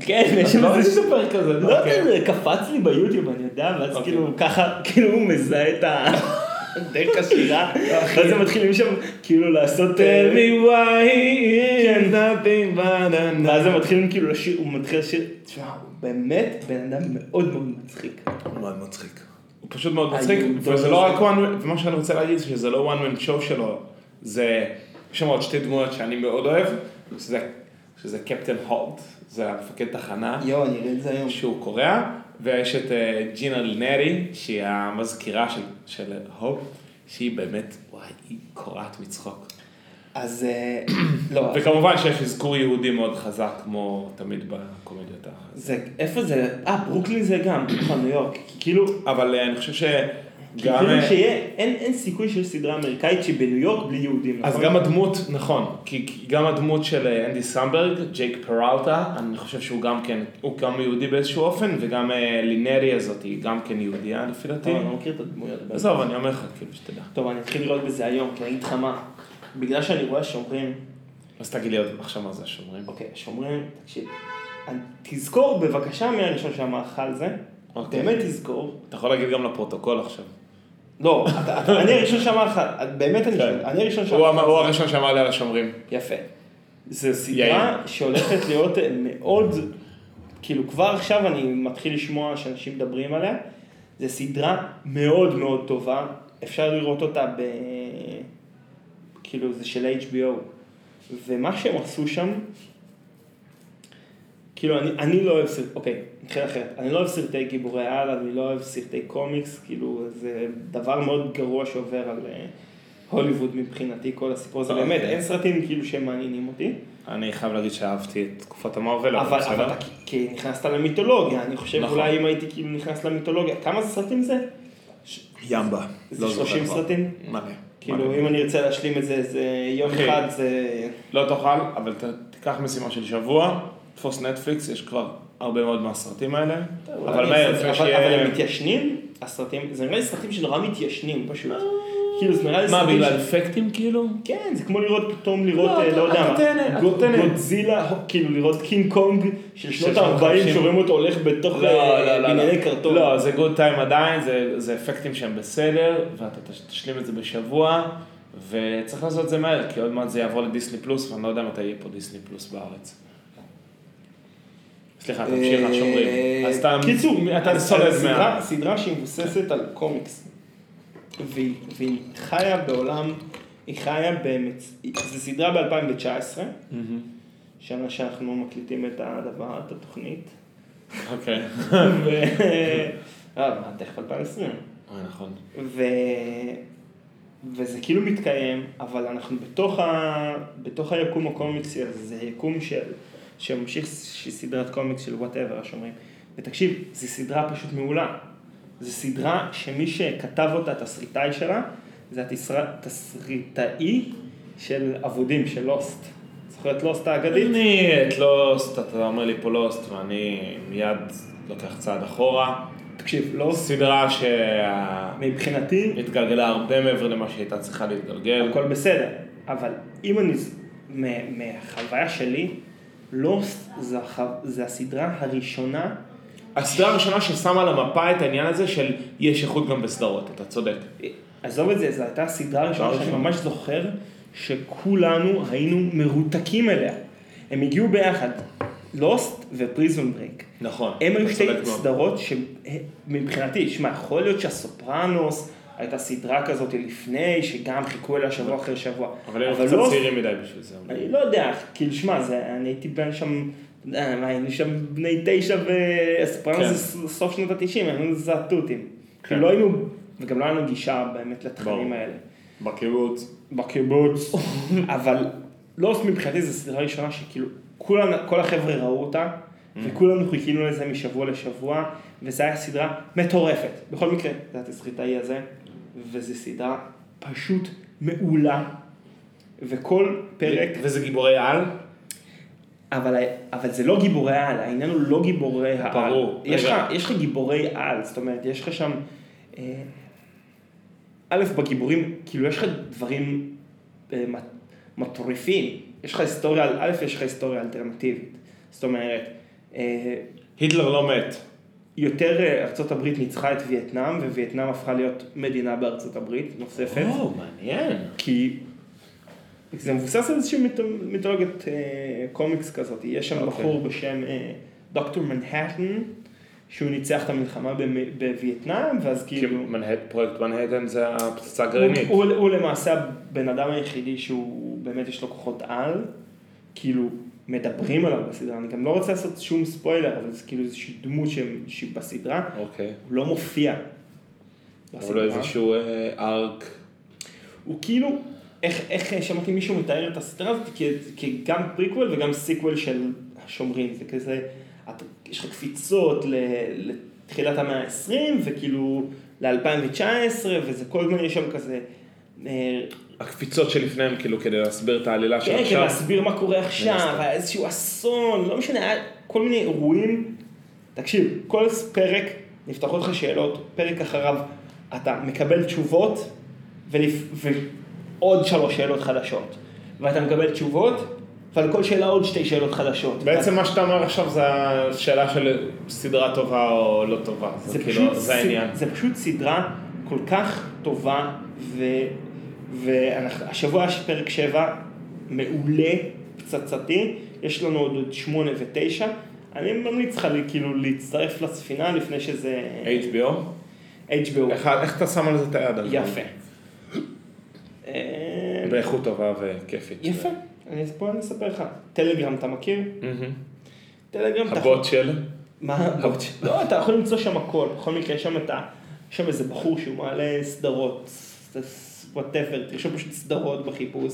[SPEAKER 1] כן, יש שם
[SPEAKER 3] לא
[SPEAKER 1] איזה
[SPEAKER 3] ראיתי סופר כזה,
[SPEAKER 1] לא יודע,
[SPEAKER 3] אוקיי.
[SPEAKER 1] זה קפץ לי ביוטיוב, אני יודע, ואז
[SPEAKER 3] אוקיי.
[SPEAKER 1] כאילו ככה, כאילו הוא מזהה את ה... דרך השירה, ואז הם מתחילים שם כאילו לעשות...
[SPEAKER 3] Tell me why
[SPEAKER 1] כן.
[SPEAKER 3] is nothing but a night.
[SPEAKER 1] ואז הם מתחילים כאילו לשיר, הוא מתחיל לשיר, תשמע, הוא באמת בן אדם מאוד מאוד מצחיק.
[SPEAKER 3] הוא מאוד מצחיק. הוא פשוט מאוד מצחיק,
[SPEAKER 1] היהודון
[SPEAKER 3] וזה
[SPEAKER 1] הזה.
[SPEAKER 3] לא רק one man, ומה שאני רוצה להגיד זה שזה לא one man show שלו, זה, יש שם עוד שתי דמויות שאני מאוד אוהב, שזה- שזה קפטן הולט, זה המפקד תחנה,
[SPEAKER 1] יואו, אני אראה את זה היום.
[SPEAKER 3] שהוא קורע, ויש את אה, ג'ינה לנרי, שהיא המזכירה של- של הופ, שהיא באמת, וואי, היא קורעת מצחוק.
[SPEAKER 1] אז [coughs] אה, לא,
[SPEAKER 3] וכמובן שיש אזכור יהודי מאוד חזק, כמו תמיד בקומדיות ה...
[SPEAKER 1] זה, איפה זה? אה, ברוקלין זה גם, נכון, ניו יורק. כי כאילו,
[SPEAKER 3] אבל אה, אני חושב שגם...
[SPEAKER 1] כאילו
[SPEAKER 3] אה,
[SPEAKER 1] שיהיה, אין אין סיכוי שיש סדרה אמריקאית שהיא בניו יורק בלי יהודים,
[SPEAKER 3] אז
[SPEAKER 1] נכון?
[SPEAKER 3] גם הדמות, נכון, כי כי גם הדמות של אה, אנדי סמברג, ג'ייק פרלטה, אני חושב שהוא גם כן, הוא גם יהודי באיזשהו אופן, וגם אה, לינרי הזאת, היא גם כן יהודייה לפי דעתי.
[SPEAKER 1] אבל אני לא מכיר את הדמויות.
[SPEAKER 3] עזוב, אני אומר לך, כאילו, שתדע.
[SPEAKER 1] טוב, אני אתחיל לראות בזה היום, כי אני אגיד לך מה, בגלל שאני רואה שומרים,
[SPEAKER 3] אז תגיד לי עוד עכשיו מה זה השומרים.
[SPEAKER 1] אוקיי, שומרים, תקשיב, אני- תזכור בבקשה מי הראשון שאמר לך על זה,
[SPEAKER 3] אוקיי.
[SPEAKER 1] באמת תזכור,
[SPEAKER 3] אתה יכול להגיד גם לפרוטוקול עכשיו.
[SPEAKER 1] לא, אתה- אתה- אני הראשון שאמר לך, באמת אני
[SPEAKER 3] כן.
[SPEAKER 1] שואל, אני הראשון
[SPEAKER 3] הוא
[SPEAKER 1] שאמר
[SPEAKER 3] אמר- הוא
[SPEAKER 1] לך, על
[SPEAKER 3] הראשון שאמר לי על השומרים.
[SPEAKER 1] זה. יפה, זו סדרה שהולכת להיות מאוד, כאילו כבר עכשיו אני מתחיל לשמוע שאנשים מדברים עליה, זו סדרה מאוד מאוד טובה, אפשר לראות אותה ב... כאילו זה של HBO, ומה שהם עשו שם, כאילו אני, אני לא אוהב סרטי, אוקיי, נתחיל אחרת, אני לא אוהב סרטי גיבורי על, אני לא אוהב סרטי קומיקס, כאילו זה דבר מאוד גרוע שעובר על אה, הוליווד מבחינתי, כל הסיפור הזה, באמת,
[SPEAKER 3] אוקיי.
[SPEAKER 1] אין סרטים כאילו שהם מעניינים אותי,
[SPEAKER 3] אני חייב להגיד שאהבתי את תקופת המרוויל,
[SPEAKER 1] אבל, אבל אתה כ- כי נכנסת למיתולוגיה, אני חושב
[SPEAKER 3] לא, נכון.
[SPEAKER 1] אולי אם הייתי כאילו נכנס למיתולוגיה, כמה סרטים זה?
[SPEAKER 3] ימבה.
[SPEAKER 1] זה
[SPEAKER 3] לא זוכר
[SPEAKER 1] 30
[SPEAKER 3] כבר.
[SPEAKER 1] סרטים?
[SPEAKER 3] מלא. מלא.
[SPEAKER 1] כאילו אם אני ארצה להשלים את זה, זה יום
[SPEAKER 3] אוקיי.
[SPEAKER 1] אחד זה...
[SPEAKER 3] לא תאכל, אבל ת, תיקח משימה של שבוע, תפוס נטפליקס, יש כבר הרבה מאוד מהסרטים האלה. אבל מהר, לפני
[SPEAKER 1] אבל- אבל
[SPEAKER 3] שיהיה...
[SPEAKER 1] הם מתיישנים, הסרטים, זה נראה לי סרטים שנורא מתיישנים פשוט. כאילו זה נראה לי
[SPEAKER 3] אה, מה,
[SPEAKER 1] סרטים...
[SPEAKER 3] בגלל
[SPEAKER 1] ש-
[SPEAKER 3] אפקטים כאילו?
[SPEAKER 1] כן, זה כמו לראות פתאום לראות,
[SPEAKER 3] לא,
[SPEAKER 1] אה, לא
[SPEAKER 3] אתה
[SPEAKER 1] יודע
[SPEAKER 3] נותן,
[SPEAKER 1] מה,
[SPEAKER 3] אתה
[SPEAKER 1] גו-
[SPEAKER 3] נותן.
[SPEAKER 1] גודזילה, כאילו לראות קינג קונג של שנות
[SPEAKER 3] שנות
[SPEAKER 1] ה-40
[SPEAKER 3] ה-50.
[SPEAKER 1] שרואים אותו הולך בתוך אה, בנייני קרטון.
[SPEAKER 3] לא, זה גוד טיים עדיין, זה, זה אפקטים שהם בסדר, ואתה תש- תשלים את זה בשבוע, וצריך לעשות את זה מהר, כי עוד מעט זה יעבור לדיסני פלוס, ואני לא יודע מתי יהיה פה דיסני פלוס בארץ. סליחה, תמשיך,
[SPEAKER 1] אה,
[SPEAKER 3] השומרים. אז אתה...
[SPEAKER 1] קיצור,
[SPEAKER 3] אתה
[SPEAKER 1] אז-
[SPEAKER 3] סולד
[SPEAKER 1] אז
[SPEAKER 3] מה...
[SPEAKER 1] סדרה- סדרה שהיא מבוססת על קומיקס. והיא והיא חיה בעולם, היא חיה במצ... זו סדרה ב-2019,
[SPEAKER 3] מהמם.
[SPEAKER 1] שנה שאנחנו מקליטים את הדבר, את התוכנית.
[SPEAKER 3] אוקיי.
[SPEAKER 1] ו... אה, מה, תכף 2020.
[SPEAKER 3] אוי, נכון.
[SPEAKER 1] ו... וזה כאילו מתקיים, אבל אנחנו בתוך, ה... בתוך היקום הקומיקסי הזה, זה יקום של שממשיך ש- סדרת קומיקס של וואטאבר, השומרים. ותקשיב, זו סדרה פשוט מעולה. זו סדרה שמי שכתב אותה, התסריטאי שלה, זה התסריטאי של אבודים, של לוסט. זוכר את לוסט האגדית?
[SPEAKER 3] אני את לוסט, אתה אומר לי פה לוסט, ואני מיד לוקח צעד אחורה.
[SPEAKER 1] תקשיב, לוסט
[SPEAKER 3] סדרה שהתגלגלה
[SPEAKER 1] מבחינתי
[SPEAKER 3] הרבה מעבר למה שהייתה צריכה להתגלגל.
[SPEAKER 1] הכל בסדר, אבל אם אני, מ- מהחוויה שלי, לוסט זה, הח- זה הסדרה הראשונה,
[SPEAKER 3] הסדרה הראשונה ששמה על המפה את העניין הזה של יש איכות גם בסדרות, אתה צודק.
[SPEAKER 1] עזוב את זה, זו הייתה הסדרה הראשונה שאני
[SPEAKER 3] הראשונה.
[SPEAKER 1] ממש זוכר שכולנו היינו מרותקים אליה. הם הגיעו ביחד, לוסט ופריזון ברייק.
[SPEAKER 3] נכון.
[SPEAKER 1] הם היו
[SPEAKER 3] אתה
[SPEAKER 1] שתי
[SPEAKER 3] צודק מאוד.
[SPEAKER 1] סדרות שמבחינתי, שמע, יכול להיות שהסופרנוס הייתה סדרה כזאת לפני, שגם חיכו אליה שבוע אחרי שבוע.
[SPEAKER 3] אבל הם
[SPEAKER 1] לוסט-
[SPEAKER 3] קצת צעירים מדי בשביל זה. אבל-
[SPEAKER 1] לא- אני לא יודע, כאילו, שמע, זה- אני הייתי בן שם, אה, מה, היינו שם בני תשע ואספרנס
[SPEAKER 3] כן.
[SPEAKER 1] זה ס- סוף שנות התשעים, היינו זעתותים.
[SPEAKER 3] כן.
[SPEAKER 1] כאילו, לא היינו, וגם לא היינו גישה באמת לתכנים
[SPEAKER 3] ברור.
[SPEAKER 1] האלה.
[SPEAKER 3] בקיבוץ.
[SPEAKER 1] בקיבוץ. [laughs] אבל לוסט מבחינתי זו סדרה ראשונה שכאילו, כולנו- כל החבר'ה ראו אותה,
[SPEAKER 3] Mm.
[SPEAKER 1] וכולנו חיכינו לזה משבוע לשבוע, וזו הייתה סדרה מטורפת. בכל מקרה, זה התסריטאי הזה, וזו סדרה פשוט מעולה, וכל פרק...
[SPEAKER 3] וזה גיבורי על?
[SPEAKER 1] אבל, אבל זה לא גיבורי על, העניין הוא לא גיבורי העל.
[SPEAKER 3] ברור.
[SPEAKER 1] יש לך,
[SPEAKER 3] רגע.
[SPEAKER 1] יש לך גיבורי על, זאת אומרת, יש לך שם... אה, א', בגיבורים, כאילו יש לך דברים אה, מט- מטורפים. יש לך היסטוריה, על- א', יש לך היסטוריה אלטרנטיבית. זאת אומרת, אה,
[SPEAKER 3] היטלר לא מת.
[SPEAKER 1] יותר אה, ארצות הברית ניצחה את וייטנאם, ווייטנאם הפכה להיות מדינה בארצות הברית נוספת.
[SPEAKER 3] או, מעניין.
[SPEAKER 1] כי זה מבוסס על איזושהי מיתו- מיתולוגיית אה, קומיקס כזאת. יש שם
[SPEAKER 3] אוקיי.
[SPEAKER 1] בחור בשם אה, דוקטור מנהטן, שהוא ניצח את המלחמה במ- בווייטנאם, ואז כאילו...
[SPEAKER 3] כי מנהט- פרויקט מנהטן זה הפצצה
[SPEAKER 1] הוא,
[SPEAKER 3] הגרעינית.
[SPEAKER 1] הוא, הוא למעשה הבן אדם היחידי שהוא באמת יש לו כוחות על, כאילו מדברים עליו בסדרה, אני גם לא רוצה לעשות שום ספוילר, אבל זה כאילו איזושהי דמות שהם- שהיא בסדרה,
[SPEAKER 3] אוקיי.
[SPEAKER 1] הוא לא מופיע.
[SPEAKER 3] אבל
[SPEAKER 1] בסדרה.
[SPEAKER 3] לא איזשהו אה, ארק.
[SPEAKER 1] הוא כאילו, איך, איך שמעתי מישהו מתאר את הסדרה הזאת כ- כגם פריקוול וגם סיקוול של השומרים, זה כזה, את, יש לך קפיצות ל, לתחילת המאה ה-20 וכאילו ל-2019 וזה כל הזמן יש שם כזה, אה,
[SPEAKER 3] הקפיצות שלפניהם, כאילו, כדי להסביר את העלילה של
[SPEAKER 1] כן, כדי
[SPEAKER 3] עכשיו.
[SPEAKER 1] להסביר מה קורה עכשיו, היה איזשהו אסון, לא משנה, היה כל מיני אירועים. תקשיב, כל פרק נפתחות לך שאלות, פרק אחריו אתה מקבל תשובות ולפ... ועוד שלוש שאלות חדשות. ואתה מקבל תשובות, ועל כל שאלה עוד שתי שאלות חדשות.
[SPEAKER 3] בעצם מה שאתה אומר עכשיו זה השאלה של סדרה טובה או לא טובה. זה כאילו, זה
[SPEAKER 1] סד-
[SPEAKER 3] העניין.
[SPEAKER 1] זה פשוט סדרה כל כך טובה, ו... והשבוע יש פרק 7 מעולה, פצצתי, יש לנו עוד עוד 8 ו-9, אני ממליץ לך לי- כאילו להצטרף לספינה לפני שזה
[SPEAKER 3] HBO?
[SPEAKER 1] HBO,
[SPEAKER 3] איך- איך אתה שם על זה את היד? אבל?
[SPEAKER 1] יפה. אה,
[SPEAKER 3] באיכות טובה וכיפית.
[SPEAKER 1] יפה, אני- פה אני אספר לך, טלגרם אתה מכיר?
[SPEAKER 3] מהמם.
[SPEAKER 1] טלגרם אתה יכול-
[SPEAKER 3] הבוט של?
[SPEAKER 1] מה? לא, אתה יכול למצוא שם הכל, בכל מקרה יש שם את ה... יש שם איזה בחור שהוא מעלה סדרות, וואטאבר, תרשום פשוט סדרות בחיפוש.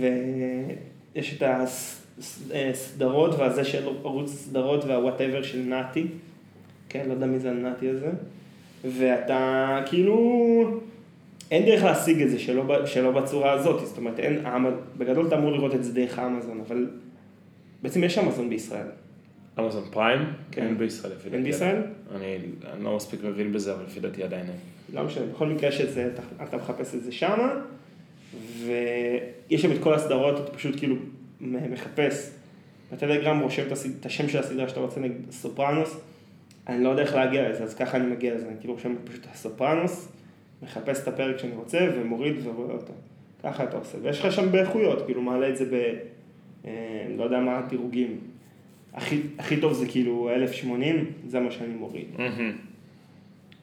[SPEAKER 1] ויש את הס- ס- אה, סדרות והזה של ערוץ סדרות והוואטאבר של נתי. כן, לא יודע מי זה הנתי הזה. ואתה כאילו... אין דרך להשיג את זה שלא, ב- שלא בצורה הזאת, זאת אומרת, אין, האמ- בגדול אתה אמור לראות את זה דרך האמזון, אבל בעצם יש אמזון בישראל.
[SPEAKER 3] אמזון פריים?
[SPEAKER 1] כן.
[SPEAKER 3] אין בישראל לפי דעתי.
[SPEAKER 1] אין בישראל?
[SPEAKER 3] אני אני לא מספיק מבין בזה, אבל לפי דעתי עדיין אין.
[SPEAKER 1] לא משנה, בכל מקרה שזה, אתה, אתה מחפש את זה שמה, ויש שם את כל הסדרות, אתה פשוט כאילו מ- מחפש. בטלגרם רושם את, הסד... את השם של הסדרה שאתה רוצה, נגיד סופרנוס, אני לא יודע איך להגיע לזה, אז ככה אני מגיע לזה, אני כאילו רושם פשוט הסופרנוס, מחפש את הפרק שאני רוצה ומוריד ורואה אותו. ככה אתה עושה, ויש לך שם באיכויות, כאילו מעלה את זה ב... אה, לא יודע מה הדירוגים. הכי, הכי טוב זה כאילו 1080, זה מה שאני מוריד.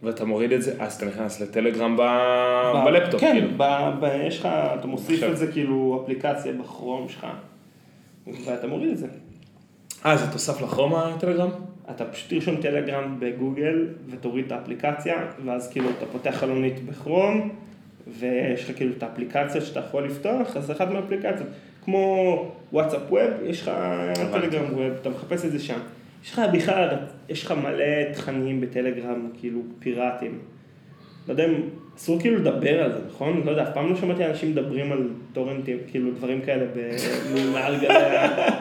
[SPEAKER 3] ואתה מוריד את זה, אז אתה נכנס לטלגרם ב...
[SPEAKER 1] ב-
[SPEAKER 3] בלפטופ,
[SPEAKER 1] כן,
[SPEAKER 3] כאילו.
[SPEAKER 1] ב, ב, יש לך, אתה מוסיף
[SPEAKER 3] עכשיו.
[SPEAKER 1] את זה כאילו אפליקציה בכרום שלך, ואתה מוריד את זה.
[SPEAKER 3] אה, זה תוסף לכרום הטלגרם?
[SPEAKER 1] אתה פשוט תרשום טלגרם בגוגל ותוריד את האפליקציה, ואז כאילו אתה פותח חלונית בכרום, ויש לך כאילו את האפליקציות שאתה יכול לפתוח, אז אחת מהאפליקציות. כמו וואטסאפ ווב, יש לך טלגרם ווב, אתה מחפש את זה שם. יש לך בכלל, יש לך מלא תכנים בטלגרם, כאילו, פיראטים. לא יודע אם, אסור כאילו לדבר על זה, נכון? לא יודע, אף פעם לא שמעתי אנשים מדברים על טורנטים, כאילו דברים כאלה, ב- [laughs] מעל גלי ה-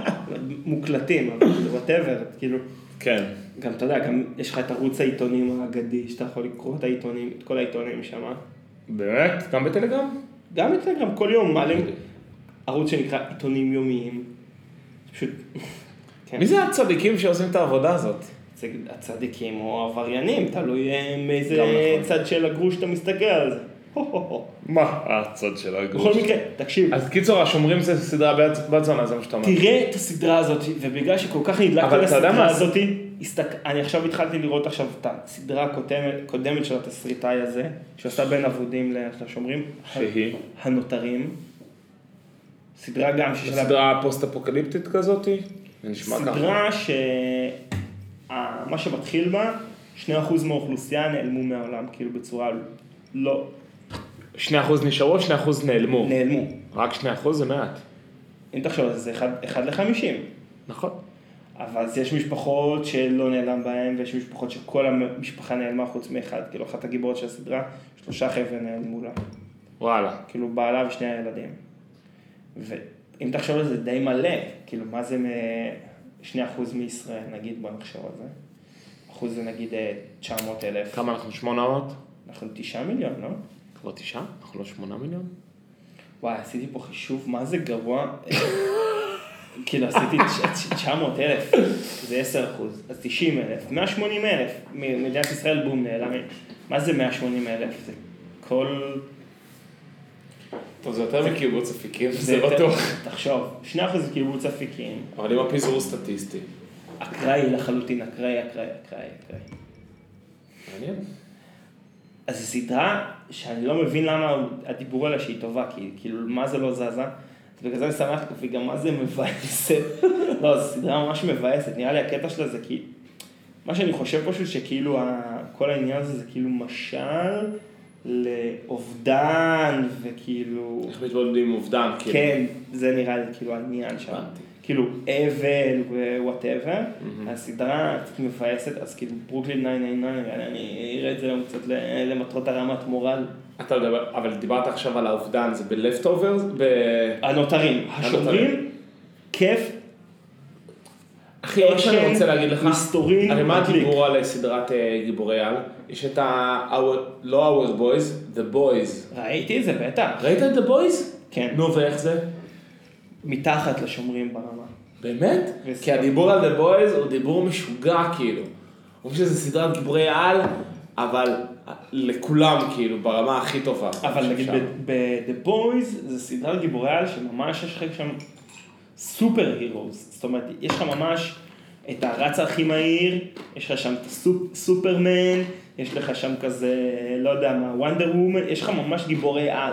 [SPEAKER 1] מוקלטים, אבל וואטאבר, כאילו.
[SPEAKER 3] כן.
[SPEAKER 1] גם אתה יודע, גם יש לך את ערוץ העיתונים האגדי, שאתה יכול לקרוא את העיתונים, את כל העיתונים שם.
[SPEAKER 3] באמת? גם בטלגרם?
[SPEAKER 1] גם בטלגרם כל יום
[SPEAKER 3] אוקיי.
[SPEAKER 1] מעלים ערוץ שנקרא עיתונים יומיים. פשוט, כן,
[SPEAKER 3] מי זה הצדיקים שעושים את העבודה הזאת?
[SPEAKER 1] זה הצדיקים או העבריינים, תלוי אה, מאיזה
[SPEAKER 3] גם נכון.
[SPEAKER 1] צד של הגרוש אתה מסתכל על זה. הו, הו, הו.
[SPEAKER 3] מה הצד של הגרוש?
[SPEAKER 1] בכל מקרה, תקשיב,
[SPEAKER 3] אז קיצור, השומרים זה סדרה בת- בת זונה, זה מה שאתה אומר.
[SPEAKER 1] תראה את הסדרה הזאת, ובגלל שכל כך נדלקת
[SPEAKER 3] אבל אתה יודע
[SPEAKER 1] לסדרה
[SPEAKER 3] מה-
[SPEAKER 1] הזאת, הסתק... אני עכשיו התחלתי לראות עכשיו את הסדרה הקודמת קודמת של התסריטאי הזה, שעשה בין אבודים לשומרים,
[SPEAKER 3] שהיא?
[SPEAKER 1] הנותרים. סדרה גם ששלה
[SPEAKER 3] סדרה פוסט-אפוקליפטית כזאתי? זה נשמע ככה.
[SPEAKER 1] סדרה שמה שמתחיל בה, 2% מהאוכלוסייה נעלמו מהעולם, כאילו בצורה לא,
[SPEAKER 3] 2% נשארו, 2% נעלמו.
[SPEAKER 1] נעלמו.
[SPEAKER 3] רק 2% זה מעט.
[SPEAKER 1] אם תחשוב על זה, זה 1 ל-50.
[SPEAKER 3] נכון.
[SPEAKER 1] אבל אז יש משפחות שלא נעלם בהן, ויש משפחות שכל המשפחה נעלמה חוץ מאחד, כאילו אחת הגיבורות של הסדרה, שלושה חבר'ה נעלמו לה,
[SPEAKER 3] וואלה.
[SPEAKER 1] כאילו בעלה ושני הילדים. ואם תחשוב על זה, זה די מלא, כאילו מה זה מ-2% מישראל, נגיד, בוא נחשוב על זה. אחוז זה נגיד 900 אלף.
[SPEAKER 3] כמה אנחנו? 800?
[SPEAKER 1] אנחנו תשעה מיליון, לא?
[SPEAKER 3] כבר תשעה? אנחנו לא 8 מיליון?
[SPEAKER 1] וואי, עשיתי פה חישוב, מה זה גרוע? כאילו, עשיתי 900 אלף, זה 10 אחוז, אז 90 אלף, 180 אלף, מדינת ישראל בום נעלמים. מה זה 180 אלף? זה כל...
[SPEAKER 3] טוב, זה יותר מקיבוץ אפיקים, לא
[SPEAKER 1] יותר- תחשוב, 2 אחוז קיבוץ אפיקים,
[SPEAKER 3] אבל אם הפיזור סטטיסטי.
[SPEAKER 1] אקראי לחלוטין, אקראי, אקראי, אקראי, אקראי.
[SPEAKER 3] מעניין.
[SPEAKER 1] אז זו סדרה שאני לא מבין למה הדיבור עליה שהיא טובה, כי כאילו, מה זה לא זזה? אז בגלל זה אני שמח, והיא גם מה זה מבאסת. [laughs] לא, זו סדרה ממש מבאסת, נראה לי הקטע שלה זה כי... מה שאני חושב פשוט שכאילו ה... כל העניין הזה זה כאילו משל לאובדן וכאילו...
[SPEAKER 3] איך מתמודדים עם אובדן, כאילו.
[SPEAKER 1] כן, זה נראה לי כאילו העניין שם.
[SPEAKER 3] הבנתי.
[SPEAKER 1] כאילו אבל ווואטאבר, הסדרה קצת מבאסת, אז כאילו ברוקלין 999, אני- אני אראה את זה היום קצת ל- למטרות הרמת מורל.
[SPEAKER 3] אתה מדבר, אבל דיברת עכשיו על האובדן, זה בלפט אובר? ב...
[SPEAKER 1] הנותרים, השומרים, כיף,
[SPEAKER 3] אחי, מה לא, שאני
[SPEAKER 1] אשל,
[SPEAKER 3] רוצה להגיד לך,
[SPEAKER 1] מסתורים,
[SPEAKER 3] הרי מה
[SPEAKER 1] מדליק.
[SPEAKER 3] הדיבור על סדרת אה, גיבורי על? יש את ה... Our- לא our boys, the boys.
[SPEAKER 1] ראיתי את זה בטח,
[SPEAKER 3] ראית את the boys?
[SPEAKER 1] כן.
[SPEAKER 3] נו, ואיך זה?
[SPEAKER 1] מתחת לשומרים ברמה.
[SPEAKER 3] באמת?
[SPEAKER 1] בסדר.
[SPEAKER 3] כי הדיבור על The Boys הוא דיבור משוגע כאילו. אומרים שזה סדרת גיבורי על, אבל לכולם כאילו, ברמה הכי טובה.
[SPEAKER 1] אבל נגיד
[SPEAKER 3] שאפשר.
[SPEAKER 1] ב-The Boys זה סדרת גיבורי על שממש יש לך שם סופר הירוס, זאת אומרת יש לך ממש את הרץ הכי מהיר, יש לך שם את הסופרמן, יש לך שם כזה, לא יודע מה, וונדר וומן, יש לך ממש גיבורי על,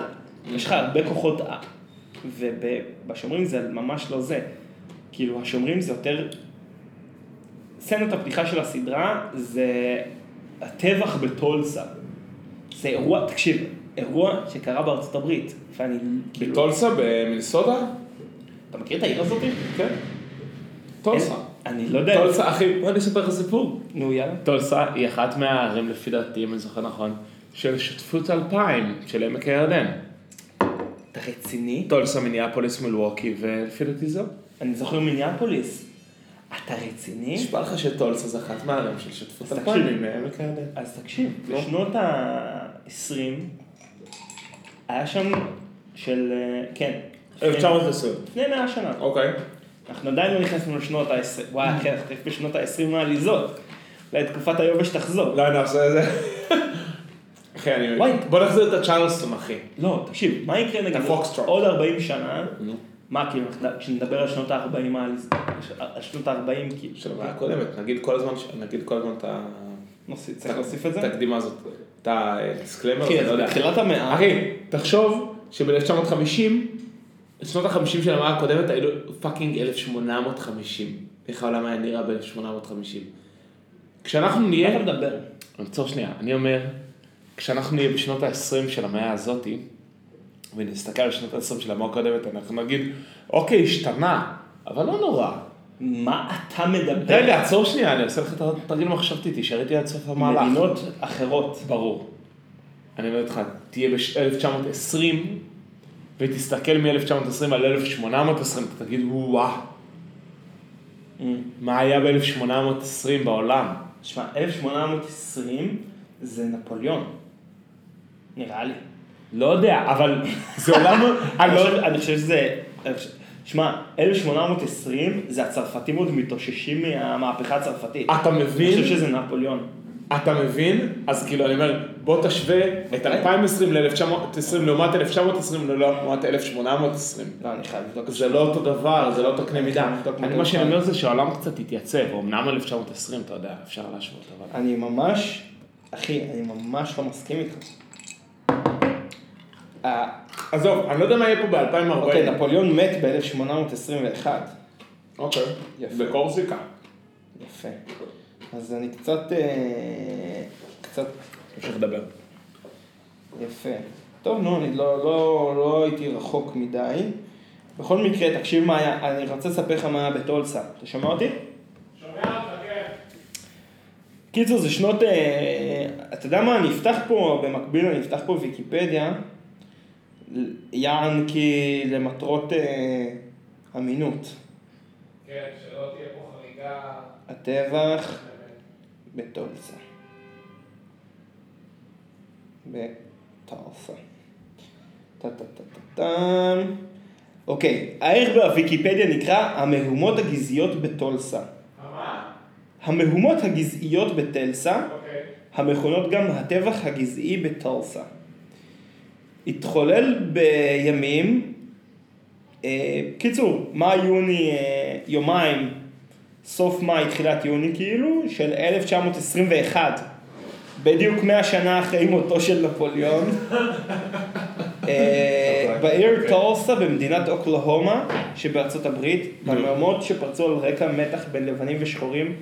[SPEAKER 1] יש לך הרבה כוחות על, ובשומרים זה ממש לא זה, כאילו השומרים זה יותר סצנת הפתיחה של הסדרה זה הטבח בטולסה. זה אירוע, תקשיב, אירוע שקרה בארצות הברית. ואני, כאילו,
[SPEAKER 3] בטולסה במינסודה?
[SPEAKER 1] אתה מכיר את העיר הזאת?
[SPEAKER 3] כן. טולסה.
[SPEAKER 1] אני לא יודע.
[SPEAKER 3] טולסה, אחי, בוא אני אספר לך סיפור.
[SPEAKER 1] נו יאללה.
[SPEAKER 3] טולסה היא אחת מהערים, לפי דעתי, אם אני זוכר נכון, של שותפות אלפיים של עמק הירדן.
[SPEAKER 1] אתה רציני?
[SPEAKER 3] טולסה, מיניאפוליס, מלווקי, ולפי דעתי זהו.
[SPEAKER 1] אני זוכר מיניאפוליס. אתה רציני?
[SPEAKER 3] נשבע לך שטולסה זה אחת מהערים של שותפות
[SPEAKER 1] אז
[SPEAKER 3] אלפיים
[SPEAKER 1] תקשיב.
[SPEAKER 3] עם עמק הירדן.
[SPEAKER 1] אז תקשיב,
[SPEAKER 3] לא.
[SPEAKER 1] בשנות ה-20 היה שם של, אה, כן.
[SPEAKER 3] 1920.
[SPEAKER 1] לפני 100 שנה.
[SPEAKER 3] אוקיי.
[SPEAKER 1] אנחנו עדיין לא נכנסנו לשנות ה-20. וואי, אחי, אנחנו תכף בשנות ה-20 העליזות. אולי תקופת היובש תחזור.
[SPEAKER 3] לא, נעשה את זה. אחי, אני...
[SPEAKER 1] וואי.
[SPEAKER 3] בוא נחזיר את הצ'ארלסטון, אחי.
[SPEAKER 1] לא, תקשיב, מה יקרה נגיד
[SPEAKER 3] הפוקסטרוט.
[SPEAKER 1] עוד 40 שנה?
[SPEAKER 3] נו.
[SPEAKER 1] מה, כאילו, אנחנו- כשנדבר על שנות ה-40, על על שנות ה-40, כאילו,
[SPEAKER 3] של הבעיה הקודמת, נגיד כל הזמן, ש- נגיד כל הזמן את ה...
[SPEAKER 1] נוסיף- צריך להוסיף את זה?
[SPEAKER 3] הקדימה הזאת, את אה, הדיסקלמר,
[SPEAKER 1] כן, אז בתחילת המאה,
[SPEAKER 3] אחי, תחשוב שב-1950, שנות ה-50 של המאה הקודמת היינו פאקינג 1850. איך העולם היה נראה ב-1850. כשאנחנו נהיה...
[SPEAKER 1] מה אתה מדבר?
[SPEAKER 3] עצור שנייה, אני אומר, כשאנחנו נהיה בשנות ה-20 של המאה הזאתי, ונסתכל על שנות הסוף של המאה הקודמת, אנחנו נגיד, אוקיי, השתנה, אבל לא נורא.
[SPEAKER 1] מה אתה מדבר?
[SPEAKER 3] רגע, עצור שנייה, אני עושה לך את התרגיל המחשבתי, תישאר איתי עד סוף המהלך.
[SPEAKER 1] מדינות אחרות.
[SPEAKER 3] ברור. אני אומר לך, תהיה ב-1920, ותסתכל מ-1920 על 1820, אתה תגיד, וואה, מה היה ב-1820 בעולם?
[SPEAKER 1] שמע, 1820 זה נפוליאון. נראה לי.
[SPEAKER 3] לא יודע, אבל זה עולם... [laughs]
[SPEAKER 1] אני
[SPEAKER 3] לא-
[SPEAKER 1] חושב- אני חושב שזה... אני חושב- שמע, 1820 זה הצרפתים עוד מתאוששים מהמהפכה הצרפתית.
[SPEAKER 3] אתה
[SPEAKER 1] אני
[SPEAKER 3] מבין?
[SPEAKER 1] חושב שזה נפוליאון.
[SPEAKER 3] אתה מבין? אז כאילו אני אומר, בוא תשווה
[SPEAKER 1] אוקיי.
[SPEAKER 3] את 2020 ל-1920 לעומת 1920 לא, לעומת 1820.
[SPEAKER 1] לא, אני חייב לבדוק. את זה.
[SPEAKER 3] זה לא אותו דבר, זה לא אותו קנה מידה.
[SPEAKER 1] נבדוק
[SPEAKER 3] אני
[SPEAKER 1] מה
[SPEAKER 3] מה
[SPEAKER 1] זה
[SPEAKER 3] שאני
[SPEAKER 1] אומר.
[SPEAKER 3] אומר זה שהעולם קצת התייצב, אמנם 1920, אתה יודע, אפשר להשוות, אבל...
[SPEAKER 1] אני ממש, אחי, אני ממש לא מסכים איתך. אה,
[SPEAKER 3] עזוב, אני לא יודע מה יהיה פה
[SPEAKER 1] אוקיי,
[SPEAKER 3] ב-2040.
[SPEAKER 1] נפוליאון מת ב-1821.
[SPEAKER 3] אוקיי,
[SPEAKER 1] יפה.
[SPEAKER 3] בקורסיקה.
[SPEAKER 1] יפה. אז אני קצת... אה, קצת...
[SPEAKER 3] תמשיך לדבר.
[SPEAKER 1] יפה. טוב, נו, אני לא, לא, לא הייתי רחוק מדי. בכל מקרה, תקשיב מה היה, אני רוצה לספר לך מה היה בטולסה. אתה שומע אותי? קיצור, זה שנות... אה, אתה יודע מה, אני אפתח פה, במקביל אני אפתח פה ויקיפדיה, יען כי למטרות אה, אמינות.
[SPEAKER 4] כן, שלא תהיה פה חריגה.
[SPEAKER 1] הטבח בטולסה. בטולסה. טה טה טה טה טם. אוקיי, הערך בוויקיפדיה נקרא המהומות הגזעיות בטולסה.
[SPEAKER 4] מה?
[SPEAKER 1] המהומות הגזעיות בטלסה,
[SPEAKER 4] אוקיי.
[SPEAKER 1] המכונות גם הטבח הגזעי בטולסה. התחולל בימים, אה, קיצור, מאי-יוני, אה, יומיים, סוף מאי, תחילת יוני כאילו, של 1921, בדיוק 100 שנה אחרי מותו של נפוליאון, אה, בעיר טורסה במדינת אוקלהומה שבארצות הברית, במהומות שפרצו על רקע מתח בין לבנים ושחורים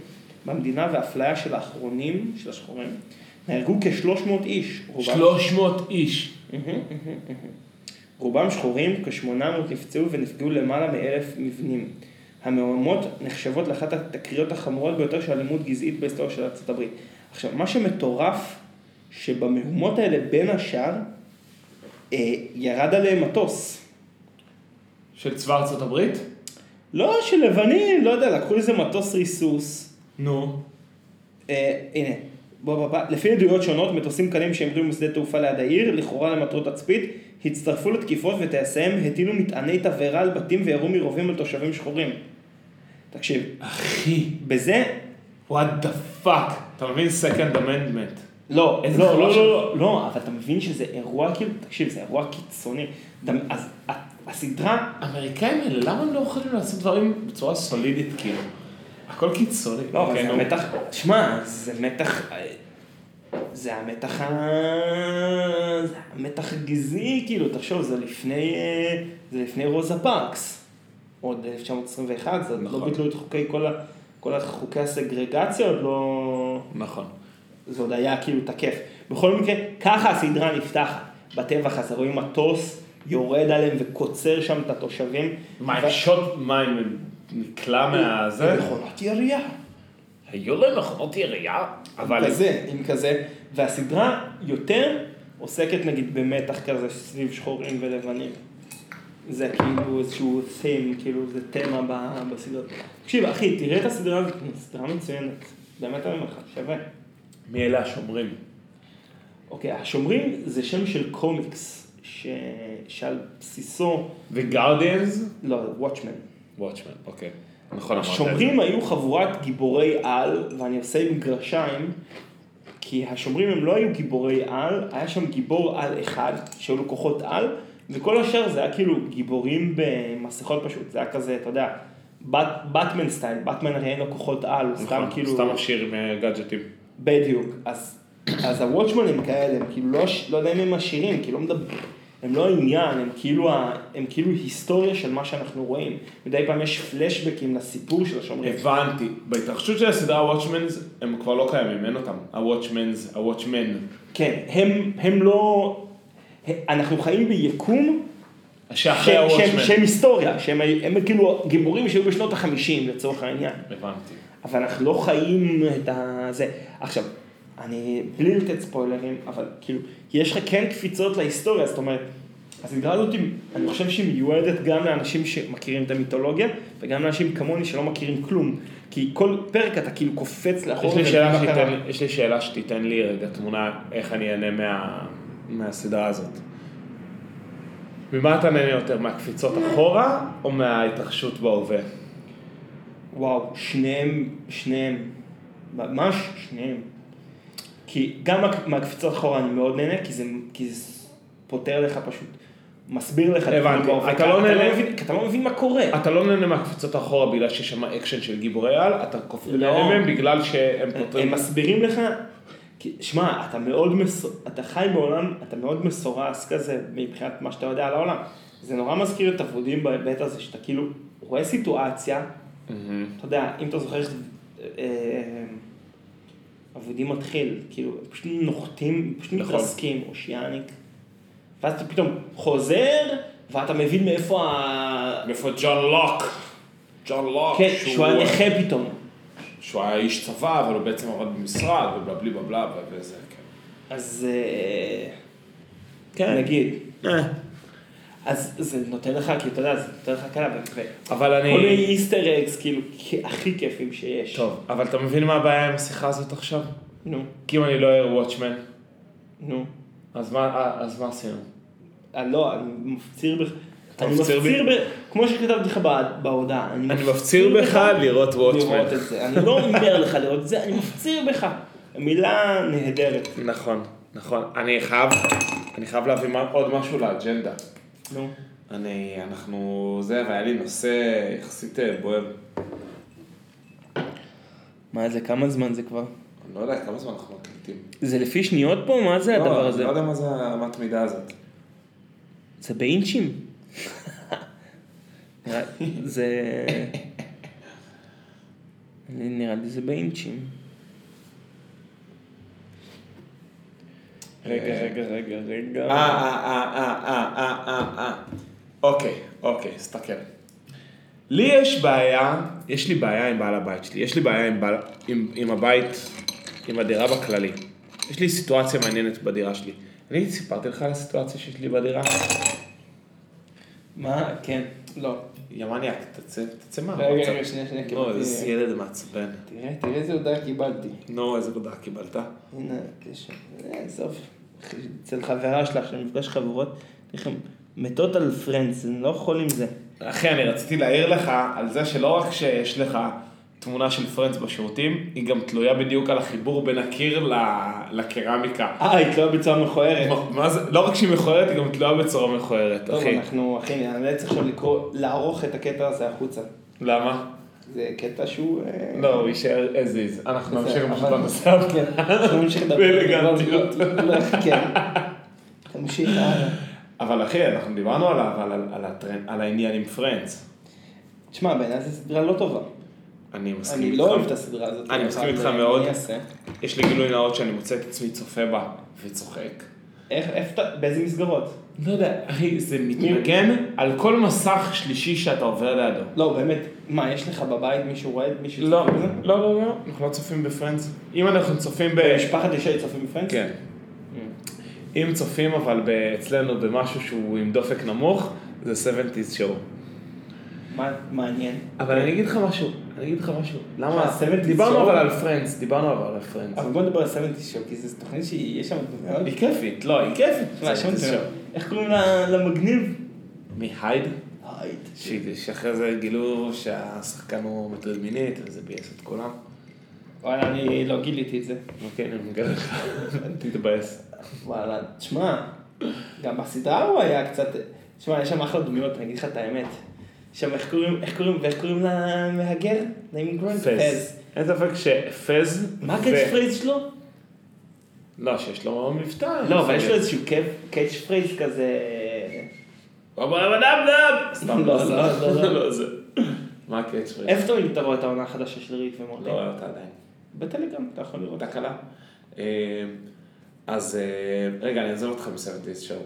[SPEAKER 1] במדינה ואפליה של האחרונים, של השחורים, נהרגו כ-300 איש. רובם
[SPEAKER 3] 300 איש.
[SPEAKER 1] רובם שחורים, כ-800 נפצעו ונפגעו למעלה מאלף מבנים. המהומות נחשבות לאחת התקריות החמורות ביותר של אלימות גזעית בהיסטוריה של ארצות הברית. עכשיו, מה שמטורף, שבמהומות האלה, בין השאר, אה, ירד עליהם מטוס.
[SPEAKER 3] של צבא ארצות הברית?
[SPEAKER 1] לא של לבנים, לא יודע, לקחו איזה מטוס ריסוס.
[SPEAKER 3] נו.
[SPEAKER 1] אה, הנה, בוא בוא בוא, לפי עדויות שונות, מטוסים קלים שהמריאו משדה תעופה ליד העיר, לכאורה למטרות תצפית, הצטרפו לתקיפות וטייסיהם הטילו מטעני תבערה על בתים וירו מרובים על תושבים שחורים. תקשיב,
[SPEAKER 3] אחי,
[SPEAKER 1] בזה,
[SPEAKER 3] what the fuck. אתה מבין? second amendment.
[SPEAKER 1] לא,
[SPEAKER 3] איזה
[SPEAKER 1] לא,
[SPEAKER 3] חבל
[SPEAKER 1] לא, לא,
[SPEAKER 3] ש-
[SPEAKER 1] לא, לא, אבל אתה מבין שזה אירוע, כאילו, תקשיב, זה אירוע קיצוני. אתה- אז ה- הסדרה,
[SPEAKER 3] האמריקאים האלה, למה הם לא יכולים לעשות דברים בצורה סולידית כאילו? הכל קיצוני.
[SPEAKER 1] לא, אבל
[SPEAKER 3] אוקיי,
[SPEAKER 1] זה
[SPEAKER 3] נו.
[SPEAKER 1] המתח, שמע, זה מתח, אה, זה המתח, ה- זה המתח הגזעי, כאילו, תחשוב, זה לפני, אה, זה לפני רוזה פארקס, עוד 1921, זה עוד לא
[SPEAKER 3] נכון.
[SPEAKER 1] ביטלו את חוקי, כל ה- כל חוקי הסגרגציה עוד לא...
[SPEAKER 3] נכון.
[SPEAKER 1] זה עוד היה כאילו תקף. בכל מקרה, ככה הסדרה נפתחת. בטבח הזה רואים מטוס יורד עליהם וקוצר שם את התושבים.
[SPEAKER 3] מה,
[SPEAKER 1] ו-
[SPEAKER 3] עם שוט מים נקלע מהזה?
[SPEAKER 1] מכונת ירייה.
[SPEAKER 3] היו להם מכונות ירייה? אבל...
[SPEAKER 1] אבל כזה, עם כזה. והסדרה יותר עוסקת נגיד במתח כזה סביב שחורים ולבנים. זה כאילו איזשהו theme, כאילו זה תמה ב- בסדרה. תקשיב, אחי, תראה את הסדרה הזאת, סדרה מצוינת. באמת אני אומר לך, שווה.
[SPEAKER 3] מי אלה השומרים?
[SPEAKER 1] אוקיי, השומרים זה שם של קומיקס, ש... שעל בסיסו,
[SPEAKER 3] The Guardians?
[SPEAKER 1] לא, וואטשמן.
[SPEAKER 3] וואטשמן, אוקיי. נכון, אמרת את זה.
[SPEAKER 1] השומרים היו חבורת גיבורי על, ואני עושה עם גרשיים, כי השומרים הם לא היו גיבורי על, היה שם גיבור על אחד, שהיו לו כוחות על, וכל השאר זה היה כאילו גיבורים במסכות פשוט, זה היה כזה, אתה יודע, בת, באטמן סטייל, באטמן הרי אין לו כוחות על, הוא סתם
[SPEAKER 3] נכון,
[SPEAKER 1] כאילו...
[SPEAKER 3] סתם השיר מהגאדג'טים.
[SPEAKER 1] בדיוק, אז, אז הוואטשמנים כאלה, הם כאילו לא, לא יודע אם הם עשירים, כאילו לא מדברים, הם לא העניין, הם כאילו, ה, הם כאילו היסטוריה של מה שאנחנו רואים. מדי פעם יש פלשבקים לסיפור של השומרים.
[SPEAKER 3] הבנתי. בהתרחשות של הסדרה וואטשמנס, הם כבר לא קיימים, אין אותם. הוואטשמנס, הוואטשמן.
[SPEAKER 1] כן, הם, הם לא, אנחנו חיים ביקום
[SPEAKER 3] שאחרי
[SPEAKER 1] שהם- שהם
[SPEAKER 3] הוואטשמן.
[SPEAKER 1] שהם היסטוריה, שהם היו- הם כאילו גיבורים שהיו בשנות החמישים לצורך העניין.
[SPEAKER 3] הבנתי.
[SPEAKER 1] אבל אנחנו לא חיים את ה... זה. עכשיו, אני, בלי לתת ספוילרים, אבל כאילו, יש לך כן קפיצות להיסטוריה, זאת אומרת, הסדרה הזאת, אני חושב שהיא מיועדת גם לאנשים שמכירים את המיתולוגיה, וגם לאנשים כמוני שלא מכירים כלום. כי כל פרק אתה כאילו קופץ לאחור.
[SPEAKER 3] יש לי,
[SPEAKER 1] ומבין
[SPEAKER 3] שאלה
[SPEAKER 1] מה קרה.
[SPEAKER 3] שתיתן, לי- יש לי שאלה שתיתן לי רגע תמונה איך אני אענה מה, מהסדרה הזאת. ממה אתה נהנה יותר, מהקפיצות אחורה או מההתרחשות בהווה?
[SPEAKER 1] וואו, שניהם, שניהם, ממש שניהם. כי גם מה- מהקפיצות אחורה אני מאוד נהנה, כי זה, כי זה פותר לך פשוט, מסביר לך. את
[SPEAKER 3] הבנתי.
[SPEAKER 1] הדברים בהווה.
[SPEAKER 3] אתה לא נהנה-
[SPEAKER 1] מבין- כי אתה לא מבין מה קורה.
[SPEAKER 3] אתה לא נהנה מהקפיצות אחורה בגלל שיש שם אקשן של גיבורי על, אתה קופ-
[SPEAKER 1] לא.
[SPEAKER 3] נהנה מהם בגלל שהם
[SPEAKER 1] הם
[SPEAKER 3] פותרים...
[SPEAKER 1] מסבירים לך, כי- שמע, אתה מאוד, מס... אתה חי בעולם, אתה מאוד מסורס כזה מבחינת מה שאתה יודע על העולם. זה נורא מזכיר את הוודים בהיבט הזה, שאתה כאילו רואה סיטואציה,
[SPEAKER 3] מהמם.
[SPEAKER 1] אתה יודע, אם אתה זוכר איך אה, אבודים מתחיל, כאילו, הם פשוט נוחתים, פשוט
[SPEAKER 3] נכון.
[SPEAKER 1] מתרסקים, אושיאניק, ואז אתה פתאום חוזר, ואתה מבין מאיפה ה...
[SPEAKER 3] איפה ג'ון לוק? ג'ון לוק,
[SPEAKER 1] כן, שהוא היה נכה פתאום.
[SPEAKER 3] שהוא היה איש צבא, אבל הוא בעצם עבד במשרד, ובלה בלי בבלה וזה, כן.
[SPEAKER 1] אז אה,
[SPEAKER 3] כן.
[SPEAKER 1] נגיד. אה. אז זה נותן לך, כאילו, אתה יודע, זה נותן לך קלה, ו- ו-
[SPEAKER 3] אבל אני...
[SPEAKER 1] כל מיני איסטר אקס, כאילו, כ- הכי כיפים שיש.
[SPEAKER 3] טוב, אבל אתה מבין מה הבעיה עם השיחה הזאת עכשיו?
[SPEAKER 1] נו,
[SPEAKER 3] כי אם אני לא אהיה וואטשמן,
[SPEAKER 1] נו.
[SPEAKER 3] אז מה, אה, אז מה עשינו?
[SPEAKER 1] אה, לא, אני מפציר בך.
[SPEAKER 3] אתה
[SPEAKER 1] אני
[SPEAKER 3] מפציר
[SPEAKER 1] מפציר ב... כמו שכתבתי לך בה- בהודעה. אני
[SPEAKER 3] לראות
[SPEAKER 1] לראות את זה. אני לא אומר לך לראות את זה, אני מפציר בך. מילה נהדרת.
[SPEAKER 3] נכון, נכון. אני חייב, אני חייב להביא מה- עוד משהו לאג'נדה.
[SPEAKER 1] נו.
[SPEAKER 3] אני, אנחנו, זה, והיה לי נושא יחסית אה, בוער.
[SPEAKER 1] מה זה, כמה זמן זה כבר?
[SPEAKER 3] אני לא יודע כמה זמן אנחנו מקליטים.
[SPEAKER 1] זה לפי שניות פה? מה זה
[SPEAKER 3] לא, אני לא יודע מה זה האמת מידה הזאת.
[SPEAKER 1] זה באינצ'ים. נראה- זה... אני- נראה לי זה באינצ'ים. רגע, רגע, רגע, רגע.
[SPEAKER 3] אה, אה, אה, אה, אה, אה, אה, אה. אוקיי, אוקיי, הסתכל. לי יש בעיה, יש לי בעיה עם בעל הבית שלי, יש לי בעיה עם, בעל, עם, עם הבית, עם הדירה בכללי. יש לי סיטואציה מעניינת בדירה שלי. אני סיפרתי לך על הסיטואציה שיש לי בדירה?
[SPEAKER 1] מה? כן. לא.
[SPEAKER 3] יא מניאק, תצא, תצא מה?
[SPEAKER 1] רגע, רגע, שנייה, שנייה,
[SPEAKER 3] נו,
[SPEAKER 1] קיבלתי-
[SPEAKER 3] איזה ילד מעצבן.
[SPEAKER 1] תראה, תראה איזה הודעה קיבלתי.
[SPEAKER 3] נו, איזה הודעה קיבלת.
[SPEAKER 1] הנה הקשר. אה, עזוב. אצל חברה שלך, של מפגש חברות, איך הם מתות על פרנדס, הם לא יכולים זה.
[SPEAKER 3] אחי, אני רציתי להעיר לך על זה שלא רק שיש לך תמונה של פרנץ בשירותים, היא גם תלויה בדיוק על החיבור בין הקיר ל- לקרמיקה.
[SPEAKER 1] אה, היא תלויה בצורה מכוערת.
[SPEAKER 3] מה- מה זה, לא רק שהיא מכוערת, היא גם תלויה בצורה מכוערת,
[SPEAKER 1] טוב,
[SPEAKER 3] אחי.
[SPEAKER 1] אנחנו, אחי, נאלץ עכשיו לקרוא, לערוך את הקטע הזה החוצה.
[SPEAKER 3] למה?
[SPEAKER 1] זה קטע שהוא... אה,
[SPEAKER 3] לא, הוא יישאר as is. אנחנו
[SPEAKER 1] בסדר,
[SPEAKER 3] נמשיך פשוט
[SPEAKER 1] אבל-
[SPEAKER 3] בנושא הבא. [laughs]
[SPEAKER 1] כן, אנחנו נמשיך לדבר.
[SPEAKER 3] באלגנטיות.
[SPEAKER 1] לא, [laughs] כן. תמשיך הלאה.
[SPEAKER 3] אבל אחי, אנחנו דיברנו עליו, על- על- על הטרנד- על העניין עם פרנץ.
[SPEAKER 1] תשמע, בעיניי זו סדרה לא טובה.
[SPEAKER 3] אני מסכים
[SPEAKER 1] אני
[SPEAKER 3] איתך.
[SPEAKER 1] לא אוהב את הסדרה הזאת.
[SPEAKER 3] אני מסכים
[SPEAKER 1] אבל
[SPEAKER 3] איתך
[SPEAKER 1] אני
[SPEAKER 3] מאוד.
[SPEAKER 1] אעשה.
[SPEAKER 3] יש לי גילוי נאות שאני מוצא את עצמי צופה בה וצוחק.
[SPEAKER 1] איך, איפה אתה, באיזה מסגרות?
[SPEAKER 3] לא יודע, אחי, זה מתנגן על כל מסך שלישי שאתה עובר לידו.
[SPEAKER 1] לא, באמת, מה, יש לך בבית מישהו רואה את מישהו?
[SPEAKER 3] לא,
[SPEAKER 1] צופה בזה?
[SPEAKER 3] לא, לא, לא, אנחנו לא צופים בפרנדס. אם אנחנו צופים ב...
[SPEAKER 1] משפחת ישי צופים בפרנדס?
[SPEAKER 3] כן. אם צופים אבל ב- אצלנו במשהו שהוא עם דופק נמוך, זה 70's show.
[SPEAKER 1] מה, מעניין.
[SPEAKER 3] אבל אני אגיד לך משהו, אני אגיד לך משהו.
[SPEAKER 1] מה,
[SPEAKER 3] למה?
[SPEAKER 1] 70s show?
[SPEAKER 3] דיברנו אבל על פרנדס, דיברנו אבל על פרנדס.
[SPEAKER 1] אבל בוא נדבר על 70 שואו, כי זו תוכנית שיש שם... מאוד-
[SPEAKER 3] היא כיפית, לא, היא כיפית.
[SPEAKER 1] מה, שם
[SPEAKER 3] 70s
[SPEAKER 1] זה-
[SPEAKER 3] show.
[SPEAKER 1] איך קוראים ל- למגניב?
[SPEAKER 3] מי הייד?
[SPEAKER 1] הייט.
[SPEAKER 3] ש- שאחרי זה גילו שהשחקן הוא מטריד מינית, וזה ביאס את כולם.
[SPEAKER 1] וואלה, אני לא גיליתי את זה.
[SPEAKER 3] אוקיי, אני מגלה לך, [laughs] אל תתבאס.
[SPEAKER 1] וואלה, תשמע, גם בסדרה הוא היה קצת... תשמע, יש שם אחלה דמויות, אני אגיד לך את האמת. שם איך קוראים, איך קוראים, ואיך קוראים למהגר? לאימגרנט?
[SPEAKER 3] פז. אין ספק שפז...
[SPEAKER 1] מה
[SPEAKER 3] ו-
[SPEAKER 1] הקאץ' פרייז שלו?
[SPEAKER 3] לא, שיש לו מבטא.
[SPEAKER 1] לא, אבל יש לו איזשהו קאץ' פרייז כזה...
[SPEAKER 3] אבל אדם דם! סתם,
[SPEAKER 1] לא,
[SPEAKER 3] לא,
[SPEAKER 1] לא, לא, לא.
[SPEAKER 3] לא, לא, זה. מה הקאץ' פרייז?
[SPEAKER 1] איפה תמיד אתה רואה את העונה החדשה של ריק ומורטי?
[SPEAKER 3] לא רואה אותה עדיין.
[SPEAKER 1] בטלגרם, אתה יכול לראות.
[SPEAKER 3] תקלה. אה, אז אה, רגע, אני אעזוב אותך מסרט דיס שואו.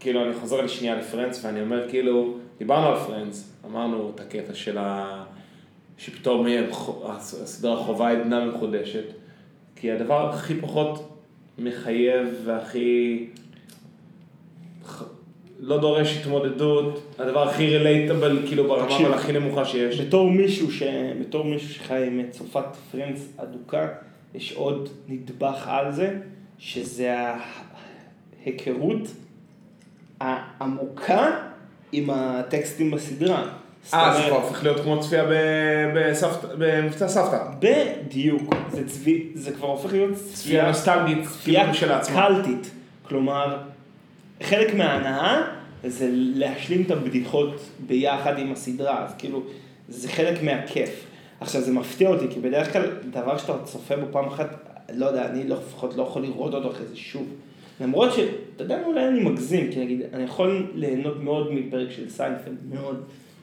[SPEAKER 3] כאילו, אני חוזר לי שנייה לפרנץ, ואני אומר, כאילו, דיברנו על פרנץ, אמרנו את הקטע של ה... שפתאום יהיה חו- הס- הסדרה חובה עדנה מחודשת, כי הדבר הכי פחות מחייב והכי... ח- לא דורש התמודדות, הדבר הכי רילייטבל, כאילו, ברמה
[SPEAKER 1] תקשיב.
[SPEAKER 3] אבל הכי נמוכה שיש.
[SPEAKER 1] בתור מישהו, ש... בתור מישהו שחי עם צרפת פרנס אדוקה, יש עוד נדבך על זה, שזה ההיכרות העמוקה עם הטקסטים בסדרה. זאת
[SPEAKER 3] אה, זה
[SPEAKER 1] אומרת,
[SPEAKER 3] כבר הופך להיות כמו צפייה ב- בסבתא- במבצע סבתא.
[SPEAKER 1] בדיוק, זה, צבי... זה כבר הופך להיות
[SPEAKER 3] צפייה
[SPEAKER 1] צפייה
[SPEAKER 3] נוסטלגית, לא כאילו
[SPEAKER 1] צפייה
[SPEAKER 3] של עצמה.
[SPEAKER 1] קלטית. כלומר, חלק מההנאה זה להשלים את הבדיחות ביחד עם הסדרה, אז כאילו, זה חלק מהכיף. עכשיו, זה מפתיע אותי, כי בדרך כלל, דבר שאתה צופה בו פעם אחת, לא יודע, אני לא- לפחות לא יכול לראות אותו אחרי זה שוב. למרות ש, אתה יודע, מה, אולי אני מגזים, כי נגיד, אני יכול ליהנות מאוד מפרק של סיינפלד, מאוד,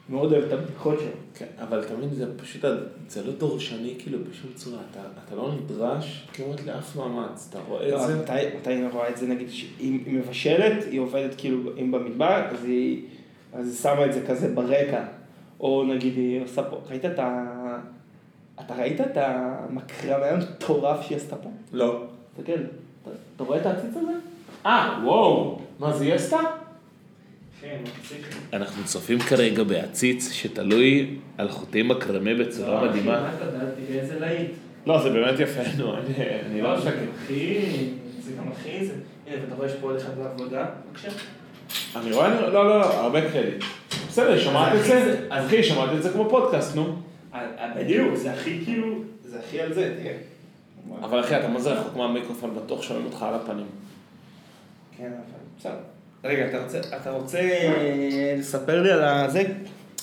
[SPEAKER 1] מאוד אוהב את הבדיחות שלו.
[SPEAKER 3] כן, אבל תמיד זה פשוט, זה לא דורשני כאילו בשום צורה, אתה, אתה לא נדרש כמעט לאף מאמץ, אתה רואה את
[SPEAKER 1] לא,
[SPEAKER 3] זה.
[SPEAKER 1] מתי, מתי היא רואה את זה, נגיד, שהיא- היא מבשלת, היא עובדת כאילו אם במדבר, אז היא, אז היא שמה את זה כזה ברקע. או נגיד היא עושה פה, ראית את ה... אתה ראית את המקרם היה מטורף שהיא עשתה פה?
[SPEAKER 3] לא.
[SPEAKER 1] תסתכל, אתה, אתה רואה את העציץ הזה?
[SPEAKER 3] אה, וואו, מה זה יסתה?
[SPEAKER 1] כן, מצליח.
[SPEAKER 3] אנחנו צופים כרגע בעציץ שתלוי על חוטים מקרמה
[SPEAKER 1] לא,
[SPEAKER 3] בצורה לא מדהימה.
[SPEAKER 1] תראה איזה להיט.
[SPEAKER 3] לא, זה באמת יפה, נו, אני אני לא משקר.
[SPEAKER 1] הכי, זה גם הכי, זה... הנה, ואתה רואה שפה עוד אחד לעבודה? בבקשה.
[SPEAKER 3] אני רואה, אני- לא, לא, לא, הרבה קרדיט. בסדר, שמעת את זה? אחי, שמעת את זה כמו פודקאסט, נו.
[SPEAKER 1] בדיוק, זה הכי כאילו, זה הכי על זה, תראה.
[SPEAKER 3] אבל אחי, אתה מה זה רחוק מהמיקרופון, בטוח שומעים אותך על הפנים.
[SPEAKER 1] כן, אבל בסדר. רגע, אתה רוצה, אתה רוצה אה, לספר לי על הזה?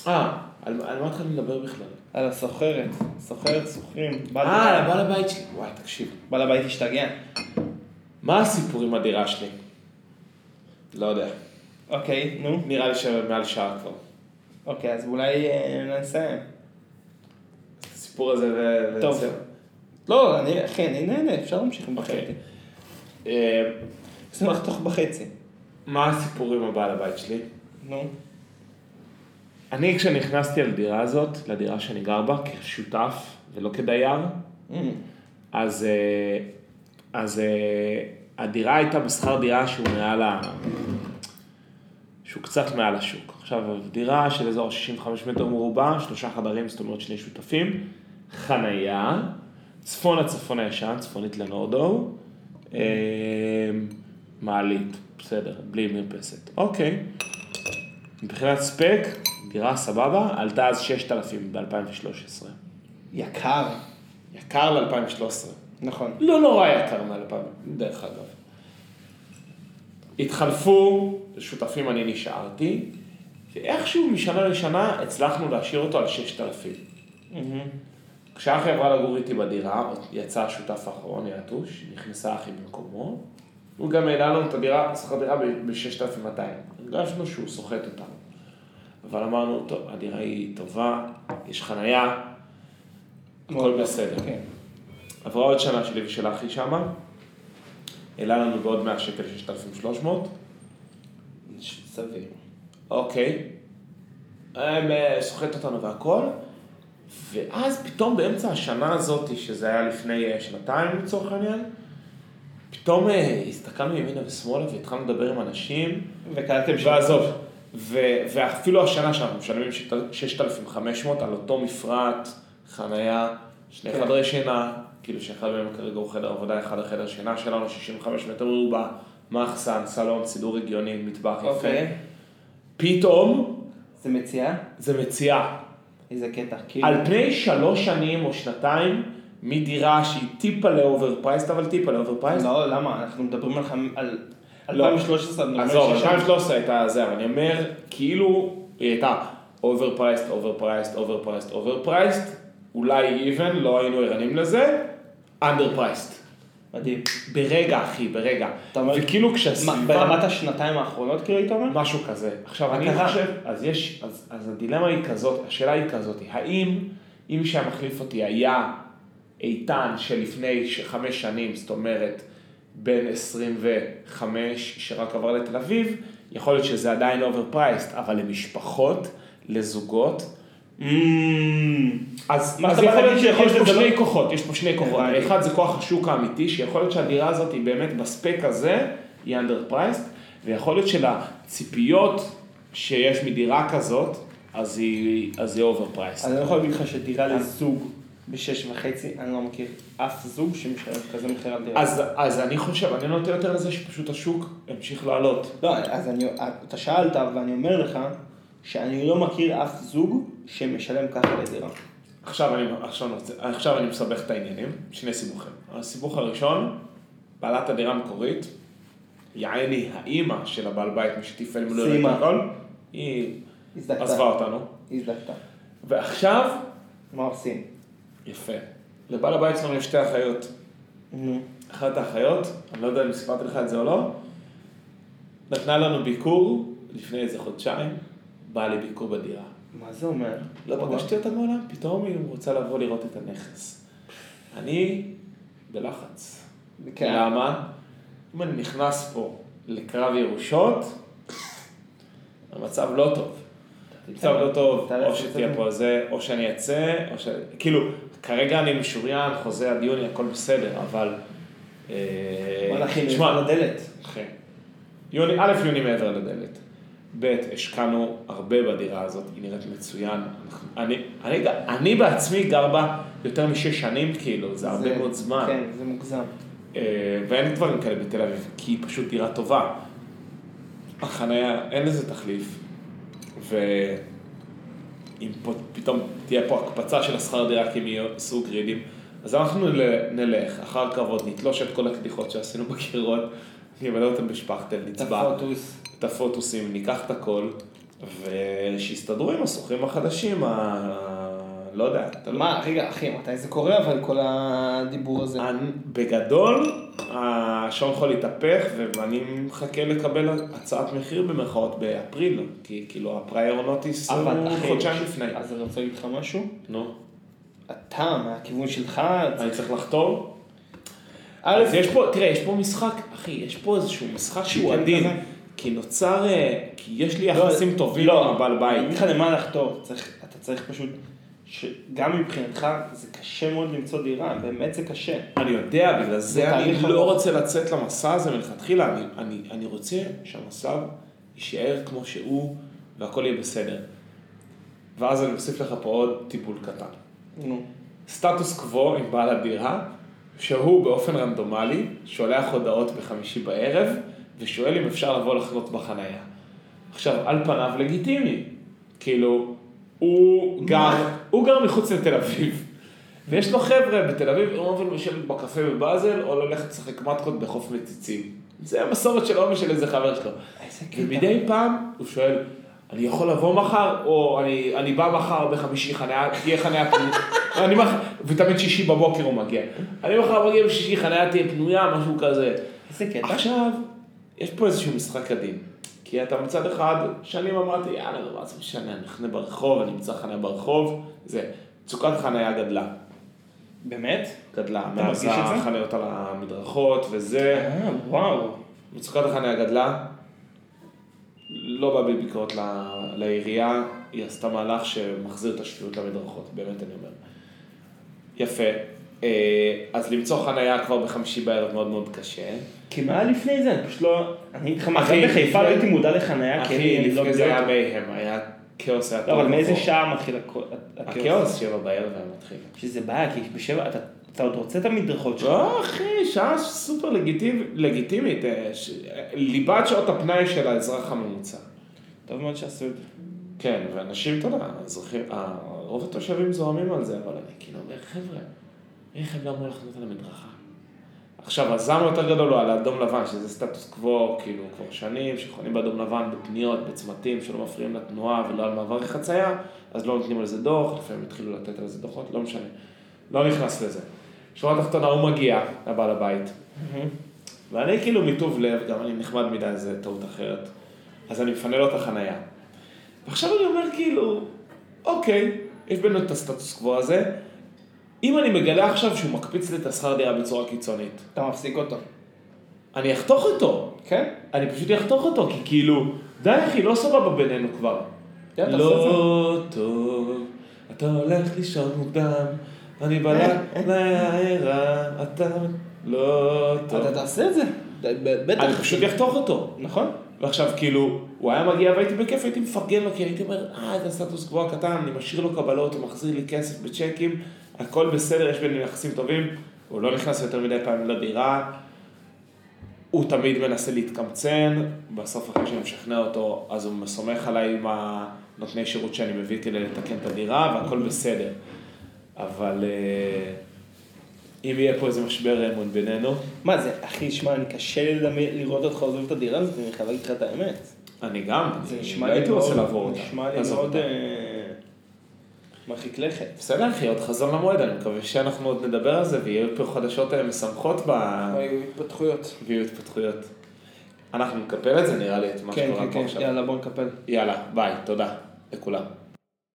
[SPEAKER 3] אה, על על מה התחלנו לדבר בכלל?
[SPEAKER 1] על הסוחרת, סוחרת סוחרים. בעל
[SPEAKER 3] אה,
[SPEAKER 1] הבית.
[SPEAKER 3] לבעל הבית שלי. וואי, תקשיב.
[SPEAKER 1] בעל הבית השתגע.
[SPEAKER 3] מה הסיפור עם הדירה שלי? לא יודע.
[SPEAKER 1] אוקיי, נו.
[SPEAKER 3] נראה לי שמעל שעה כבר.
[SPEAKER 1] אוקיי, אז אולי אה, נסיים.
[SPEAKER 3] הסיפור הזה ו...
[SPEAKER 1] טוב.
[SPEAKER 3] וזהו.
[SPEAKER 1] לא, אני, אחי, אני נהנה, אפשר להמשיך עם
[SPEAKER 3] אוקיי.
[SPEAKER 1] בחצי.
[SPEAKER 3] אה,
[SPEAKER 1] אפשר לחתוך בחצי.
[SPEAKER 3] מה הסיפור עם הבעל הבית שלי?
[SPEAKER 1] נו.
[SPEAKER 3] אני כשנכנסתי לדירה הזאת, לדירה שאני גר בה, כשותף ולא כדייר,
[SPEAKER 1] אמ,
[SPEAKER 3] אז, אה, אז אה, הדירה הייתה בשכר דירה שהוא מעל ה... שהוא קצת מעל השוק. עכשיו, דירה של אזור 65 מטר מרובע, שלושה חדרים, זאת אומרת שני שותפים, חנייה, צפון הצפון הישן, צפונית לנורדו, אה, מעלית, בסדר, בלי מרפסת. אוקיי. מבחינת ספק, דירה סבבה, עלתה אז 6,000 ב-2013.
[SPEAKER 1] יקר.
[SPEAKER 3] יקר ל-2013.
[SPEAKER 1] נכון.
[SPEAKER 3] לא נורא יקר מ-2000, דרך אגב. התחלפו שותפים, אני נשארתי, ואיכשהו משנה לשנה הצלחנו להשאיר אותו על 6,000. כשאחי עברה לגור איתי בדירה, יצא השותף האחרון, יעטוש, נכנסה אחי במקומו, הוא גם העלה לנו את הדירה, שכר דירה ב-6,200. הרגשנו שהוא סוחט אותנו. אבל אמרנו, טוב, הדירה היא טובה, יש חנייה, הכל בסדר.
[SPEAKER 1] כן.
[SPEAKER 3] עברה עוד שנה שלי ושל אחי שמה, העלה לנו בעוד 100 שקל 6,300,
[SPEAKER 1] סביר.
[SPEAKER 3] אוקיי, הם אה, סוחט אותנו והכל, ואז פתאום באמצע השנה הזאת, שזה היה לפני אה, שנתיים לצורך העניין, פתאום אה, הסתכלנו ימינה ושמאלה והתחלנו לדבר עם אנשים,
[SPEAKER 1] וקלטתם ש...
[SPEAKER 3] ועזוב, ו- ואפילו השנה שאנחנו משלמים שת- 6,500 על אותו מפרט, חנייה, שני
[SPEAKER 1] כן.
[SPEAKER 3] חדרי שינה, כאילו שאחד מהם כרגע הוא חדר עבודה, אחד החדר שינה שלנו, 65 מטר מרובע, מחסן, סלון, סידור הגיוני, מטבח יפה.
[SPEAKER 1] אוקיי.
[SPEAKER 3] פתאום
[SPEAKER 1] זה מציאה?
[SPEAKER 3] זה מציאה.
[SPEAKER 1] איזה קטע. כאילו...
[SPEAKER 3] על פני שלוש שנים או שנתיים, מדירה שהיא טיפה לאוברפרייסט, אבל טיפה לאוברפרייסט,
[SPEAKER 1] לא, למה? אנחנו מדברים על חמ- על...
[SPEAKER 3] לא.
[SPEAKER 1] 2013, אנחנו מדברים
[SPEAKER 3] עזוב,
[SPEAKER 1] על 6,000.
[SPEAKER 3] 2013 הייתה זה, אבל אני אומר, כאילו, היא הייתה אוברפרייסט, אוברפרייסט, אוברפרייסט, אוברפרייסט, אולי איבן, לא היינו ערנים לזה, אנדרפרייסט.
[SPEAKER 1] מדהים.
[SPEAKER 3] ברגע, אחי, ברגע.
[SPEAKER 1] אתה אומר-
[SPEAKER 3] וכאילו
[SPEAKER 1] מה,
[SPEAKER 3] כשהסביבה...
[SPEAKER 1] ברמת השנתיים האחרונות כאילו היית אומר?
[SPEAKER 3] משהו כזה. עכשיו,
[SPEAKER 1] מה
[SPEAKER 3] אני
[SPEAKER 1] קרה?
[SPEAKER 3] חושב, אז יש, אז, אז הדילמה היא כזאת, השאלה היא כזאת, האם, אם מי שהיה מחליף אותי היה איתן שלפני ש- חמש שנים, זאת אומרת, בן 25 שרק עבר לתל אביב, יכול להיות שזה עדיין אוברפרייסט, אבל למשפחות, לזוגות, אז
[SPEAKER 1] מה
[SPEAKER 3] אז
[SPEAKER 1] אתה בא
[SPEAKER 3] יכול להיות לא- אה,
[SPEAKER 1] להגיד
[SPEAKER 3] שיש
[SPEAKER 1] שיכול
[SPEAKER 3] פה
[SPEAKER 1] להיות
[SPEAKER 3] שני
[SPEAKER 1] שזה
[SPEAKER 3] כוחות, יש פה שני כוחות.
[SPEAKER 1] הבנתי.
[SPEAKER 3] אחד זה כוח השוק האמיתי, שיכול להיות שהדירה הזאת היא באמת בספק הזה, היא underpriced, ויכול להיות שלציפיות שיש מדירה כזאת, אז היא, אז היא overpriced.
[SPEAKER 1] אני לא יכול להגיד לך שדירה
[SPEAKER 3] אה.
[SPEAKER 1] לזוג בשש וחצי, אני לא מכיר אף זוג שמשלם כזה מחיר על דירה.
[SPEAKER 3] אז, אז אני חושב, אני לא נוטה יותר לזה שפשוט השוק המשיך לעלות.
[SPEAKER 1] לא, אז אני, אתה שאלת, ואני אומר לך שאני לא מכיר אף זוג שמשלם ככה לדירה.
[SPEAKER 3] עכשיו אני, עכשיו, אני רוצה- עכשיו אני מסבך את העניינים, שני סיבוכים. הסיבוך הראשון, בעלת הדירה המקורית, יעני האימא של הבעל בית, מי שתפעל מלא
[SPEAKER 1] סיימה.
[SPEAKER 3] הכל, היא
[SPEAKER 1] הזדקתה.
[SPEAKER 3] עזבה אותנו.
[SPEAKER 1] הזדקתה.
[SPEAKER 3] ועכשיו,
[SPEAKER 1] מה עושים?
[SPEAKER 3] יפה, לבעל הבית שלנו יש שתי אחיות.
[SPEAKER 1] נו.
[SPEAKER 3] אחת האחיות, אני לא יודע אם סיפרתי לך את זה או לא, נתנה לנו ביקור לפני איזה חודשיים, באה לביקור בדירה.
[SPEAKER 1] מה זה אומר?
[SPEAKER 3] לא פגשתי אותה מעולם, פתאום היא רוצה לבוא לראות את הנכס. אני בלחץ.
[SPEAKER 1] כן.
[SPEAKER 3] למה? אם אני נכנס פה לקרב ירושות, המצב לא טוב. המצב לא טוב,
[SPEAKER 1] אתה-
[SPEAKER 3] או שתהיה פה זה, או שאני אצא, או ש... כאילו, כרגע אני משוריין, חוזה עד יוני, הכל בסדר, אבל... אה,
[SPEAKER 1] בוא נכין,
[SPEAKER 3] תשמע,
[SPEAKER 1] נשמע לדלת.
[SPEAKER 3] אחי. יוני, א', יוני מעבר לדלת. ב', השקענו הרבה בדירה הזאת, היא נראית מצוין. אנחנו- אני, אני, אני בעצמי גר בה יותר משש שנים, כאילו, זה הרבה מאוד זמן.
[SPEAKER 1] כן, זה מוגזם.
[SPEAKER 3] אה, ואין דברים כאלה בתל אביב, כי היא פשוט דירה טובה. החניה, אין לזה תחליף. ואם פה, פתאום תהיה פה הקפצה של השכר דירה כי הם יעשו גרידים, אז אנחנו נל- נלך אחר כבוד, נתלוש את כל הקדיחות שעשינו בקירות, נמלא אותן בשפכטל, נצבע
[SPEAKER 1] הפוטוס.
[SPEAKER 3] את הפוטוסים, ניקח את הכל, ושיסתדרו עם השוכרים החדשים, ה... לא יודע, תלוי.
[SPEAKER 1] מה, רגע, אחי, מתי זה קורה אבל כל הדיבור הזה?
[SPEAKER 3] אני- בגדול, השעון יכול להתהפך, ואני מחכה לקבל הצעת מחיר במרכאות באפריל, כי כאילו הפרייר נוטיס
[SPEAKER 1] אבל
[SPEAKER 3] הוא
[SPEAKER 1] אחי,
[SPEAKER 3] חודשיים לפני.
[SPEAKER 1] אז אני רוצה להגיד לך משהו.
[SPEAKER 3] נו,
[SPEAKER 1] אתה, מהכיוון שלך,
[SPEAKER 3] אני צריך לחתור?
[SPEAKER 1] א',
[SPEAKER 3] אז יש פה, תראה, יש פה משחק, אחי, יש פה איזשהו משחק שהוא
[SPEAKER 1] כן,
[SPEAKER 3] עדין,
[SPEAKER 1] כזה.
[SPEAKER 3] כי נוצר, אה, כי יש לי
[SPEAKER 1] לא,
[SPEAKER 3] יחסים טובים
[SPEAKER 1] לא,
[SPEAKER 3] עם הבעל
[SPEAKER 1] אני אגיד
[SPEAKER 3] בית.
[SPEAKER 1] לך למה לחתור, צריך- אתה צריך פשוט, שגם מבחינתך זה קשה מאוד למצוא דירה, באמת זה קשה.
[SPEAKER 3] אני יודע, בגלל זה אני
[SPEAKER 1] תהליך
[SPEAKER 3] לא
[SPEAKER 1] ארוך.
[SPEAKER 3] רוצה לצאת למסע הזה מלכתחילה, אני, אני, אני רוצה שהמסע יישאר כמו שהוא והכל יהיה בסדר. ואז אני מוסיף לך פה עוד טיפול קטן.
[SPEAKER 1] נו.
[SPEAKER 3] סטטוס קוו עם בעל הדירה, שהוא באופן רנדומלי שולח הודעות בחמישי בערב ושואל אם אפשר לבוא לחנות בחנייה. עכשיו, על פניו לגיטימי, כאילו, הוא גר, הוא גר מחוץ לתל אביב, ויש לו חבר'ה בתל אביב, "אה, הוא אוהב לשבת בקפה בבאזל או ללכת לשחק מתקות בחוף מציצים. זה המסורת שלו ושל איזה חבר שלו.
[SPEAKER 1] איזה
[SPEAKER 3] ומדי פעם הוא שואל, אני יכול לבוא מחר, או אני, אני בא מחר בחמישי חניה, תהיה חניה פנויה, [laughs] אני מח... ותמיד שישי בבוקר הוא מגיע, אני מחר מגיע בשישי חניה תהיה פנויה, משהו כזה.
[SPEAKER 1] איזה קטע.
[SPEAKER 3] עכשיו, יש פה איזשהו משחק עדין, כי אתה מצד אחד, שנים אמרתי, יאללה, נו, מה זה משנה, אני אחנה ברחוב, אני אמצא חניה ברחוב, זה, מצוקת חניה גדלה,
[SPEAKER 1] באמת?
[SPEAKER 3] גדלה,
[SPEAKER 1] אתה
[SPEAKER 3] מאז
[SPEAKER 1] מרגיש את זה?
[SPEAKER 3] החניות על המדרכות וזה.
[SPEAKER 1] אה, וואו.
[SPEAKER 3] מצוקת החניה גדלה, לא בא בי ביקורת ל- לעירייה, היא עשתה מהלך שמחזיר את השפיות למדרכות, באמת אני אומר. יפה, אה, אז למצוא חניה כבר בחמישי בערב מאוד מאוד קשה.
[SPEAKER 1] כי מה היה לפני זה? אני פשוט לא... אני אגיד לך מה,
[SPEAKER 3] אחי,
[SPEAKER 1] גם בחיפה
[SPEAKER 3] לפני-
[SPEAKER 1] לא הייתי מודע לחניה, כי
[SPEAKER 3] אחי,
[SPEAKER 1] אני לא
[SPEAKER 3] לפני זה
[SPEAKER 1] יודע.
[SPEAKER 3] היה מייהם, היה כאוס, היה
[SPEAKER 1] לא, אבל
[SPEAKER 3] תוהו
[SPEAKER 1] מאיזה
[SPEAKER 3] ובוהו.
[SPEAKER 1] שעה מתחיל הכו- הכאוס?
[SPEAKER 3] הכאוס שבע בערב היה מתחיל.
[SPEAKER 1] שזה בעיה, כי בשבע אתה- אתה עוד רוצה את המדרכות שלך.
[SPEAKER 3] לא, אחי, שעה סופר לגיטימ- לגיטימית, אה, ש- ליבת שעות הפנאי של האזרח הממוצע.
[SPEAKER 1] טוב מאוד שעשו את זה.
[SPEAKER 3] כן, ואנשים, אתה יודע, האזרחים, ה- רוב התושבים זוהמים על זה, אבל אני כאילו אומר, חבר'ה, רכב לא אמור לחנות על המדרכה. עכשיו, הזעם היותר גדול הוא על האדום לבן, שזה סטטוס קוו, כאילו, כבר שנים, שחונים באדום לבן, בפניות, בצמתים, שלא מפריעים לתנועה ולא על מעברי חצייה, אז לא נותנים על זה דוח, לפעמים התחילו לתת על זה דוחות, לא משנה. לא נכנס לזה. שורה תחתונה, הוא מגיע, הבעל הבית, ואני כאילו מטוב לב, גם אני נחמד מדי, זה טעות אחרת. אז אני מפנה לו את החנייה. ועכשיו אני אומר כאילו, אוקיי, יש בינינו את הסטטוס קוו הזה, אם אני מגלה עכשיו שהוא מקפיץ לי את השכר דירה בצורה קיצונית,
[SPEAKER 1] אתה מפסיק אותו.
[SPEAKER 3] אני אחתוך אותו.
[SPEAKER 1] כן?
[SPEAKER 3] אני פשוט אחתוך אותו, כי כאילו, די אחי, לא סבבה בינינו כבר.
[SPEAKER 1] יאללה, תעשה
[SPEAKER 3] לא טוב, אתה הולך לישון מוקדם, אני
[SPEAKER 1] אה,
[SPEAKER 3] בלילה לעיירה, אתה לא טוב.
[SPEAKER 1] אתה תעשה את זה. ב- ב- בטח.
[SPEAKER 3] אני פשוט אחתוך אותו.
[SPEAKER 1] נכון.
[SPEAKER 3] ועכשיו כאילו, הוא היה מגיע והייתי בכיף, הייתי מפרגן לו, כי הייתי אומר, אה, את הסטטוס קוו הקטן, אני משאיר לו קבלות, הוא מחזיר לי כסף בצ'קים, הכל בסדר, יש בינינו יחסים טובים, הוא לא נכנס יותר מדי פעמים לדירה, הוא תמיד מנסה להתקמצן, בסוף אחרי שאני משכנע אותו, אז הוא סומך עליי עם הנותני שירות שאני מביא כדי לתקן את הדירה, והכל בסדר. אבל אה, אם יהיה פה איזה משבר אמון בינינו,
[SPEAKER 1] מה זה, אחי, שמע, אני קשה לי לדמיין- לראות אותך עוזב את הדירה הזאת, אני חייב להגיד לך את האמת.
[SPEAKER 3] אני גם,
[SPEAKER 1] זה
[SPEAKER 3] אני
[SPEAKER 1] נשמע
[SPEAKER 3] לא
[SPEAKER 1] לי
[SPEAKER 3] הייתי רוצה
[SPEAKER 1] מאוד-
[SPEAKER 3] לעבור אותה.
[SPEAKER 1] נשמע לי
[SPEAKER 3] לעזוב
[SPEAKER 1] מאוד
[SPEAKER 3] אותה.
[SPEAKER 1] אה, מרחיק לכת.
[SPEAKER 3] בסדר אחי, עוד חזון למועד, אני מקווה שאנחנו עוד נדבר על זה ויהיו פה חדשות אה, משמחות ב...
[SPEAKER 1] היו התפתחויות.
[SPEAKER 3] ויהיו התפתחויות. אנחנו נקפל את זה נראה לי, את מה
[SPEAKER 1] כן,
[SPEAKER 3] שקורה
[SPEAKER 1] כן,
[SPEAKER 3] פה
[SPEAKER 1] כן,
[SPEAKER 3] עכשיו.
[SPEAKER 1] יאללה, בוא נקפל.
[SPEAKER 3] יאללה, ביי, תודה לכולם.